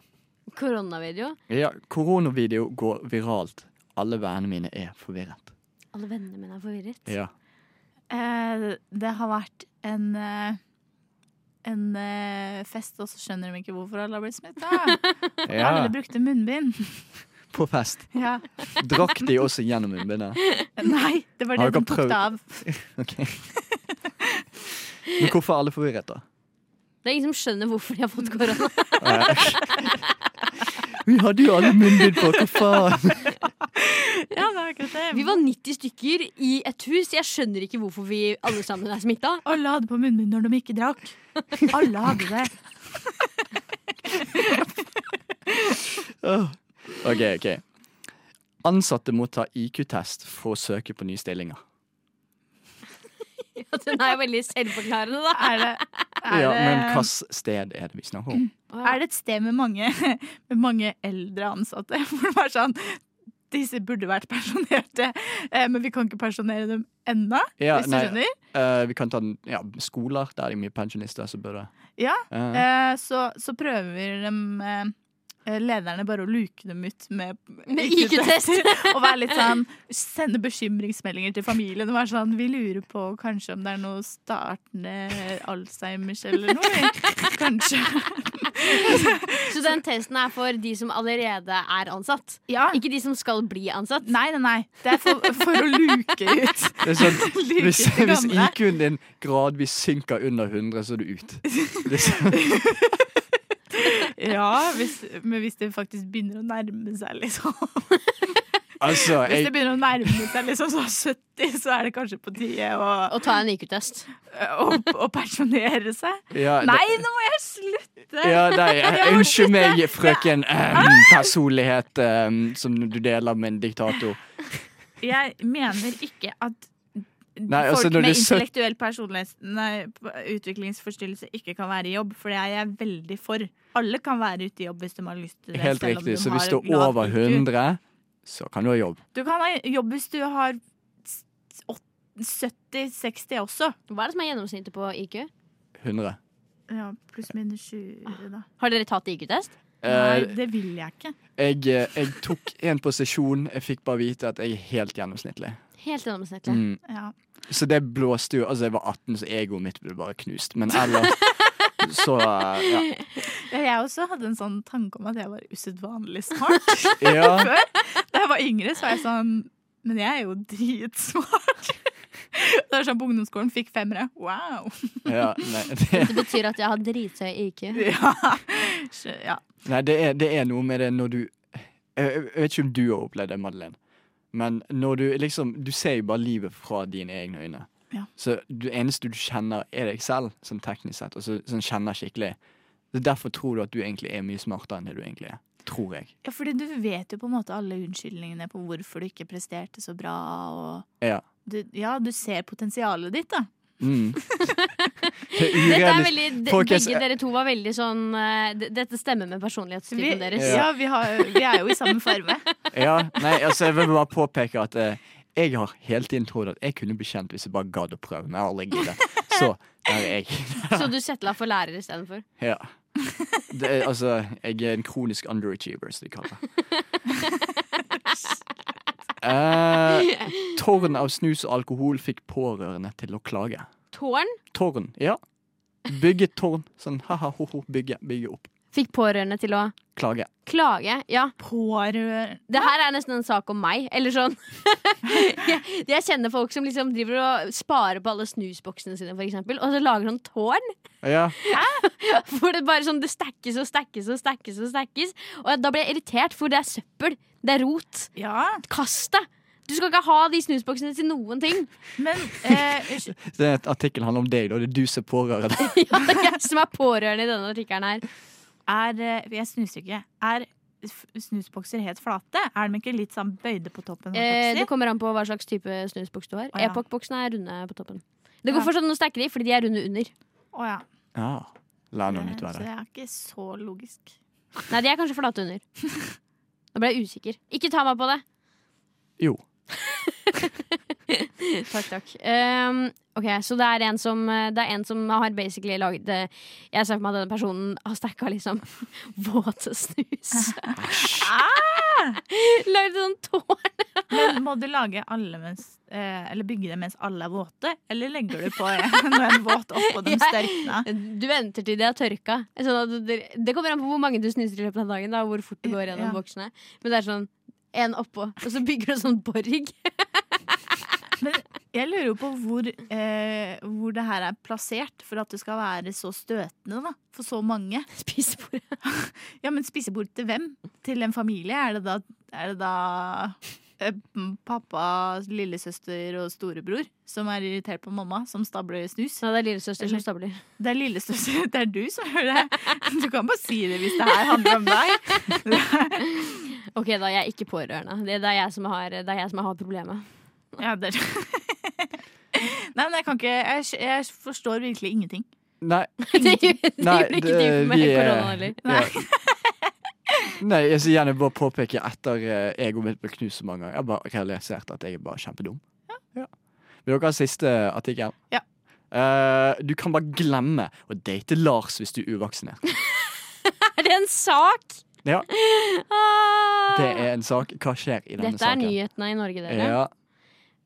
[SPEAKER 5] Koronavideo.
[SPEAKER 2] Ja, koronavideo går viralt. Alle vennene mine er forvirret.
[SPEAKER 5] Alle vennene mine er forvirret.
[SPEAKER 2] Ja.
[SPEAKER 6] Eh, Det har vært en eh, en eh, fest, og så skjønner de ikke hvorfor alle har blitt smitta. Alle brukte munnbind.
[SPEAKER 2] På fest.
[SPEAKER 6] Ja.
[SPEAKER 2] Drakk de også gjennom munnbindet?
[SPEAKER 6] Nei, det var
[SPEAKER 2] Har
[SPEAKER 6] det de
[SPEAKER 2] dere
[SPEAKER 6] tok
[SPEAKER 2] prøvd-
[SPEAKER 6] det av.
[SPEAKER 2] Ok. Men hvorfor er alle forvirret, da?
[SPEAKER 5] Det er ingen som skjønner hvorfor de har fått korona.
[SPEAKER 2] Vi hadde jo alle munnbind på, hva faen?
[SPEAKER 6] Ja, det var akkurat det.
[SPEAKER 5] Vi var 90 stykker i et hus. Jeg skjønner ikke hvorfor vi alle sammen er smitta.
[SPEAKER 6] Alle hadde på munnbind når de ikke drakk. Alle hadde det.
[SPEAKER 2] Åh. OK, OK. Ansatte må ta IQ-test for å søke på nye stillinger.
[SPEAKER 5] Den er jo veldig selvforklarende, da.
[SPEAKER 6] Er det, er,
[SPEAKER 2] Ja, men
[SPEAKER 6] det,
[SPEAKER 2] hvilket sted er det vi snakker om?
[SPEAKER 6] er det et sted med mange, med mange eldre ansatte? Hvor det var sånn Disse burde vært pensjonerte, eh, men vi kan ikke pensjonere dem ennå.
[SPEAKER 2] Ja,
[SPEAKER 6] hvis du
[SPEAKER 2] nei,
[SPEAKER 6] skjønner.
[SPEAKER 2] eh, vi kan ta den, ja, skoler der det er mye pensjonister. Så bør det.
[SPEAKER 6] Ja,
[SPEAKER 2] Eh,
[SPEAKER 6] Eh, så, så prøver de eh, lederne bare å luke dem ut med,
[SPEAKER 5] Med IQ-test.
[SPEAKER 6] og være litt sånn Sende bekymringsmeldinger til familien. Og være sånn, Vi lurer på kanskje om det er noe startende Alzheimers eller noe. vi. Kanskje.
[SPEAKER 5] Så den testen er for de som allerede er ansatt?
[SPEAKER 6] Ja.
[SPEAKER 5] Ikke de som skal bli ansatt?
[SPEAKER 6] Nei, nei, nei. Det er for, for å luke ut.
[SPEAKER 2] det er sånn,
[SPEAKER 6] Luke
[SPEAKER 2] hvis
[SPEAKER 6] ut de
[SPEAKER 2] hvis
[SPEAKER 6] gamle.
[SPEAKER 2] IQ-en din gradvis synker under 100, så er du ut. Liksom.
[SPEAKER 6] Ja, hvis, men hvis det faktisk begynner å nærme seg, liksom.
[SPEAKER 2] Altså,
[SPEAKER 6] Hvis det
[SPEAKER 2] jeg,
[SPEAKER 6] begynner å nærme seg liksom sånn 70, så er det kanskje på tide å,
[SPEAKER 5] Å ta en IQ-test.
[SPEAKER 6] å, å pensjonere seg.
[SPEAKER 2] ja, det-
[SPEAKER 6] Nei, nå må jeg slutte!
[SPEAKER 2] Ja, nei, unnskyld meg, frøken ehm, personlighet ehm, som du deler med en diktator.
[SPEAKER 6] Jeg mener ikke at
[SPEAKER 2] Nei,
[SPEAKER 6] folk
[SPEAKER 2] altså, når
[SPEAKER 6] med
[SPEAKER 2] du sø-
[SPEAKER 6] intellektuell personlighets- nei, utviklingsforstyrrelse ikke kan være i jobb, for det er jeg veldig for. Alle kan være ute i jobb hvis de har lyst til det.
[SPEAKER 2] Helt
[SPEAKER 6] selv om de
[SPEAKER 2] riktig. Så
[SPEAKER 6] har
[SPEAKER 2] hvis du er
[SPEAKER 6] lav
[SPEAKER 2] over
[SPEAKER 6] IQ.
[SPEAKER 2] 100, så kan du ha jobb.
[SPEAKER 6] Du kan ha jobb hvis du har s- åt- 70-60 også.
[SPEAKER 5] Hva er det som er gjennomsnittet på IQ?
[SPEAKER 2] 100.
[SPEAKER 6] Ja, pluss minus 20, da.
[SPEAKER 5] Har dere tatt IQ-test?
[SPEAKER 6] Nei,
[SPEAKER 2] Eh,
[SPEAKER 6] det vil jeg ikke.
[SPEAKER 2] jeg, eh, jeg tok en på sesjon, jeg fikk bare vite at jeg er helt gjennomsnittlig.
[SPEAKER 5] Helt gjennomsnittlig.
[SPEAKER 2] Mm.
[SPEAKER 6] Ja.
[SPEAKER 2] Så det blåste jo Altså, jeg var 18, så egoet mitt ble bare knust. Men ellers så eh,
[SPEAKER 6] Ja, Jeg også hadde en sånn tanke om at jeg var usedvanlig smart.
[SPEAKER 2] ja. ja.
[SPEAKER 6] Da jeg var yngre, så var jeg sånn Men jeg er jo dritsmart. Det var sånn på ungdomsskolen fikk femmere. Wow.
[SPEAKER 2] ja nei, det,
[SPEAKER 5] Det betyr at jeg har drithøy IQ.
[SPEAKER 6] Ja. Så, ja.
[SPEAKER 2] Nei, det er, det er noe med det når du Jeg, jeg jeg vet ikke om du har opplevd det, Madeleine. Men når du liksom Du ser jo bare livet fra dine egne øyne.
[SPEAKER 6] Ja.
[SPEAKER 2] Så det eneste du kjenner, er deg selv, sånn teknisk sett. Altså sånn kjenner skikkelig. Så Derfor tror du at du egentlig er mye smartere enn det du egentlig er. Tror jeg.
[SPEAKER 6] ja, fordi du vet jo på en måte alle unnskyldningene på hvorfor du ikke presterte så bra. Og
[SPEAKER 2] Ja.
[SPEAKER 6] du, ja, du ser potensialet ditt, da.
[SPEAKER 2] Mm. Det er
[SPEAKER 5] Dette er
[SPEAKER 2] urealistisk.
[SPEAKER 5] veldig, de,
[SPEAKER 2] Folkens,
[SPEAKER 5] begge dere to var veldig sånn eh, d- Dette stemmer med personlighetstypen deres.
[SPEAKER 2] Ja.
[SPEAKER 6] ja, vi, har, vi er jo i samme farve.
[SPEAKER 2] Ja, nei, altså jeg vil bare påpeke at eh, jeg har hele tiden trodd at jeg kunne bli kjent hvis jeg bare gadd å prøve, men jeg har aldri giddet. Så der er jeg.
[SPEAKER 5] Så du settla for lærer istedenfor.
[SPEAKER 2] Ja. Det er, altså, jeg er en kronisk underachiever, som de kaller det. Eh, tårn av snus og alkohol fikk pårørende til å klage.
[SPEAKER 5] Tårn
[SPEAKER 2] Tårn, ja. Bygge tårn. Sånn ha-ha, ho-ho, bygge, bygge opp.
[SPEAKER 5] fikk pårørende til å
[SPEAKER 2] Klage.
[SPEAKER 5] klage. Ja,
[SPEAKER 6] Pårørende
[SPEAKER 5] det her er nesten en sak om meg. Eller sånn. jeg, jeg kjenner folk som liksom driver og sparer på alle snusboksene sine, for eksempel, og så lager sånn tårn.
[SPEAKER 2] Ja,
[SPEAKER 5] For det bare sånn, det stakkes og stakkes og stakkes og stakkes. Og da blir jeg irritert, for det er søppel. Det er rot.
[SPEAKER 6] Ja,
[SPEAKER 5] Kast det! Du skal ikke ha de snusboksene til noen ting.
[SPEAKER 6] men eh, unnskyld,
[SPEAKER 2] det er et artikkel handler om deg, da. Det er du som er pårørende.
[SPEAKER 5] Ja, jeg som er pårørende i denne artikkelen her.
[SPEAKER 6] er eh, Jeg snuser ikke. Er f- snusbokser helt flate? Er de ikke litt sånn bøyde på toppen? holdt jeg på
[SPEAKER 5] Eh,
[SPEAKER 6] å
[SPEAKER 5] det
[SPEAKER 6] si?
[SPEAKER 5] kommer an på hva slags type snusboks du har.
[SPEAKER 6] Å, ja.
[SPEAKER 5] Epoch-boksene er runde på toppen. Det
[SPEAKER 6] Ja.
[SPEAKER 5] går fortsatt an å stikke de, fordi de er runde under.
[SPEAKER 6] Å ja.
[SPEAKER 2] Ja. Lær noe
[SPEAKER 6] Eh,
[SPEAKER 2] nytt hver
[SPEAKER 6] Så
[SPEAKER 2] dag.
[SPEAKER 6] det er ikke så logisk.
[SPEAKER 5] Nei, de er kanskje flate under. Nå ble jeg usikker. Ikke ta meg på det.
[SPEAKER 2] Jo.
[SPEAKER 5] Takk, takk. Ehm, ok, Så det er en som, eh, det er en som har basically lagd eh, Jeg ser for meg at denne personen har stakka liksom våt snus. Lagd sånn tårn.
[SPEAKER 6] Men må du lage alle mens eh, Eller bygge det mens alle er våte? Eller legger du på en, en våt oppå dem størkna?
[SPEAKER 5] Du venter til de har tørka. Sånn at det, det kommer an på hvor mange du snuser i løpet av dagen. Da, og hvor fort du går gjennom
[SPEAKER 6] Ja.
[SPEAKER 5] boksene. Men det er sånn en oppå, og så bygger du sånn borg.
[SPEAKER 6] Jeg lurer jo på hvor, eh, hvor det her er plassert for at det skal være så støtende da, for så mange.
[SPEAKER 5] Spisebord.
[SPEAKER 6] Ja, Men spisebord til hvem? Til en familie? Er det da, er det da eh, pappa, lillesøster og storebror som er irritert på mamma, som stabler snus.
[SPEAKER 5] Ja, det er lillesøster som stabler.
[SPEAKER 6] Det er lillesøster, det er du som gjør det. Du kan bare si det hvis det her handler om deg.
[SPEAKER 5] Ok, da jeg er ikke pårørende. Det, det, er jeg som har, det er jeg som har problemet.
[SPEAKER 6] Ja, det er... Nei, men jeg kan ikke Jeg, skj- jeg forstår virkelig ingenting.
[SPEAKER 2] Nei,
[SPEAKER 5] det gjør det
[SPEAKER 2] nei
[SPEAKER 5] gjør ikke du for meg
[SPEAKER 2] vi er-
[SPEAKER 5] korona heller.
[SPEAKER 2] ja. Nei, jeg skal gjerne bare påpeke etter eh, egoet mitt ble knust så mange ganger. Jeg har bare realisert at jeg er bare kjempedum. Ja. Vil dere ha siste artikkel?
[SPEAKER 6] Ja.
[SPEAKER 2] Eh, du kan bare glemme å date Lars hvis du er uvaksinert.
[SPEAKER 5] Er det en sak?
[SPEAKER 2] Ja,
[SPEAKER 5] Ah!
[SPEAKER 2] det er en sak. Hva skjer i denne
[SPEAKER 5] Dette er
[SPEAKER 2] saken?
[SPEAKER 5] nyhetene i Norge, dere.
[SPEAKER 2] Ja,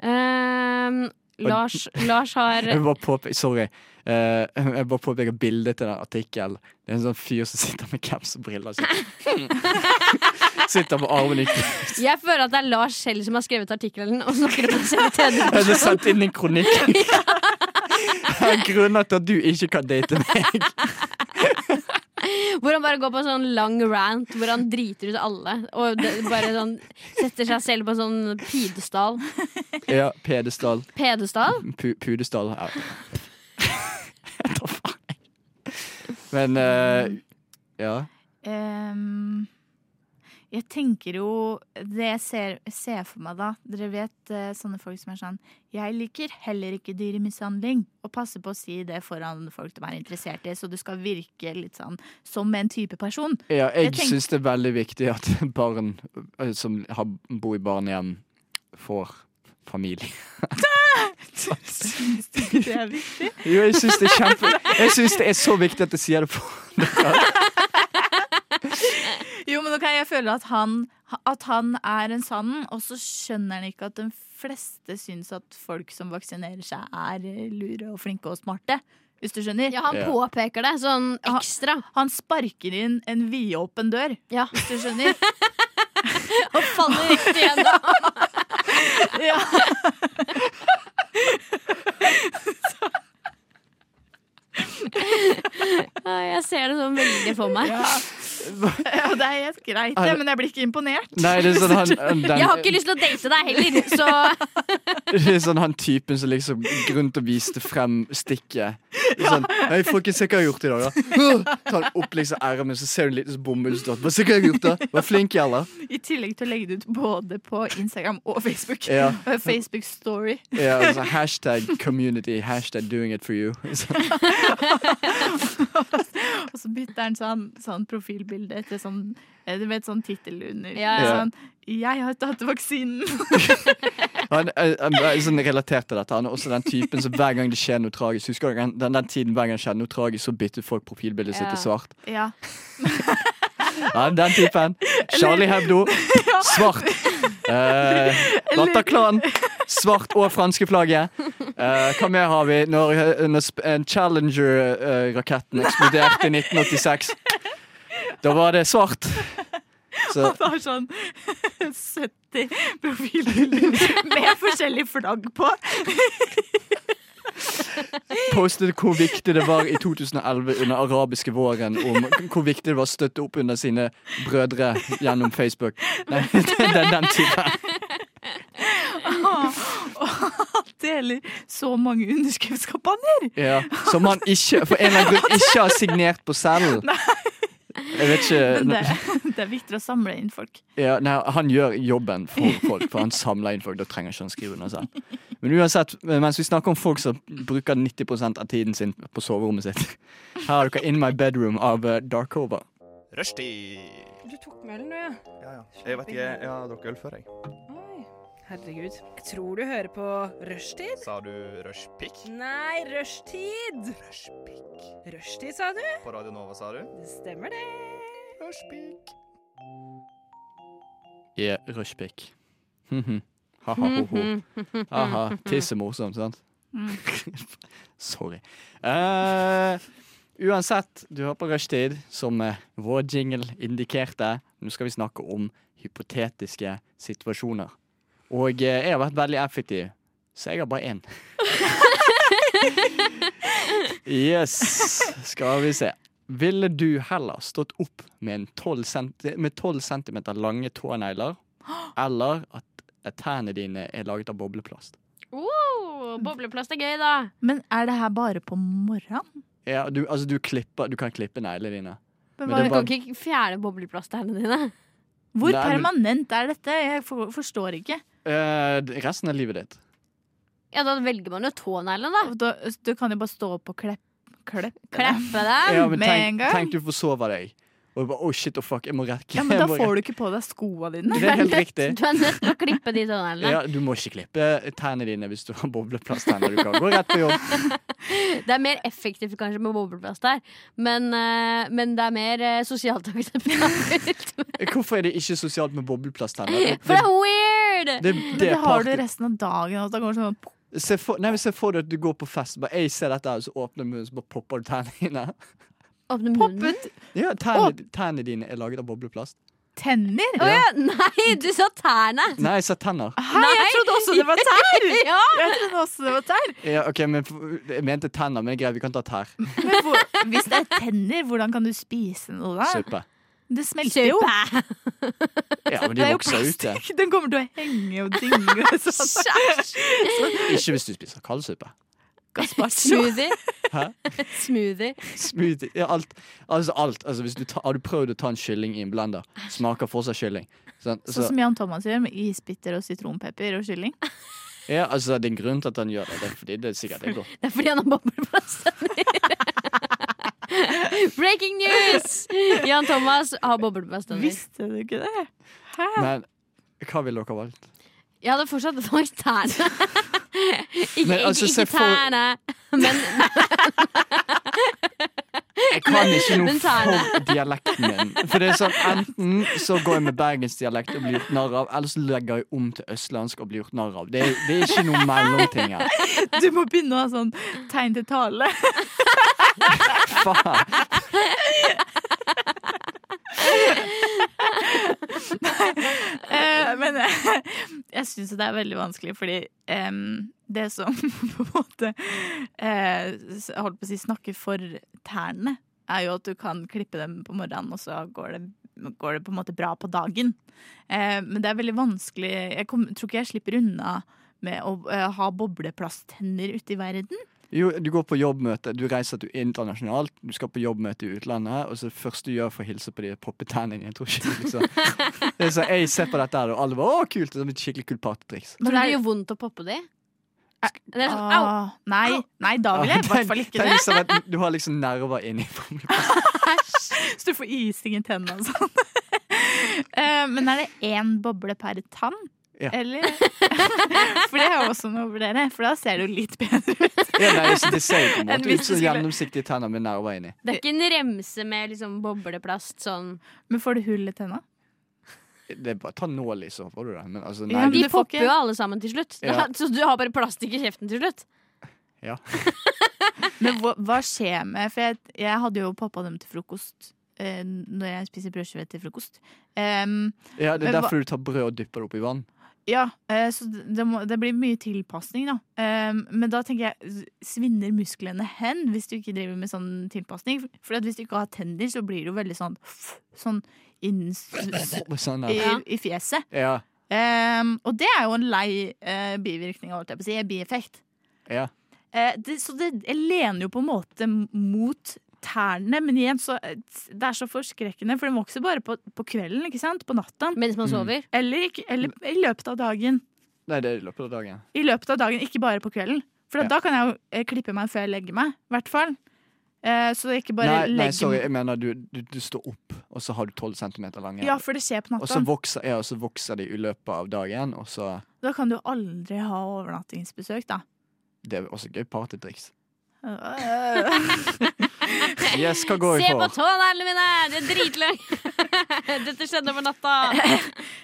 [SPEAKER 5] Ehm, Lars, Lars har
[SPEAKER 2] jeg vil bare påpeke, sorry. Eh, jeg vil bare påpeke bildet til den artikkelen. Det er en sånn fyr som sitter med caps og briller. og sitter- sitter med armen i kryss.
[SPEAKER 5] Jeg føler at det er Lars selv som har skrevet artikkelen og snakker om seg i tredje
[SPEAKER 2] Jeg har
[SPEAKER 5] person.
[SPEAKER 2] sendt inn en kronikk. Jeg har grunner til at du ikke kan date meg.
[SPEAKER 5] Hvor han bare går på en sånn lang rant hvor han driter ut alle. Og det, bare sånn setter seg selv på en sånn pidestall.
[SPEAKER 2] Ja, Pedestal.
[SPEAKER 5] Pedestal?
[SPEAKER 2] Pu pudestal. Ja. Jeg tar faen. Men eh, ja.
[SPEAKER 6] Ehm, jeg tenker jo Det jeg ser, ser for meg, da Dere vet eh, sånne folk som er sånn Jeg liker heller ikke dyremishandling. Og passer på å si det foran folk de er interessert i, så du skal virke litt sånn som en type person.
[SPEAKER 2] ja jeg
[SPEAKER 6] Jeg tenk-
[SPEAKER 2] syns det er veldig viktig at barn eh, som har, bor i barnehjem, får familie.
[SPEAKER 6] Syns du ikke det er viktig?
[SPEAKER 2] Jo, jeg syns det er kjempe Jeg synes det er så viktig at jeg sier det på
[SPEAKER 6] Jo, men ok, jeg føler at han, at han er en sann, og så skjønner han ikke at de fleste syns at folk som vaksinerer seg, er eh, lure og flinke og smarte. Hvis du skjønner?
[SPEAKER 5] Ja, han
[SPEAKER 2] Ja.
[SPEAKER 5] påpeker det sånn
[SPEAKER 6] Ja.
[SPEAKER 5] ekstra.
[SPEAKER 6] Han sparker inn en vidåpen dør,
[SPEAKER 5] Ja.
[SPEAKER 6] hvis du skjønner.
[SPEAKER 5] Og faller riktig igjennom.
[SPEAKER 6] ja.
[SPEAKER 5] Jeg ser det sånn veldig for meg.
[SPEAKER 6] ja, det er helt greit, det, men jeg blir ikke imponert.
[SPEAKER 2] Nei, det er sånn han, han den,
[SPEAKER 5] Jeg har ikke lyst til å date deg heller, så
[SPEAKER 2] Det er sånn han typen som liksom Grunnen til å vise det frem stikket Det er sånn, hei folkens, se hva jeg har gjort i dag da Åh! Ta han opp liksom ærmen Så ser du en liten sånn bomullsdott Bare se hva jeg har gjort da, var flink jævla
[SPEAKER 6] I tillegg til å legge det ut både på Instagram og Facebook.
[SPEAKER 2] Ja.
[SPEAKER 6] Og Facebook Story.
[SPEAKER 2] ja, og så Hashtag community, hashtag doing it for you Så-
[SPEAKER 6] Og så bytter han sånn, sånn profilbilde til sånn eh, du vet, sånn tittel under.
[SPEAKER 5] Ja, ja.
[SPEAKER 6] Sånn 'Jeg har tatt vaksinen'.
[SPEAKER 2] han, eh, han er sånn relatert til dette Han er også den typen som hver gang det skjer noe tragisk Husker du den, den tiden hver gang det skjer noe tragisk Så bytter folk profilbildet sitt
[SPEAKER 5] Ja.
[SPEAKER 2] til svart
[SPEAKER 6] Ja.
[SPEAKER 2] Ja, den typen Charlie Hebdo, svart eh, Bataclan, svart og franske flagget eh, Hva mer har vi? Når, eh, når sp- en Challenger-raketten eksploderte i 1986 Da var det svart Så,
[SPEAKER 6] Han har sånn 70 profilbilder med forskjellig flagg på.
[SPEAKER 2] postet hvor viktig det var i 2011 under arabiske våren om hvor viktig det var å støtte opp under sine brødre gjennom Facebook. Nei, det er den typen.
[SPEAKER 6] Deler så mange underskriftskampanjer!
[SPEAKER 2] Ja, som han ikke, for en eller annen grunn, ikke har signert på selv. Jeg vet ikke
[SPEAKER 6] Men det, det er viktigere å samle inn folk.
[SPEAKER 2] ja, nei, Han gjør jobben for folk, for han samler inn folk. Da trenger ikke han skrive under selv. Men uansett, mens vi snakker om folk som bruker 90 av tiden sin på soverommet sitt, her har dere In My Bedroom av eh, Darkova.
[SPEAKER 3] Rushtid.
[SPEAKER 9] Du tok med ølen, du, ja.
[SPEAKER 8] Ja, ja.
[SPEAKER 9] Jeg vet ikke, jeg
[SPEAKER 8] har drukket øl før, jeg.
[SPEAKER 9] Oi. Herregud. Jeg tror du hører på rushtid.
[SPEAKER 3] Sa du rushpick?
[SPEAKER 9] Nei, rushtid!
[SPEAKER 3] Rushpick.
[SPEAKER 9] Rushtid, sa du?
[SPEAKER 3] På Radio Nova, sa du?
[SPEAKER 9] Det stemmer, det.
[SPEAKER 3] Rushpick.
[SPEAKER 2] i rushpick. Ha-ha-ho-ho. Aha. Tiss er morsomt, sant? Sorry. Eh, uansett, du hører på Rushtid, som eh, vår jingle indikerte. Nå skal vi snakke om hypotetiske situasjoner. Og eh, jeg har vært veldig effektiv, så jeg har bare én. yes. Skal vi se. Ville du heller stått opp med, en 12 centi med 12 centimeter lange tånegler, eller at tærne dine er laget av bobleplast.
[SPEAKER 5] Oh, bobleplast er gøy, da.
[SPEAKER 6] Men er det her bare på morgenen?
[SPEAKER 2] Ja, du, altså, du, klipper, du kan klippe neglene dine.
[SPEAKER 6] Men
[SPEAKER 2] Men
[SPEAKER 6] hva-
[SPEAKER 5] Du
[SPEAKER 2] det
[SPEAKER 5] kan ikke fjerne bobleplasterne dine.
[SPEAKER 6] hvor
[SPEAKER 2] Nei, men-
[SPEAKER 6] permanent er dette? Jeg for, forstår ikke.
[SPEAKER 2] Eh, resten av livet ditt.
[SPEAKER 5] Ja, Da velger man jo tåneglene, da.
[SPEAKER 6] Og Da, du kan jo bare stå opp og klepp, klepp.
[SPEAKER 5] Kleppe dem.
[SPEAKER 2] Ja, men
[SPEAKER 6] med en
[SPEAKER 2] tenk,
[SPEAKER 6] gang.
[SPEAKER 2] tenk du forsover deg. Og du bare, oh shit, oh fuck, jeg må rekke.
[SPEAKER 6] Ja, men da får du ikke på deg skoa dine.
[SPEAKER 2] Det er helt riktig.
[SPEAKER 5] Du er nødt til å klippe de tåneglene.
[SPEAKER 2] Ja, du må ikke klippe tærne dine hvis du har bobleplasttenner. Du kan gå rett på jobb.
[SPEAKER 5] Det er mer effektivt kanskje med bobleplast der, men, eh, men det er mer eh, sosialt akseptabelt.
[SPEAKER 2] Hvorfor er det ikke sosialt med bobleplasttenner?
[SPEAKER 5] For det er weird!
[SPEAKER 6] Men
[SPEAKER 2] det, det
[SPEAKER 6] det
[SPEAKER 2] er
[SPEAKER 6] har du
[SPEAKER 2] party.
[SPEAKER 6] resten av dagen. Og da går det sånn
[SPEAKER 2] Se for, nei, men se for deg at du går på fest, bare jeg ser dette, her», og så åpner munnen, så bare popper du tærne dine.
[SPEAKER 5] Åpne
[SPEAKER 6] Popp
[SPEAKER 5] munnen.
[SPEAKER 6] ut
[SPEAKER 2] Ja, tærne, tærne dine er laget av bobleplast.
[SPEAKER 6] tenner!
[SPEAKER 5] Å ja, nei, du sa tærne!
[SPEAKER 2] Nei, jeg sa tenner.
[SPEAKER 6] Hei, jeg trodde også det var tær!
[SPEAKER 5] Ja!
[SPEAKER 6] Jeg trodde også det var tær.
[SPEAKER 2] Ja, ok, men f- Jeg mente tenner, men greit, vi kan ta tær.
[SPEAKER 6] Men hvor, hvis det er tenner, hvordan kan du spise noe da?
[SPEAKER 2] Suppe.
[SPEAKER 6] Det smelter jo.
[SPEAKER 2] Ja, men
[SPEAKER 6] Det
[SPEAKER 2] de
[SPEAKER 6] er jo
[SPEAKER 2] vokser ute.
[SPEAKER 6] plastikk. Den kommer til å henge og dingle. og Sånn.
[SPEAKER 2] Ikke hvis du spiser kaldsuppe.
[SPEAKER 6] Sånn
[SPEAKER 5] Smoothie.
[SPEAKER 2] Hæ?
[SPEAKER 5] Smoothie.
[SPEAKER 2] Smoothie. Ja, alt. Altså, alt. Altså, hvis du ta, har du prøvd å ta en kylling i en blender, smaker fortsatt kylling. Sånn,
[SPEAKER 6] Sånn
[SPEAKER 2] så,
[SPEAKER 6] som Jan Thomas gjør med isbitter og sitronpepper og kylling.
[SPEAKER 2] ja, altså, det er en grunn til at han gjør det. Det er fordi det er sikkert det er godt.
[SPEAKER 5] Det er fordi han har bobleplasttenner. Breaking news! Jan Thomas har
[SPEAKER 2] Sånn.
[SPEAKER 5] bobleplasttenner.
[SPEAKER 6] Visste du ikke det?
[SPEAKER 2] Men hva ville dere valgt?
[SPEAKER 5] Jeg hadde fortsatt valgt tærne. Ikke,
[SPEAKER 2] Men altså,
[SPEAKER 5] ikke,
[SPEAKER 2] se
[SPEAKER 5] ikke
[SPEAKER 2] for-
[SPEAKER 5] tærne, men
[SPEAKER 2] Jeg kan ikke noe
[SPEAKER 5] Men tærne.
[SPEAKER 2] for dialekten min. For det er sånn, Enten så går jeg med bergensdialekt og blir gjort narr av, eller så legger jeg om til østlandsk og blir gjort narr av. Det er, det er ikke noe mellomting her.
[SPEAKER 6] Du må begynne å ha sånn tegn til tale.
[SPEAKER 2] Faen.
[SPEAKER 6] Eh, men eh, jeg syns det er veldig vanskelig, fordi em, det som på en måte eh, s- jeg holdt på å si snakker for tærne, er jo at du kan klippe dem på morgenen, og så går det, går det på en måte bra på dagen. Eh, men det er veldig vanskelig Jeg kom, tror ikke jeg slipper unna med å eh, ha bobleplasttenner ute i verden.
[SPEAKER 2] Jo, du går på jobbmøte, du reiser til internasjonalt, du skal på jobbmøte i utlandet, og så det første du gjør for å hilse på de poppetennene dine. Jeg tror ikke liksom. Det er sånn, Jeg ser på dette her, og alle bare 'Å, kult!' Det er et skikkelig kult partytriks.
[SPEAKER 5] Tror du det gjør vondt å poppe de? Det er sånn, au!
[SPEAKER 6] Ah, nei, nei, da vil jeg i hvert fall ikke det.
[SPEAKER 2] Tenk liksom at du har liksom nerver inni bobleplasten.
[SPEAKER 6] Så du får ising i tennene og sånn. Eh, Men er det én boble per tann?
[SPEAKER 2] Ja.
[SPEAKER 6] Eller? For det er jo også noe å vurdere, for da ser det jo litt bedre ut.
[SPEAKER 2] Ja, nei, så det ser jo på en
[SPEAKER 6] Enn
[SPEAKER 2] måte
[SPEAKER 6] hvis
[SPEAKER 2] ut
[SPEAKER 6] du
[SPEAKER 2] som
[SPEAKER 6] skulle-
[SPEAKER 2] gjennomsiktige tenner med nerver inni.
[SPEAKER 5] Det er ikke en remse med liksom bobleplast sånn.
[SPEAKER 6] Men får du hull i tenna?
[SPEAKER 2] Det er bare ta nål i, så får du det. Men altså,
[SPEAKER 6] Ja,
[SPEAKER 2] nei,
[SPEAKER 6] men
[SPEAKER 5] De
[SPEAKER 2] du,
[SPEAKER 6] det får
[SPEAKER 5] popper
[SPEAKER 6] ikke-
[SPEAKER 5] jo alle sammen til slutt.
[SPEAKER 2] Ja.
[SPEAKER 5] Så du har bare plastikk i kjeften til slutt.
[SPEAKER 2] ja.
[SPEAKER 6] Men hva, hva skjer med For jeg, jeg hadde jo poppa dem til frokost. eh, Når jeg spiser brødskive til frokost. Em,
[SPEAKER 2] ja, det
[SPEAKER 6] Men
[SPEAKER 2] er
[SPEAKER 6] hva-
[SPEAKER 2] derfor du tar brød og dypper det opp i vann.
[SPEAKER 6] ja, eh, så det, det må, det blir mye tilpasning, da. Em, men da tenker jeg, svinner musklene hen hvis du ikke driver med sånn tilpasning? For at hvis du ikke har tenner, så blir det jo veldig sånn, sånn inns-
[SPEAKER 2] Sånn
[SPEAKER 6] i,
[SPEAKER 2] her.
[SPEAKER 5] Ja.
[SPEAKER 6] i fjeset.
[SPEAKER 2] Ja,
[SPEAKER 6] Ehm, og det er jo en lei eh, bivirkning, holdt jeg på å si. Bieffekt.
[SPEAKER 2] ja.
[SPEAKER 6] Eh, det, så det jeg lener jo på en måte mot tærne, men igjen, så, eh, det er så forskrekkende, for de vokser bare på, på kvelden, ikke sant? På natta.
[SPEAKER 5] Mens man sover.
[SPEAKER 6] Eller, ikke- eller i løpet av dagen.
[SPEAKER 2] Nei, det er i løpet av dagen.
[SPEAKER 6] I løpet av dagen, ikke bare på kvelden. For at
[SPEAKER 2] Ja.
[SPEAKER 6] da kan jeg jo eh, klippe meg før jeg legger meg, i hvert fall. Eh, så jeg ikke bare
[SPEAKER 2] Nei, nei,
[SPEAKER 6] legger
[SPEAKER 2] sorry, jeg mener du, du, du står opp, og så har du 12 cm lang
[SPEAKER 6] Ja, for det skjer på
[SPEAKER 2] Og så
[SPEAKER 6] natta.
[SPEAKER 2] vokser, ja, og så vokser de i løpet av dagen, og så
[SPEAKER 6] Da kan du jo aldri ha overnattingsbesøk, da.
[SPEAKER 2] Det er også gøy partytriks.
[SPEAKER 6] Eh,
[SPEAKER 2] Yes, hva går vi
[SPEAKER 5] Se på
[SPEAKER 2] for?
[SPEAKER 5] tåneglene mine! De er dritlange! Dette skjedde over natta.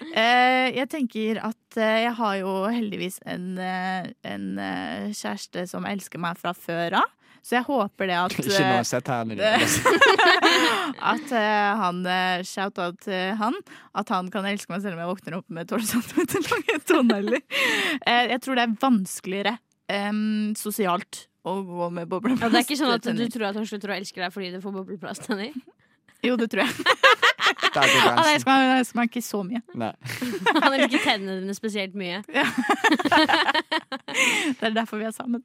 [SPEAKER 6] Eh, jeg tenker at eh, jeg har jo heldigvis en, eh, en eh, kjæreste som elsker meg fra før av. Så jeg håper det at,
[SPEAKER 2] Ikke når jeg har sett tærne dine.
[SPEAKER 6] eh, at eh, han eh, Shout-out til han. At han kan elske meg selv om jeg våkner opp med 12 cm lange tånegler. Eh, jeg tror det er vanskeligere em, sosialt å gå med bobleplast.
[SPEAKER 5] Ja, det er ikke sånn at du
[SPEAKER 6] tenner.
[SPEAKER 5] tror at han slutter å elske deg fordi du får bobleplasttenner?
[SPEAKER 6] Jo, det tror jeg.
[SPEAKER 2] Der går
[SPEAKER 6] Ah, nei, jeg
[SPEAKER 2] grensen.
[SPEAKER 6] smaker, jeg smaker ikke så mye.
[SPEAKER 2] Nei.
[SPEAKER 5] Han liker tennene dine spesielt mye.
[SPEAKER 6] Det er derfor vi er sammen.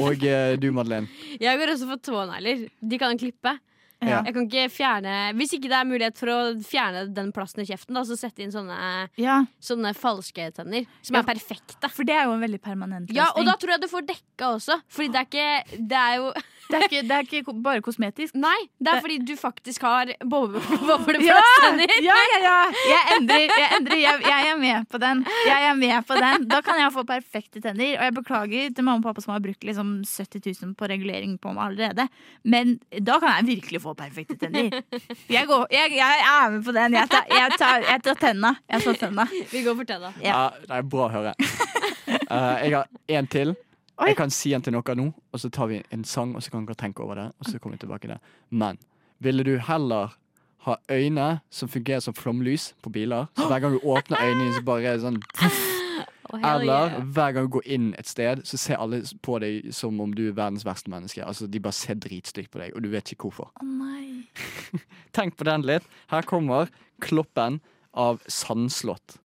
[SPEAKER 2] Og eh, du, Madeleine.
[SPEAKER 5] Jeg går også for tånegler. De kan jeg klippe.
[SPEAKER 2] Ja.
[SPEAKER 5] Jeg kan ikke fjerne Hvis ikke det er mulighet for å fjerne den plassen i kjeften, da, så sette inn sånne,
[SPEAKER 6] Ja,
[SPEAKER 5] sånne falske tenner. Som
[SPEAKER 6] Ja.
[SPEAKER 5] er perfekte.
[SPEAKER 6] For det er jo en veldig permanent løsning.
[SPEAKER 5] Ja, og da tror jeg du får dekka også. Fordi det er ikke Det er jo
[SPEAKER 6] det, er ikke, det er ikke ko- bare kosmetisk.
[SPEAKER 5] Nei, det er fordi du faktisk har boble- bobleplasttenner.
[SPEAKER 6] Ja, ja, ja! Jeg endrer. Jeg, endrer. Jeg, jeg er med på den. Jeg er med på den. Da kan jeg få perfekte tenner. Og jeg beklager til mamma og pappa som har brukt liksom 70 000 på regulering på meg allerede. Men da kan jeg virkelig få perfekte tenner. Jeg, går, jeg, jeg er med på den. Jeg tar, jeg tar, jeg tar tenna. Jeg tar tenna.
[SPEAKER 5] Vi går for tenna.
[SPEAKER 6] Ja.
[SPEAKER 2] Ja. det er Ah, bra å høre. Eh, jeg har én til.
[SPEAKER 6] Oi.
[SPEAKER 2] Jeg kan si en til noe nå, og så tar vi en sang, og så kan dere tenke over det. Og så kommer vi tilbake til det. Men ville du heller ha øyne som fungerer som flomlys på biler? Så hver gang du åpner øynene, så bare er det sånn
[SPEAKER 5] Å, hell
[SPEAKER 2] Eller
[SPEAKER 5] yeah.
[SPEAKER 2] hver gang du går inn et sted, så ser alle på deg som om du er verdens verste menneske. Altså, De bare ser dritstygt på deg, og du vet ikke hvorfor.
[SPEAKER 6] Å nei.
[SPEAKER 2] Tenk på den litt. Her kommer Kloppen av Sandslott.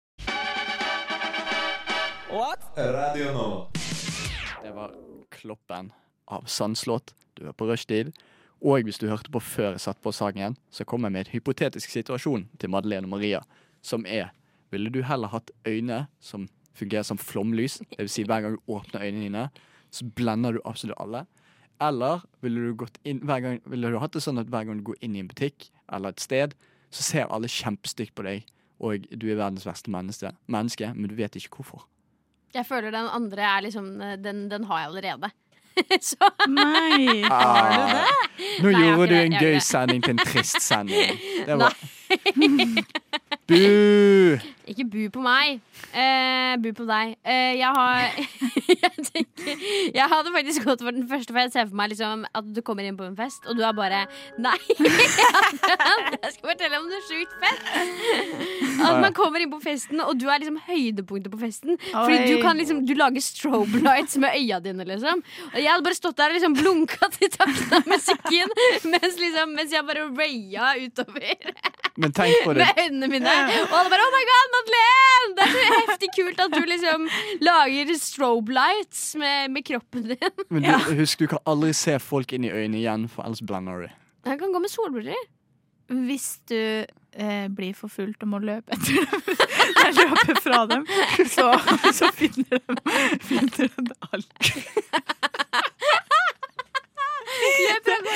[SPEAKER 3] Radio nå.
[SPEAKER 2] Det var Kloppen av Sandslott. Du er på rushtid. Og hvis du hørte på før jeg satt på sangen, så kom jeg med et hypotetisk situasjon til Madeleine og Maria, som er Ville du heller hatt øyne som fungerer som flomlys, dvs. Si hver gang du åpner øynene dine, så blender du absolutt alle? Eller ville du, gått inn, hver gang, ville du hatt det sånn at hver gang du går inn i en butikk eller et sted, så ser alle kjempestygt på deg, og du er verdens verste menneske, menneske men du vet ikke hvorfor?
[SPEAKER 5] Jeg føler den andre er liksom Den, den har jeg allerede. så
[SPEAKER 6] Nei.
[SPEAKER 2] Ah. Nå
[SPEAKER 5] Nei, jeg
[SPEAKER 2] gjorde
[SPEAKER 5] har ikke
[SPEAKER 2] du
[SPEAKER 5] det,
[SPEAKER 2] en
[SPEAKER 5] jeg har
[SPEAKER 2] gøy
[SPEAKER 5] ikke det.
[SPEAKER 2] sending til en trist sending. Det var Bu!
[SPEAKER 5] Ikke bu på meg. Eh, bu på deg. Eh, jeg har jeg, tenker, jeg hadde faktisk gått for den første, for jeg ser for meg liksom, at du kommer inn på en fest, og du er bare Nei! Jeg skal fortelle om det sjukt fett! At man kommer inn på festen, og du er liksom høydepunktet på festen. Fordi
[SPEAKER 6] Oi.
[SPEAKER 5] du kan liksom Du lager strobe lights med øya dine, liksom. Og jeg hadde bare stått der og liksom blunka til takten av musikken mens, liksom, mens jeg bare raya utover
[SPEAKER 2] Men tenk på det.
[SPEAKER 5] med øynene mine. Og alle bare 'Oh my god, Madeleine!' Det er så heftig kult at du liksom lager strobe lights med, med kroppen din.
[SPEAKER 2] Men du, husk, du kan aldri se folk inn i øynene igjen, for ellers blander du.
[SPEAKER 5] Jeg kan gå med solbriller.
[SPEAKER 6] Hvis du eh, blir forfulgt og må løpe etter dem, eller løpe fra dem, så, så finner de finner de det alt. Det er mye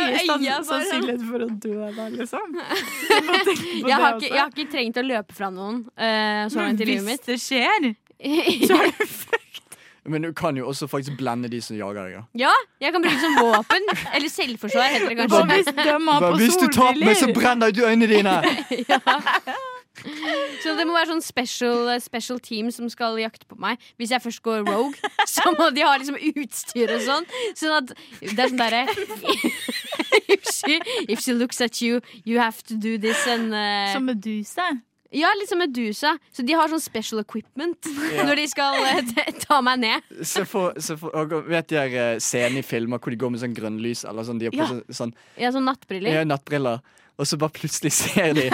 [SPEAKER 5] Øya
[SPEAKER 6] sann-
[SPEAKER 5] bare-
[SPEAKER 6] sannsynlighet for å dø der, liksom. Du må tenke på det
[SPEAKER 5] Jeg har, ikke,
[SPEAKER 6] også.
[SPEAKER 5] jeg har ikke trengt å løpe fra noen eh, så langt i livet mitt.
[SPEAKER 6] Hvis det skjer,
[SPEAKER 5] ja,
[SPEAKER 6] så er du
[SPEAKER 2] Men du kan jo også faktisk blende de som jager deg. ja.
[SPEAKER 5] jeg kan bruke det som våpen. Eller selvforsvar, heter det
[SPEAKER 6] Hva
[SPEAKER 5] kanskje.
[SPEAKER 6] hvis de har på
[SPEAKER 2] Bare, Hvis du taper meg, så
[SPEAKER 6] solbriller?
[SPEAKER 2] brenner du øynene dine!
[SPEAKER 5] Så det må være sånn special, special team som skal jakte på meg. Hvis jeg først går rogue, så må de ha liksom utstyr og sånn. Sånn at det er sånn derre if, she- if she looks at you, you have to do this and uh,
[SPEAKER 6] Som Medusa.
[SPEAKER 5] Ja, litt som Medusa. Så de har sånn special equipment når de skal eh, t- ta meg ned.
[SPEAKER 2] Se for, se for, og vet de her eh, scenen i filmer hvor de går med sånn grønnlys eller sånn, de har på
[SPEAKER 6] Ja.
[SPEAKER 2] sånn, sånn
[SPEAKER 5] Ja, sånn
[SPEAKER 2] de
[SPEAKER 5] nattbriller.
[SPEAKER 2] har nattbriller, og så bare plutselig ser de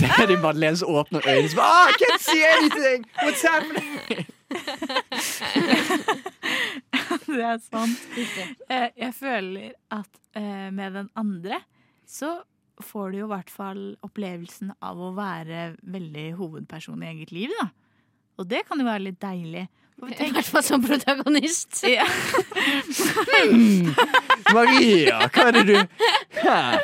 [SPEAKER 2] Ser de Madeleine som åpner øynene og så bare, ah, I can't see anything! What's happening?
[SPEAKER 6] Det er sant. Eh, Jeg føler at eh, med den andre så får du jo i hvert fall opplevelsen av å være veldig hovedperson i eget liv, da. Og det kan jo være litt deilig. Og
[SPEAKER 5] I
[SPEAKER 6] tenk-
[SPEAKER 5] hvert fall som protagonist.
[SPEAKER 6] Ja.
[SPEAKER 2] Maria, hva er det du Hæ?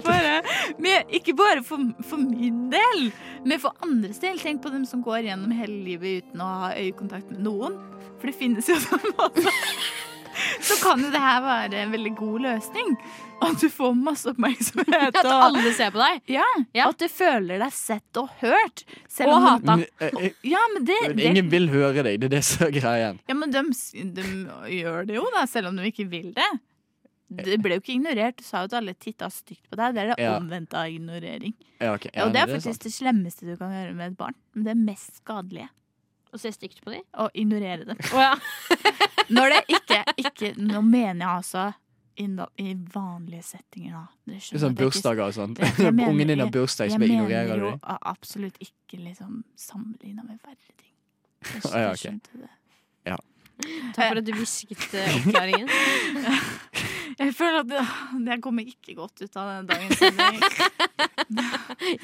[SPEAKER 6] Bare, men ikke bare for, for min del, men for andres del. Tenk på dem som går gjennom hele livet uten å ha øyekontakt med noen. For det finnes jo sånn også. Så kan jo det her være en veldig god løsning. At du får masse oppmerksomhet.
[SPEAKER 5] At
[SPEAKER 6] Og,
[SPEAKER 5] alle ser på deg.
[SPEAKER 6] ja,
[SPEAKER 5] Ja.
[SPEAKER 6] At du føler deg sett og hørt. Selv
[SPEAKER 5] Og
[SPEAKER 6] om-
[SPEAKER 5] hatet.
[SPEAKER 2] Men, eh,
[SPEAKER 6] Ja, men det,
[SPEAKER 2] eh,
[SPEAKER 6] det
[SPEAKER 2] Ingen vil høre deg, det er det som er greien.
[SPEAKER 6] Ja, men de, gjør det jo, da, selv om de ikke vil det. Det ble jo ikke ignorert. Du sa jo at alle titta stygt på deg. Det er det
[SPEAKER 2] Ja.
[SPEAKER 6] omvendte av ignorering.
[SPEAKER 2] Ja, ok,
[SPEAKER 6] Ja, og det
[SPEAKER 2] men
[SPEAKER 6] er faktisk det slemmeste du kan gjøre med et barn. Men det er mest skadelige.
[SPEAKER 5] Og ser stygt på dem.
[SPEAKER 6] Å ignorere dem.
[SPEAKER 5] Å ja.
[SPEAKER 6] Når det ikke, ikke Nå mener jeg altså inna- i vanlige settinger, da. Dere
[SPEAKER 2] Det er
[SPEAKER 6] skjønner at jeg
[SPEAKER 2] sånn
[SPEAKER 6] ikke-
[SPEAKER 2] bursdager og sånn.
[SPEAKER 6] Det- jeg mener-
[SPEAKER 2] Ungen din har bursdag, så
[SPEAKER 6] Jeg
[SPEAKER 2] bare
[SPEAKER 6] mener
[SPEAKER 2] ignorerer du
[SPEAKER 6] jo
[SPEAKER 2] dem.
[SPEAKER 6] a- absolutt ikke liksom sammenligna med verre ting. Jeg
[SPEAKER 2] Ah, ja, ok.
[SPEAKER 6] skjønte det.
[SPEAKER 5] Takk for at du hvisket eh, oppklaringen.
[SPEAKER 6] Jeg føler at det- jeg kommer ikke godt ut av denne dagens sending.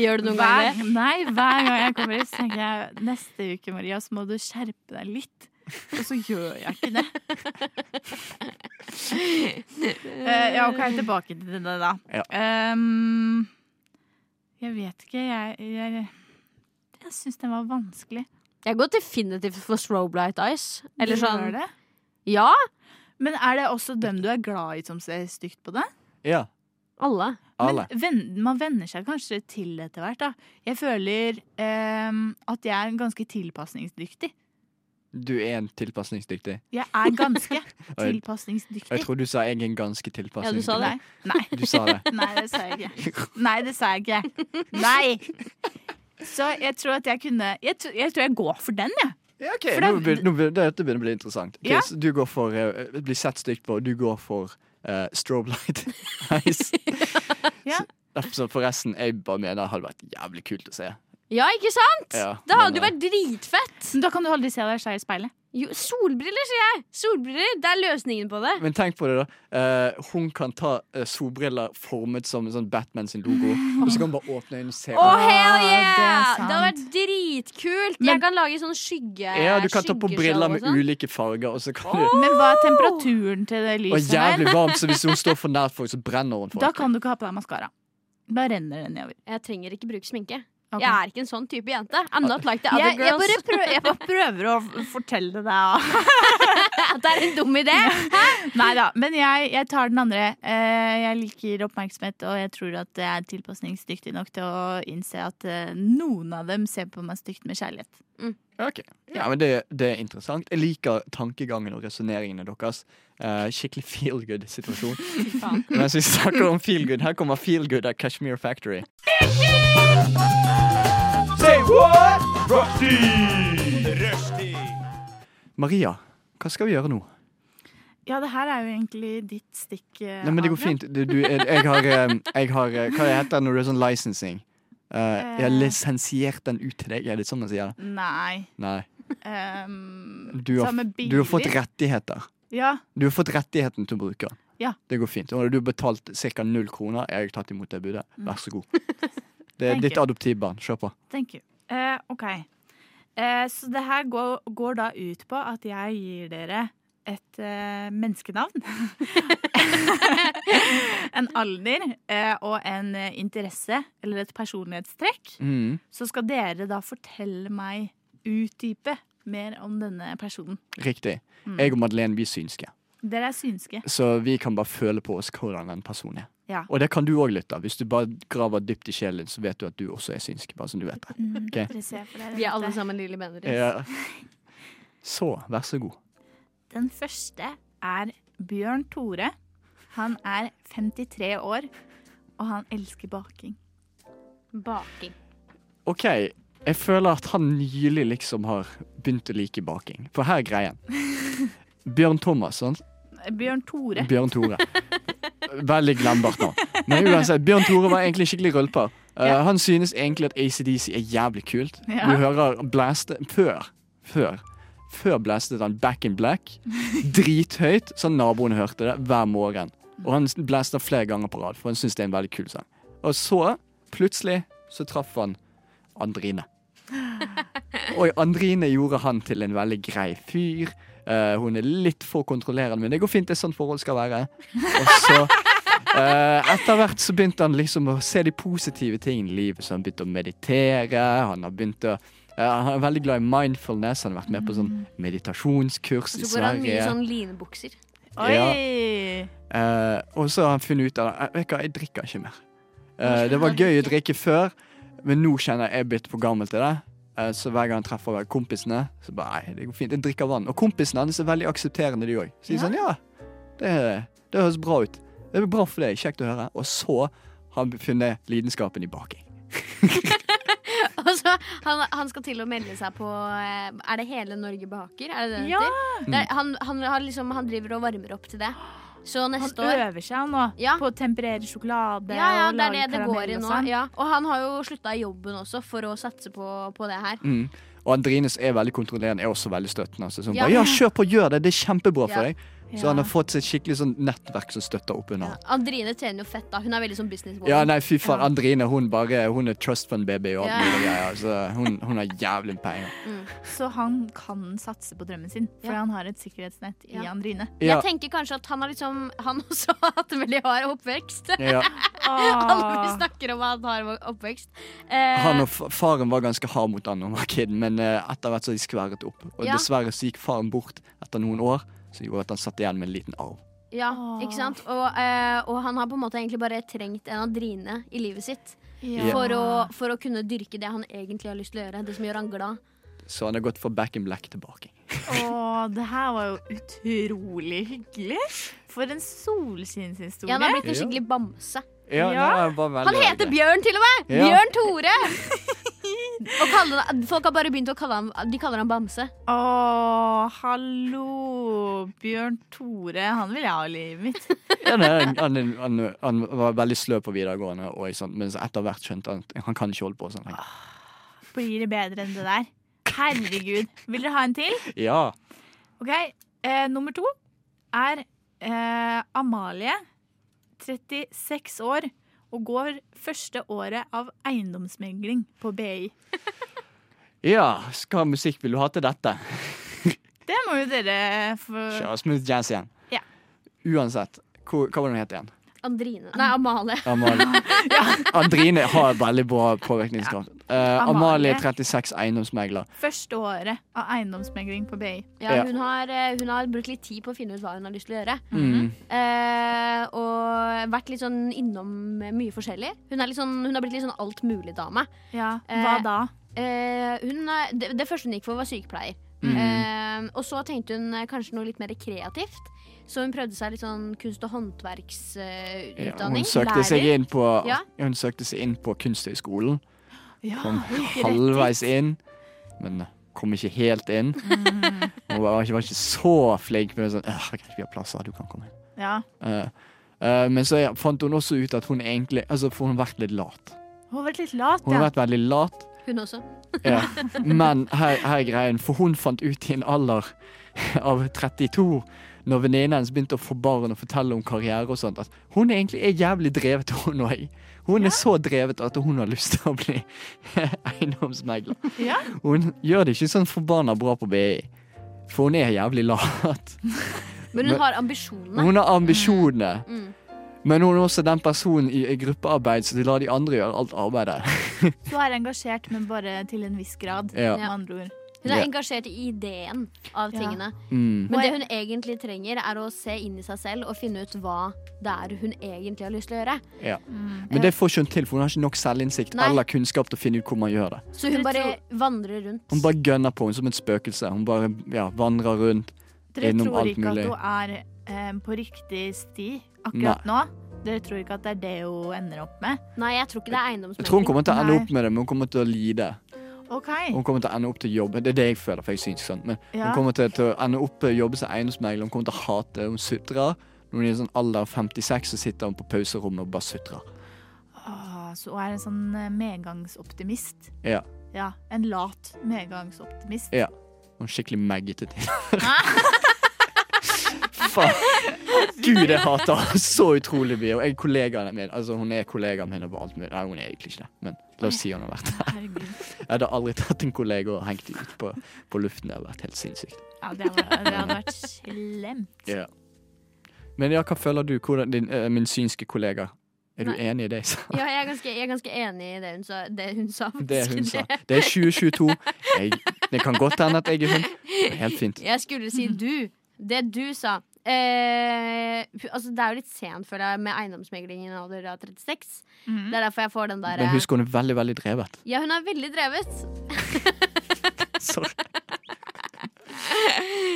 [SPEAKER 5] Gjør du noen gang det?
[SPEAKER 6] Hver, nei, hver gang jeg kommer hit, så tenker jeg neste uke, Maria, så må du skjerpe deg litt. Og så gjør jeg ikke det. Eh, ja, OK, tilbake til det, da.
[SPEAKER 2] Ja.
[SPEAKER 6] Ehm, jeg vet ikke, jeg Jeg, jeg syns den var vanskelig.
[SPEAKER 5] Jeg går definitivt for Strobelight Eyes. Eller
[SPEAKER 6] Du gjør
[SPEAKER 5] sånn
[SPEAKER 6] det?
[SPEAKER 5] Ja,
[SPEAKER 6] Men er det også dem du er glad i, som ser stygt på det?
[SPEAKER 2] Ja,
[SPEAKER 5] alle.
[SPEAKER 2] alle.
[SPEAKER 6] Men ven- man venner seg kanskje til etter hvert, da. Jeg føler ehm, at jeg er ganske tilpasningsdyktig.
[SPEAKER 2] Du er en tilpasningsdyktig.
[SPEAKER 6] Jeg er ganske
[SPEAKER 2] Og jeg, og jeg
[SPEAKER 6] tilpasningsdyktig.
[SPEAKER 2] tror du sa egentlig ganske
[SPEAKER 5] Ja, du
[SPEAKER 2] tilpasningsdyktig.
[SPEAKER 5] sa det.
[SPEAKER 6] Nei.
[SPEAKER 2] Du sa det.
[SPEAKER 6] Nei, det sa jeg ikke. Nei, det sa jeg ikke. Nei! Så jeg tror at jeg kunne Jeg, tr jeg tror jeg går for den, jeg.
[SPEAKER 2] Ja, ok,
[SPEAKER 6] For
[SPEAKER 2] nå
[SPEAKER 6] det-
[SPEAKER 2] begynner, nå begynner, Dette begynner å bli interessant. Ok,
[SPEAKER 6] Ja.
[SPEAKER 2] så du går for uh, bli sett stygt på, og du går for eh, strobe light eyes.
[SPEAKER 6] Ja.
[SPEAKER 2] Så- Derfor så forresten, jeg bare mener det hadde vært jævlig kult å se.
[SPEAKER 5] Ja, ikke sant?
[SPEAKER 2] Ja,
[SPEAKER 5] det hadde
[SPEAKER 2] men,
[SPEAKER 5] jo vært dritfett.
[SPEAKER 6] Men da kan du aldri se deg selv i speilet.
[SPEAKER 5] Jo, solbriller, sier jeg! Solbriller, Det er løsningen på det.
[SPEAKER 2] Men tenk på det, da. Eh, hun kan ta eh, solbriller formet som en sånn Batman sin logo, og så kan hun bare åpne øynene og se.
[SPEAKER 5] Å, hell yeah!
[SPEAKER 6] det
[SPEAKER 5] Det,
[SPEAKER 6] er sant.
[SPEAKER 5] hadde vært dritkult.
[SPEAKER 6] Men-
[SPEAKER 5] jeg kan lage sånn skygge
[SPEAKER 2] Ja, du kan ta på
[SPEAKER 5] skyggeshow
[SPEAKER 2] briller
[SPEAKER 5] og
[SPEAKER 2] med
[SPEAKER 5] sånn.
[SPEAKER 2] ulike farger, og så kan du
[SPEAKER 6] Men hva er temperaturen til det
[SPEAKER 2] Og
[SPEAKER 6] lyset her?
[SPEAKER 2] jævlig varmt, så hvis hun står for nært folk, så brenner hun folk.
[SPEAKER 6] Da kan du ikke ha på deg maskara. Da renner den nedover.
[SPEAKER 5] Jeg trenger ikke bruke sminke.
[SPEAKER 6] Ok.
[SPEAKER 5] Jeg er ikke en sånn type jente. I'm not like the other
[SPEAKER 6] Jeg, jeg,
[SPEAKER 5] girls.
[SPEAKER 6] bare prøver, jeg bare prøver å f- fortelle deg da.
[SPEAKER 5] At det er en dum idé.
[SPEAKER 6] Nei da, men jeg, jeg tar den andre. Eh, Jeg liker oppmerksomhet, og jeg tror at jeg er tilpasningsdyktig nok til å innse at eh, noen av dem ser på meg stygt med kjærlighet.
[SPEAKER 2] Ok. Ja, men det, det er interessant. Jeg liker tankegangen og resonneringene deres. Eh, skikkelig feel good-situasjon. Mens vi snakker om feel good, her kommer feel good av Kashmir Factory.
[SPEAKER 3] Say what? Rushdie! Rushdie!
[SPEAKER 2] Maria, hva skal vi gjøre nå?
[SPEAKER 6] Ja, det her er jo egentlig ditt stikk. eh,
[SPEAKER 2] Nei, men det går
[SPEAKER 6] Adrian.
[SPEAKER 2] fint. Du, du, jeg, jeg har, eh, jeg har eh, Hva heter det når du er sånn licensing? Eh, jeg har lisensiert den ut til deg. Er det sånn man sier det?
[SPEAKER 6] Nei.
[SPEAKER 2] Nei.
[SPEAKER 6] ehm,
[SPEAKER 2] Du har,
[SPEAKER 6] samme
[SPEAKER 2] du har fått
[SPEAKER 6] biler.
[SPEAKER 2] rettigheter.
[SPEAKER 6] Ja,
[SPEAKER 2] Du har fått rettigheten til å bruke den.
[SPEAKER 6] Ja.
[SPEAKER 2] Det går fint. Og du har betalt ca. null kroner. Jeg har tatt imot det budet. Vær så god. Det er
[SPEAKER 6] Mm. Thank
[SPEAKER 2] ditt
[SPEAKER 6] you.
[SPEAKER 2] adoptivbarn. Kjør på.
[SPEAKER 6] thank you. Eh, ok. Eh, så det her går, går da ut på at jeg gir dere et eh, menneskenavn. en alder eh, og en eh, interesse, eller et personlighetstrekk.
[SPEAKER 2] Mm.
[SPEAKER 6] Så skal dere da fortelle meg, utdype mer om denne personen.
[SPEAKER 2] Riktig.
[SPEAKER 6] Mm.
[SPEAKER 2] Jeg og Madeleine vi er synske,
[SPEAKER 6] Dere er synske.
[SPEAKER 2] så vi kan bare føle på oss hvordan en person er.
[SPEAKER 6] Ja.
[SPEAKER 2] Og det kan du òg lytte. Hvis du bare graver dypt i sjelen, så vet du at du også er synsk. Bare som du vet det. Ok.
[SPEAKER 6] Dere ser for dere
[SPEAKER 5] Vi er
[SPEAKER 6] dette.
[SPEAKER 5] alle sammen lille bendere.
[SPEAKER 2] Ja. Så, vær så god.
[SPEAKER 6] Den første er Bjørn Tore. Han er 53 år, og han elsker baking.
[SPEAKER 5] Baking.
[SPEAKER 2] OK, jeg føler at han nylig liksom har begynt å like baking. For her er greien. Bjørn Thomas, sant?
[SPEAKER 6] Bjørn Tore.
[SPEAKER 2] Bjørn Tore. Veldig glemmbart nå. Men uansett, Bjørn Tore var egentlig skikkelig rølper. Eh,
[SPEAKER 6] Ja.
[SPEAKER 2] Han synes egentlig at ACDC er jævlig kult.
[SPEAKER 6] Ja.
[SPEAKER 2] Du hører blæste Før. Før. Før blæstet han Back in Black drithøyt, så naboen hørte det hver morgen. Og han blæster flere ganger på rad, for han synes det er en veldig kul sang. Og så, plutselig, så traff han Andrine. Og Andrine gjorde han til en veldig grei fyr. Eh, hun er litt for kontrollerende, men det går fint. Det er sånn forhold skal være. Og så eh, Etter hvert så begynte han liksom å se de positive tingene i livet. Så han begynte å meditere. Han har begynt å eh, Han er veldig glad i mindfulness. Han har vært med på sånn meditasjonskurs
[SPEAKER 5] Mm.
[SPEAKER 2] i
[SPEAKER 5] Så går han mye i
[SPEAKER 2] Sverige.
[SPEAKER 5] sånn linebukser.
[SPEAKER 6] Oi!
[SPEAKER 2] Eh, og så har han funnet ut av det. Eh, Vet du hva, jeg drikker ikke mer. Eh, det var gøy å drikke før, men nå kjenner jeg jeg er blitt for gammel til det. Eh, så hver gang han treffer kompisene, så bare nei, det går fint. Jeg drikker vann. Og kompisene hans er veldig aksepterende, de òg. Sier sånn ja, det, det høres bra ut. Det er bra for deg. Kjekt å høre. Og så har han funnet lidenskapen i baking.
[SPEAKER 5] Og så, Altså, han, han skal til å melde seg på eh, Er det Hele Norge baker? Er det det det
[SPEAKER 6] Ja.
[SPEAKER 2] Mm.
[SPEAKER 5] heter? Det er- han, han, har liksom, han driver og varmer opp til det. Så neste
[SPEAKER 6] Han
[SPEAKER 5] år
[SPEAKER 6] øver seg nå
[SPEAKER 5] Ja.
[SPEAKER 6] på å temperere sjokolade.
[SPEAKER 5] Ja, ja,
[SPEAKER 6] og
[SPEAKER 5] det er det
[SPEAKER 6] lage
[SPEAKER 5] det går i
[SPEAKER 6] karamell og
[SPEAKER 5] nå.
[SPEAKER 6] sånn.
[SPEAKER 5] Ja. Og han har jo slutta i jobben også for å satse på, på det her.
[SPEAKER 2] Mm. Og Andrines er veldig kontrollerende, er også veldig støttende. Altså. Sånn,
[SPEAKER 5] Ja.
[SPEAKER 2] bare, ja, kjør på, gjør det, det er kjempebra
[SPEAKER 5] Ja.
[SPEAKER 2] for deg. Så
[SPEAKER 6] Ja.
[SPEAKER 2] han har fått seg et skikkelig sånn nettverk som støtter opp under.
[SPEAKER 5] Andrine tjener jo fett, da. Hun er veldig sånn businesswoman.
[SPEAKER 2] Ja, nei, fy faen, Andrine hun bare, hun er trust fund baby og alt
[SPEAKER 5] Ja.
[SPEAKER 2] mulig greier. Så hun, hun har jævlig med penger.
[SPEAKER 6] Så han kan satse på drømmen sin, for
[SPEAKER 5] Ja.
[SPEAKER 6] han har et sikkerhetsnett i
[SPEAKER 5] Ja.
[SPEAKER 6] Andrine.
[SPEAKER 2] Ja,
[SPEAKER 5] Jeg tenker kanskje at han har liksom Han også har hatt en veldig hard oppvekst.
[SPEAKER 2] ja.
[SPEAKER 6] Ah.
[SPEAKER 5] Alle vi snakker om, han har oppvekst. Eh,
[SPEAKER 2] Han og fa- faren var ganske hard mot han da han var kid, men eh, etter hvert så har de skværet opp. Og
[SPEAKER 5] Ja.
[SPEAKER 2] dessverre så gikk faren bort etter noen år, som gjorde at han satt igjen med en liten arv.
[SPEAKER 5] ja, ikke sant? Og, eh, og han har på en måte egentlig bare trengt en Andrine i livet sitt. For, å, for å kunne dyrke det han egentlig har lyst til å gjøre. Det som gjør han glad.
[SPEAKER 2] Så han har gått fra back in black tilbake.
[SPEAKER 6] Å, det her var jo utrolig hyggelig. For en
[SPEAKER 5] Ja, han har
[SPEAKER 6] solskinnshistorie.
[SPEAKER 5] blitt en
[SPEAKER 2] Ja.
[SPEAKER 5] skikkelig bamse.
[SPEAKER 2] Ja,
[SPEAKER 6] Ja.
[SPEAKER 2] nei, var veldig,
[SPEAKER 5] Han heter
[SPEAKER 2] veldig-
[SPEAKER 5] Bjørn til og med!
[SPEAKER 2] Ja.
[SPEAKER 5] Bjørn Tore! Og kaller- folk har bare begynt å kalle ham De kaller ham Bamse.
[SPEAKER 6] Å, hallo! Bjørn Tore, han vil jeg ha i livet mitt.
[SPEAKER 2] Ja, nei, han, han, han, han var veldig sløv på videregående, og, ikke sant, men så etter hvert skjønte han at han kan ikke holde på sånn.
[SPEAKER 5] Ah.
[SPEAKER 6] Blir det bedre enn det der? Herregud. Vil dere ha en til?
[SPEAKER 2] Ja.
[SPEAKER 6] OK, eh, nummer to er eh, Amalie, 36 år, og går første året av eiendomsmegling på BI.
[SPEAKER 2] ja, hva musikk vil du ha til dette?
[SPEAKER 6] Det må jo dere få
[SPEAKER 2] Kjør smooth jazz igjen.
[SPEAKER 6] Ja.
[SPEAKER 2] Uansett, hva, hva var det hun het igjen?
[SPEAKER 5] Andrine. Nei, Amalie.
[SPEAKER 2] Amalie. Andrine har veldig bra påvirkningskraft. Eh,
[SPEAKER 6] Amalie.
[SPEAKER 2] Amalie 36, eiendomsmegler.
[SPEAKER 6] Første året av eiendomsmegling på BI.
[SPEAKER 5] Ja,
[SPEAKER 2] Ja.
[SPEAKER 5] hun, har, eh, hun har brukt litt tid på å finne ut hva hun har lyst til å gjøre.
[SPEAKER 6] Mhm.
[SPEAKER 2] Mm.
[SPEAKER 5] Eh, og vært litt sånn innom mye forskjellig. Hun, er litt sånn, hun har blitt litt sånn altmulig-dame.
[SPEAKER 6] Ja, hva
[SPEAKER 5] Eh,
[SPEAKER 6] da?
[SPEAKER 5] Eh, hun er- det, det første hun gikk for, var sykepleier.
[SPEAKER 2] Mm.
[SPEAKER 5] Eh, og så tenkte hun eh, kanskje noe litt mer kreativt. Så hun prøvde seg litt sånn kunst- og
[SPEAKER 2] Ja,
[SPEAKER 5] håndverksutdanning.
[SPEAKER 2] hun, søkte seg inn på,
[SPEAKER 5] Ja.
[SPEAKER 2] hun søkte seg inn på Kunsthøgskolen.
[SPEAKER 6] Ja,
[SPEAKER 2] Kom
[SPEAKER 6] det Ah, gikk rett dit.
[SPEAKER 2] halvveis inn, men eh, kom ikke helt inn.
[SPEAKER 6] Mhm.
[SPEAKER 2] Hun var ikke, var ikke så flink, men sånn «Åh, greit, vi har plasser, du kan komme inn.
[SPEAKER 6] Ja.
[SPEAKER 2] Eh, eh, men så fant hun også ut at hun egentlig Altså, for hun har vært litt lat.
[SPEAKER 6] Hun har vært litt lat,
[SPEAKER 2] Hun har
[SPEAKER 6] ja.
[SPEAKER 2] vært veldig lat,
[SPEAKER 5] Hun også.
[SPEAKER 2] ja. men her, her er greien. For hun fant ut i en alder av 32, når venninnen hennes begynte å få barn og fortelle om karriere og sånt, at hun egentlig er jævlig drevet, hun òg. Hun er så drevet at hun har lyst til å bli eiendomsmegler.
[SPEAKER 6] Ja.
[SPEAKER 2] Hun gjør det ikke sånn forbanna bra på BI, for hun er jævlig lat.
[SPEAKER 5] Men hun
[SPEAKER 2] Men- Mm,
[SPEAKER 5] har ambisjonene.
[SPEAKER 2] Hun har ambisjoner.
[SPEAKER 5] Mm.
[SPEAKER 2] Men hun er også den personen i i gruppearbeid som lar de andre gjøre alt arbeidet.
[SPEAKER 6] Du er engasjert, men bare til en viss grad.
[SPEAKER 2] Ja.
[SPEAKER 6] Med andre ord.
[SPEAKER 5] Hun er
[SPEAKER 2] Ja.
[SPEAKER 5] engasjert i ideen av
[SPEAKER 6] Ja.
[SPEAKER 5] tingene.
[SPEAKER 2] Mm.
[SPEAKER 5] Men det hun egentlig trenger, er å se inn i seg selv og finne ut hva det er hun egentlig har lyst til å gjøre.
[SPEAKER 2] Men det får ikke hun til, for hun har ikke nok selvinnsikt
[SPEAKER 5] Nei.
[SPEAKER 2] eller kunnskap til å finne ut hvor man gjør det.
[SPEAKER 5] Så hun
[SPEAKER 6] Dere
[SPEAKER 5] bare
[SPEAKER 6] tror-
[SPEAKER 5] vandrer rundt.
[SPEAKER 2] Hun bare gønner på, hun er som et spøkelse. Hun bare ja, vandrer rundt.
[SPEAKER 6] Dere
[SPEAKER 2] Innom
[SPEAKER 6] tror
[SPEAKER 2] alt
[SPEAKER 6] ikke
[SPEAKER 2] mulig.
[SPEAKER 6] at hun er eh, på riktig sti akkurat nå. Dere tror ikke at det er det hun ender opp med.
[SPEAKER 5] Nei, jeg tror ikke det er
[SPEAKER 2] Jeg tror hun
[SPEAKER 5] eiendomsmegling.
[SPEAKER 2] kommer til å ende
[SPEAKER 6] Nei.
[SPEAKER 2] opp med det, men hun kommer til å lide.
[SPEAKER 6] OK.
[SPEAKER 2] Hun kommer til å ende opp til å jobbe. Det er det jeg føler, for jeg synes ikke sånn. Men
[SPEAKER 6] Ja.
[SPEAKER 2] hun kommer til, til å ende opp til å jobbe som eiendomsmegler. Hun kommer til å hate Hun sutrer. Når hun er i sånn alder av 56, så sitter hun på pauserommet og bare sutrer.
[SPEAKER 6] Åh, så hun er en sånn eh, medgangsoptimist.
[SPEAKER 2] Ja.
[SPEAKER 6] Ja, En lat medgangsoptimist.
[SPEAKER 2] Ja. Hun er skikkelig meggete til Faen. Gud, jeg hater henne så utrolig mye. Og jeg er kollegaen min. Altså, hun er kollegaen min over alt mulig. Nei, hun er egentlig ikke det, men la oss si hun har vært det.
[SPEAKER 6] Herregud.
[SPEAKER 2] Jeg hadde aldri tatt en kollega og hengt ut på, på luften. Det hadde vært helt sinnssykt.
[SPEAKER 6] Ja, det, var, det hadde vært slemt.
[SPEAKER 2] Ja. Men ja, hva føler du? Hvordan din, eh, min synske kollega. Er du
[SPEAKER 5] Nei.
[SPEAKER 2] enig i det jeg sa?
[SPEAKER 5] Ja, jeg er ganske, jeg er ganske enig i det hun sa. Det hun sa.
[SPEAKER 2] Det hun
[SPEAKER 5] faktisk.
[SPEAKER 2] sa. Det er 2022. Jeg, det kan godt hende at jeg er hun. Det er helt fint.
[SPEAKER 5] Jeg skulle si du. Det du sa. Eh, altså, det er jo litt sent, føler jeg, med eiendomsmeglingen i en alder av 36. Det er derfor jeg får den der eh,
[SPEAKER 2] Men husk, hun er veldig, veldig drevet.
[SPEAKER 5] Ja, hun er veldig drevet.
[SPEAKER 2] Sorry.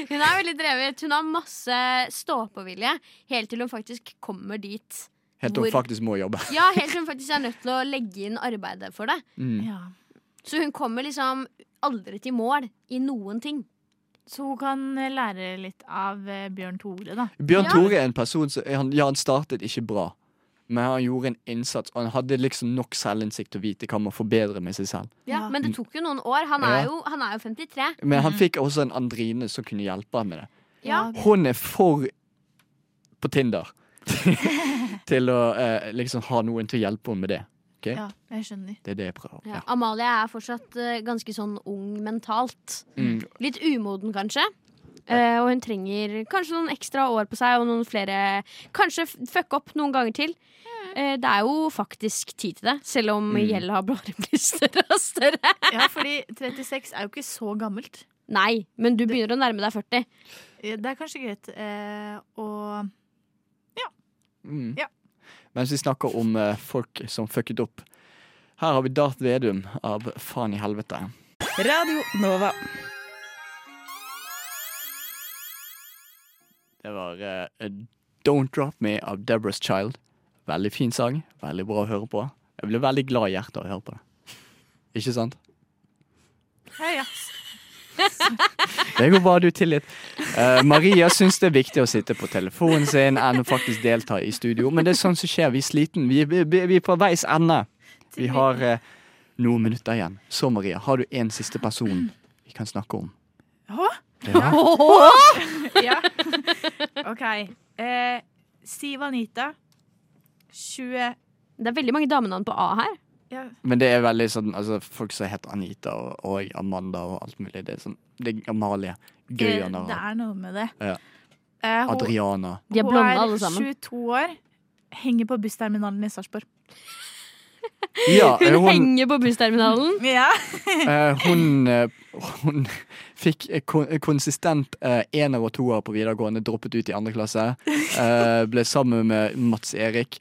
[SPEAKER 5] Hun er veldig drevet. Hun har masse stå-på-vilje helt til hun faktisk kommer dit.
[SPEAKER 2] Helt til hun
[SPEAKER 5] Hvor-
[SPEAKER 2] faktisk må jobbe.
[SPEAKER 5] Ja, helt til hun faktisk er nødt til å legge inn arbeidet for det.
[SPEAKER 2] Mm.
[SPEAKER 6] Ja.
[SPEAKER 5] Så hun kommer liksom aldri til mål i noen ting.
[SPEAKER 6] Så hun kan eh, lære litt av eh, Bjørn Tore, da.
[SPEAKER 2] Bjørn
[SPEAKER 5] Ja.
[SPEAKER 2] Tore er en person som han, Ja, han startet ikke bra, men han gjorde en innsats, og han hadde liksom nok selvinnsikt til å vite hva man forbedrer med seg selv.
[SPEAKER 5] Ja, men det tok jo noen år. Han er
[SPEAKER 2] Ja.
[SPEAKER 5] jo, han er jo 53.
[SPEAKER 2] Men han fikk også en Andrine som kunne hjelpe ham med det.
[SPEAKER 5] Ja.
[SPEAKER 2] Hun er for på Tinder til å eh, liksom ha noen til å hjelpe henne med det.
[SPEAKER 6] Ja, jeg skjønner.
[SPEAKER 2] Det er det jeg prøver.
[SPEAKER 5] Ja.
[SPEAKER 2] Ja.
[SPEAKER 5] Amalie er fortsatt eh, ganske sånn ung mentalt.
[SPEAKER 2] Mm.
[SPEAKER 5] Litt umoden, kanskje. Eh, og hun trenger kanskje noen ekstra år på seg og noen flere Kanskje f- fucke opp noen ganger til. Eh, det er jo faktisk tid til det, selv om
[SPEAKER 2] Mm.
[SPEAKER 5] gjelda har bare blitt større og større.
[SPEAKER 6] Ja, fordi 36 er jo ikke så gammelt.
[SPEAKER 5] Nei, men du begynner å nærme deg 40.
[SPEAKER 6] Eh, Det er kanskje greit eh, å
[SPEAKER 2] Mm.
[SPEAKER 6] Ja.
[SPEAKER 2] Mens vi snakker om eh, folk som fucket opp. Her har vi Darth Vedum av Faen i helvete.
[SPEAKER 7] Radio Nova.
[SPEAKER 2] Det var eh, Don't Drop Me av Deborah's Child. Veldig fin sang. Veldig bra å høre på. Jeg ble veldig glad i hjertet av å høre på det. Ikke sant?
[SPEAKER 6] Ja, ja.
[SPEAKER 2] Det går bra, du tillit. Eh, Maria syns det er viktig å sitte på telefonen sin enn å faktisk delta i studio. Men det er sånn som skjer. Vi er sliten. Vi, vi, vi vi er på veis ende. Vi har eh, noen minutter igjen. Så, Maria, har du en siste person vi kan snakke om?
[SPEAKER 6] Hå?
[SPEAKER 2] Ja.
[SPEAKER 6] ja. OK. Eh, Siv Anita. 20
[SPEAKER 5] Det er veldig mange damenavn på A her.
[SPEAKER 6] ja.
[SPEAKER 2] Men det er veldig sånn altså, Folk som heter Anita og, og Amanda og alt mulig. Det er sånn det er Amalie.
[SPEAKER 6] eh,
[SPEAKER 2] Gøy
[SPEAKER 6] Det
[SPEAKER 2] navn.
[SPEAKER 6] er noe med det.
[SPEAKER 2] Ja.
[SPEAKER 6] Eh, hun,
[SPEAKER 2] Adriana.
[SPEAKER 5] De er
[SPEAKER 6] hun
[SPEAKER 5] blonde alle sammen.
[SPEAKER 6] er 22 år. Henger på bussterminalen i Sarpsborg.
[SPEAKER 2] Ja, eh,
[SPEAKER 5] Hun
[SPEAKER 2] hun,
[SPEAKER 5] henger på bussterminalen.
[SPEAKER 6] Ja.
[SPEAKER 2] eh, hun, eh, hun fikk eh, kon konsistent eh, ener og toer på videregående, droppet ut i andre klasse. Eh, ble sammen med Mats Erik,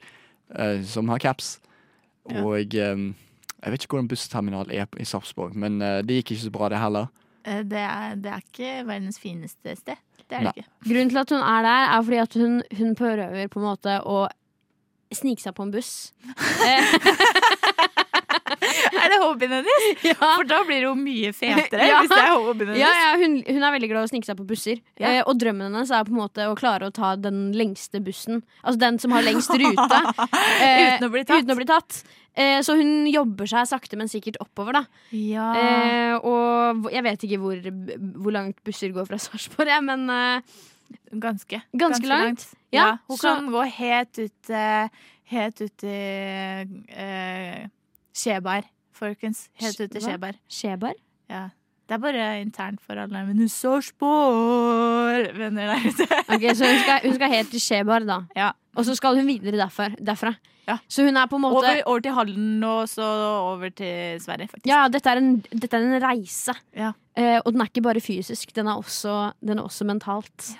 [SPEAKER 2] eh, som har caps.
[SPEAKER 6] Ja.
[SPEAKER 2] Og eh, jeg vet ikke hvordan bussterminal er på- i Sarpsborg, men eh, det gikk ikke så bra, det heller.
[SPEAKER 6] Eh, Det er, det er ikke verdens fineste sted. Det er
[SPEAKER 2] Nei.
[SPEAKER 6] det ikke.
[SPEAKER 5] Grunnen til at hun er der, er fordi at hun, hun prøver på en måte å snike seg på en buss. Eh,
[SPEAKER 6] Er det hobbyen hennes?
[SPEAKER 5] ja.
[SPEAKER 6] For da blir hun mye fetere.
[SPEAKER 5] Ja.
[SPEAKER 6] Hvis det er hobbyen hennes.
[SPEAKER 5] Ja, ja hun, hun er veldig glad i å snike seg på busser.
[SPEAKER 6] Ja.
[SPEAKER 5] Eh, og drømmen hennes er på en måte å klare å ta den lengste bussen. Altså den som har lengst rute. eh,
[SPEAKER 6] Uten å bli tatt.
[SPEAKER 5] Uten å bli tatt. Eh, så hun jobber seg sakte, men sikkert oppover, da.
[SPEAKER 6] Ja.
[SPEAKER 5] Eh, og hvor- jeg vet ikke hvor, hvor langt busser går fra Sarpsborg, jeg, men eh,
[SPEAKER 6] Ganske.
[SPEAKER 5] ganske langt.
[SPEAKER 6] Ja,
[SPEAKER 5] Ja,
[SPEAKER 6] hun
[SPEAKER 5] så-
[SPEAKER 6] kan gå helt ut eh, Helt ut i eh, Skjeberg, folkens. Helt ut i
[SPEAKER 5] Hva?
[SPEAKER 6] Skjeberg.
[SPEAKER 5] Skjebar?
[SPEAKER 6] Ja. Det er bare internt for alle. Men du så spår, venner der ute.
[SPEAKER 5] Ok, så hun skal, hun skal helt til Skjebar, da.
[SPEAKER 6] Ja.
[SPEAKER 5] Og så skal hun videre derfra. derfra.
[SPEAKER 6] Ja.
[SPEAKER 5] Så hun er på en måte
[SPEAKER 6] Over, over til Halden og så over til Sverige, faktisk.
[SPEAKER 5] Ja, ja, dette er en, dette er en reise.
[SPEAKER 6] Ja.
[SPEAKER 5] Eh, og den er ikke bare fysisk, den er også, den er også mentalt.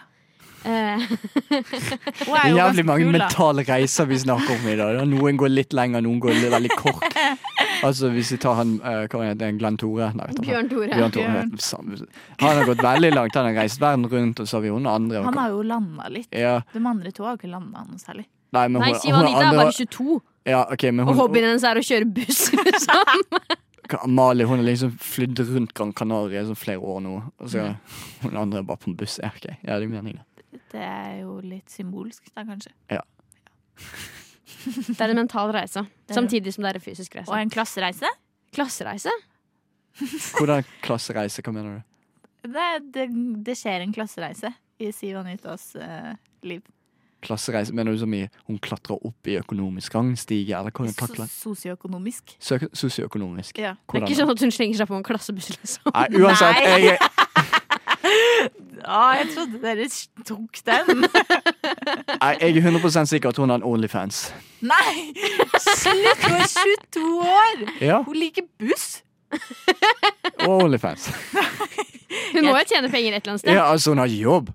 [SPEAKER 5] Eh,
[SPEAKER 6] Hun er
[SPEAKER 2] Det
[SPEAKER 6] jo
[SPEAKER 2] er jævlig
[SPEAKER 6] ganske
[SPEAKER 2] mange
[SPEAKER 6] kul, da.
[SPEAKER 2] mentale reiser vi snakker om i dag. Noen går litt lenger, noen går litt veldig kort. Altså Hvis vi tar han eh, hva heter han, Glenn Tore Nei, vet du hva?
[SPEAKER 5] Bjørn Tore.
[SPEAKER 2] Bjørn Tore. vet du, samme- Han har gått veldig langt. Han har reist verden rundt, og så har vi hun andre.
[SPEAKER 6] Han har jo landa litt.
[SPEAKER 2] ja,
[SPEAKER 6] De andre to har jo ikke landa noe særlig.
[SPEAKER 2] nei, men
[SPEAKER 5] Nei,
[SPEAKER 2] hun,
[SPEAKER 5] Siv
[SPEAKER 2] hun
[SPEAKER 5] Anita er
[SPEAKER 2] andre
[SPEAKER 5] bare 22,
[SPEAKER 2] ja, ok, men
[SPEAKER 5] og
[SPEAKER 2] hun,
[SPEAKER 5] hobbyen hennes er å kjøre buss. Liksom.
[SPEAKER 2] hva, Amalie hun har liksom flydd rundt Gran Canaria i sånn flere år nå. Og så hun andre er bare på en buss. Ja, ok. ja det er meningen.
[SPEAKER 6] Det er jo litt symbolsk, da, kanskje.
[SPEAKER 5] Det er en mental reise,
[SPEAKER 6] Det er det.
[SPEAKER 5] samtidig som det er en fysisk
[SPEAKER 6] Og
[SPEAKER 5] reise.
[SPEAKER 6] en klassereise.
[SPEAKER 5] Klassereise?
[SPEAKER 2] Hvordan klassereise? Hva mener du?
[SPEAKER 6] Det, det, det skjer en klassereise i Siv Anitas eh, liv.
[SPEAKER 2] Klassereise, Mener du som i hun klatrer opp i økonomisk rangstige, eller hvordan takler
[SPEAKER 6] So- Sosioøkonomisk.
[SPEAKER 2] Sø- Sosioøkonomisk.
[SPEAKER 6] Ja.
[SPEAKER 5] Det er
[SPEAKER 2] Hvordan
[SPEAKER 5] ikke sånn at hun slenger seg på en klassebuss, liksom.
[SPEAKER 2] Nei, uansett.
[SPEAKER 6] Nei.
[SPEAKER 2] Jeg,
[SPEAKER 6] Å, jeg trodde dere tok den!
[SPEAKER 2] nei, jeg er 100 sikker at hun har en Onlyfans.
[SPEAKER 6] Nei! Slutt! Hun er 22 år!
[SPEAKER 2] Ja,
[SPEAKER 6] Hun liker buss!
[SPEAKER 2] og Onlyfans.
[SPEAKER 5] Hun må jo tjene penger et eller annet sted.
[SPEAKER 2] Ja, altså, hun har jobb.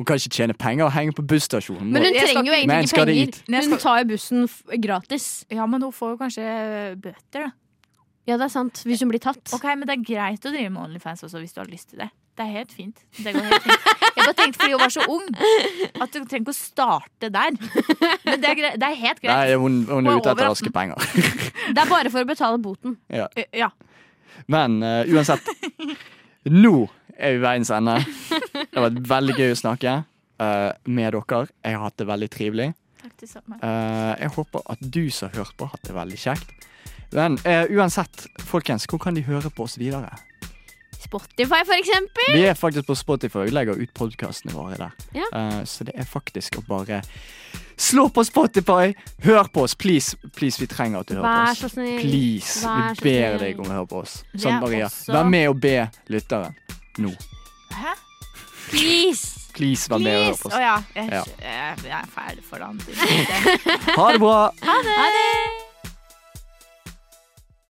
[SPEAKER 2] Hun kan ikke tjene penger og henge på busstasjonen.
[SPEAKER 5] Men hun
[SPEAKER 6] Jeg skal
[SPEAKER 5] trenger jo
[SPEAKER 6] ikke-
[SPEAKER 2] Men
[SPEAKER 5] egentlig
[SPEAKER 2] skal
[SPEAKER 5] ikke
[SPEAKER 2] det
[SPEAKER 5] penger.
[SPEAKER 2] hit?
[SPEAKER 6] Men jeg
[SPEAKER 5] Hun
[SPEAKER 6] skal-
[SPEAKER 5] tar jo bussen f gratis.
[SPEAKER 6] Ja, men hun får jo kanskje bøter, da.
[SPEAKER 5] Ja, det er sant. Hvis hun blir tatt.
[SPEAKER 6] Ok, Men det er greit å drive med Onlyfans også, hvis du har lyst til det. Det er helt fint. Det går helt fint. Jeg bare tenkte fordi hun var så ung, at du trenger ikke å starte der. Men det er, gre det er helt greit.
[SPEAKER 2] Nei, hun, hun
[SPEAKER 6] Hun
[SPEAKER 2] er
[SPEAKER 6] er
[SPEAKER 2] ute etter
[SPEAKER 6] over
[SPEAKER 2] å raske penger.
[SPEAKER 5] Det er bare for å betale boten.
[SPEAKER 6] Ja.
[SPEAKER 2] Men eh, uansett. Nå er i veiens ende. Det har vært veldig gøy å snakke eh, med dere. Jeg har hatt det veldig trivelig.
[SPEAKER 6] Takk det samme.
[SPEAKER 2] Eh, jeg håper at du som har hørt på, har hatt det veldig kjekt. Men eh, uansett, folkens, hvor kan de høre på oss videre?
[SPEAKER 5] Spotify, for eksempel.
[SPEAKER 2] Vi er faktisk på Spotify. Vi legger ut podkastene våre der.
[SPEAKER 5] Ja.
[SPEAKER 2] Eh, så det er faktisk å bare slå på Spotify! Hør på oss, please! please vi trenger at du hører
[SPEAKER 5] Vær
[SPEAKER 2] på
[SPEAKER 5] så
[SPEAKER 2] oss.
[SPEAKER 5] snill.
[SPEAKER 2] Please!
[SPEAKER 5] Vær så
[SPEAKER 2] vi ber
[SPEAKER 5] snill.
[SPEAKER 2] deg om å høre på oss.
[SPEAKER 6] Det
[SPEAKER 2] Sånn,
[SPEAKER 6] er
[SPEAKER 2] Maria.
[SPEAKER 6] også-
[SPEAKER 2] Vær med og be lytteren nå.
[SPEAKER 6] Hæ?
[SPEAKER 5] Please.
[SPEAKER 2] Please, vær med og hør
[SPEAKER 6] Please! Å
[SPEAKER 2] på oss.
[SPEAKER 6] ja. Jeg,
[SPEAKER 2] Ja.
[SPEAKER 6] jeg, jeg er ferdig for den.
[SPEAKER 2] Ha det bra!
[SPEAKER 5] Ha det.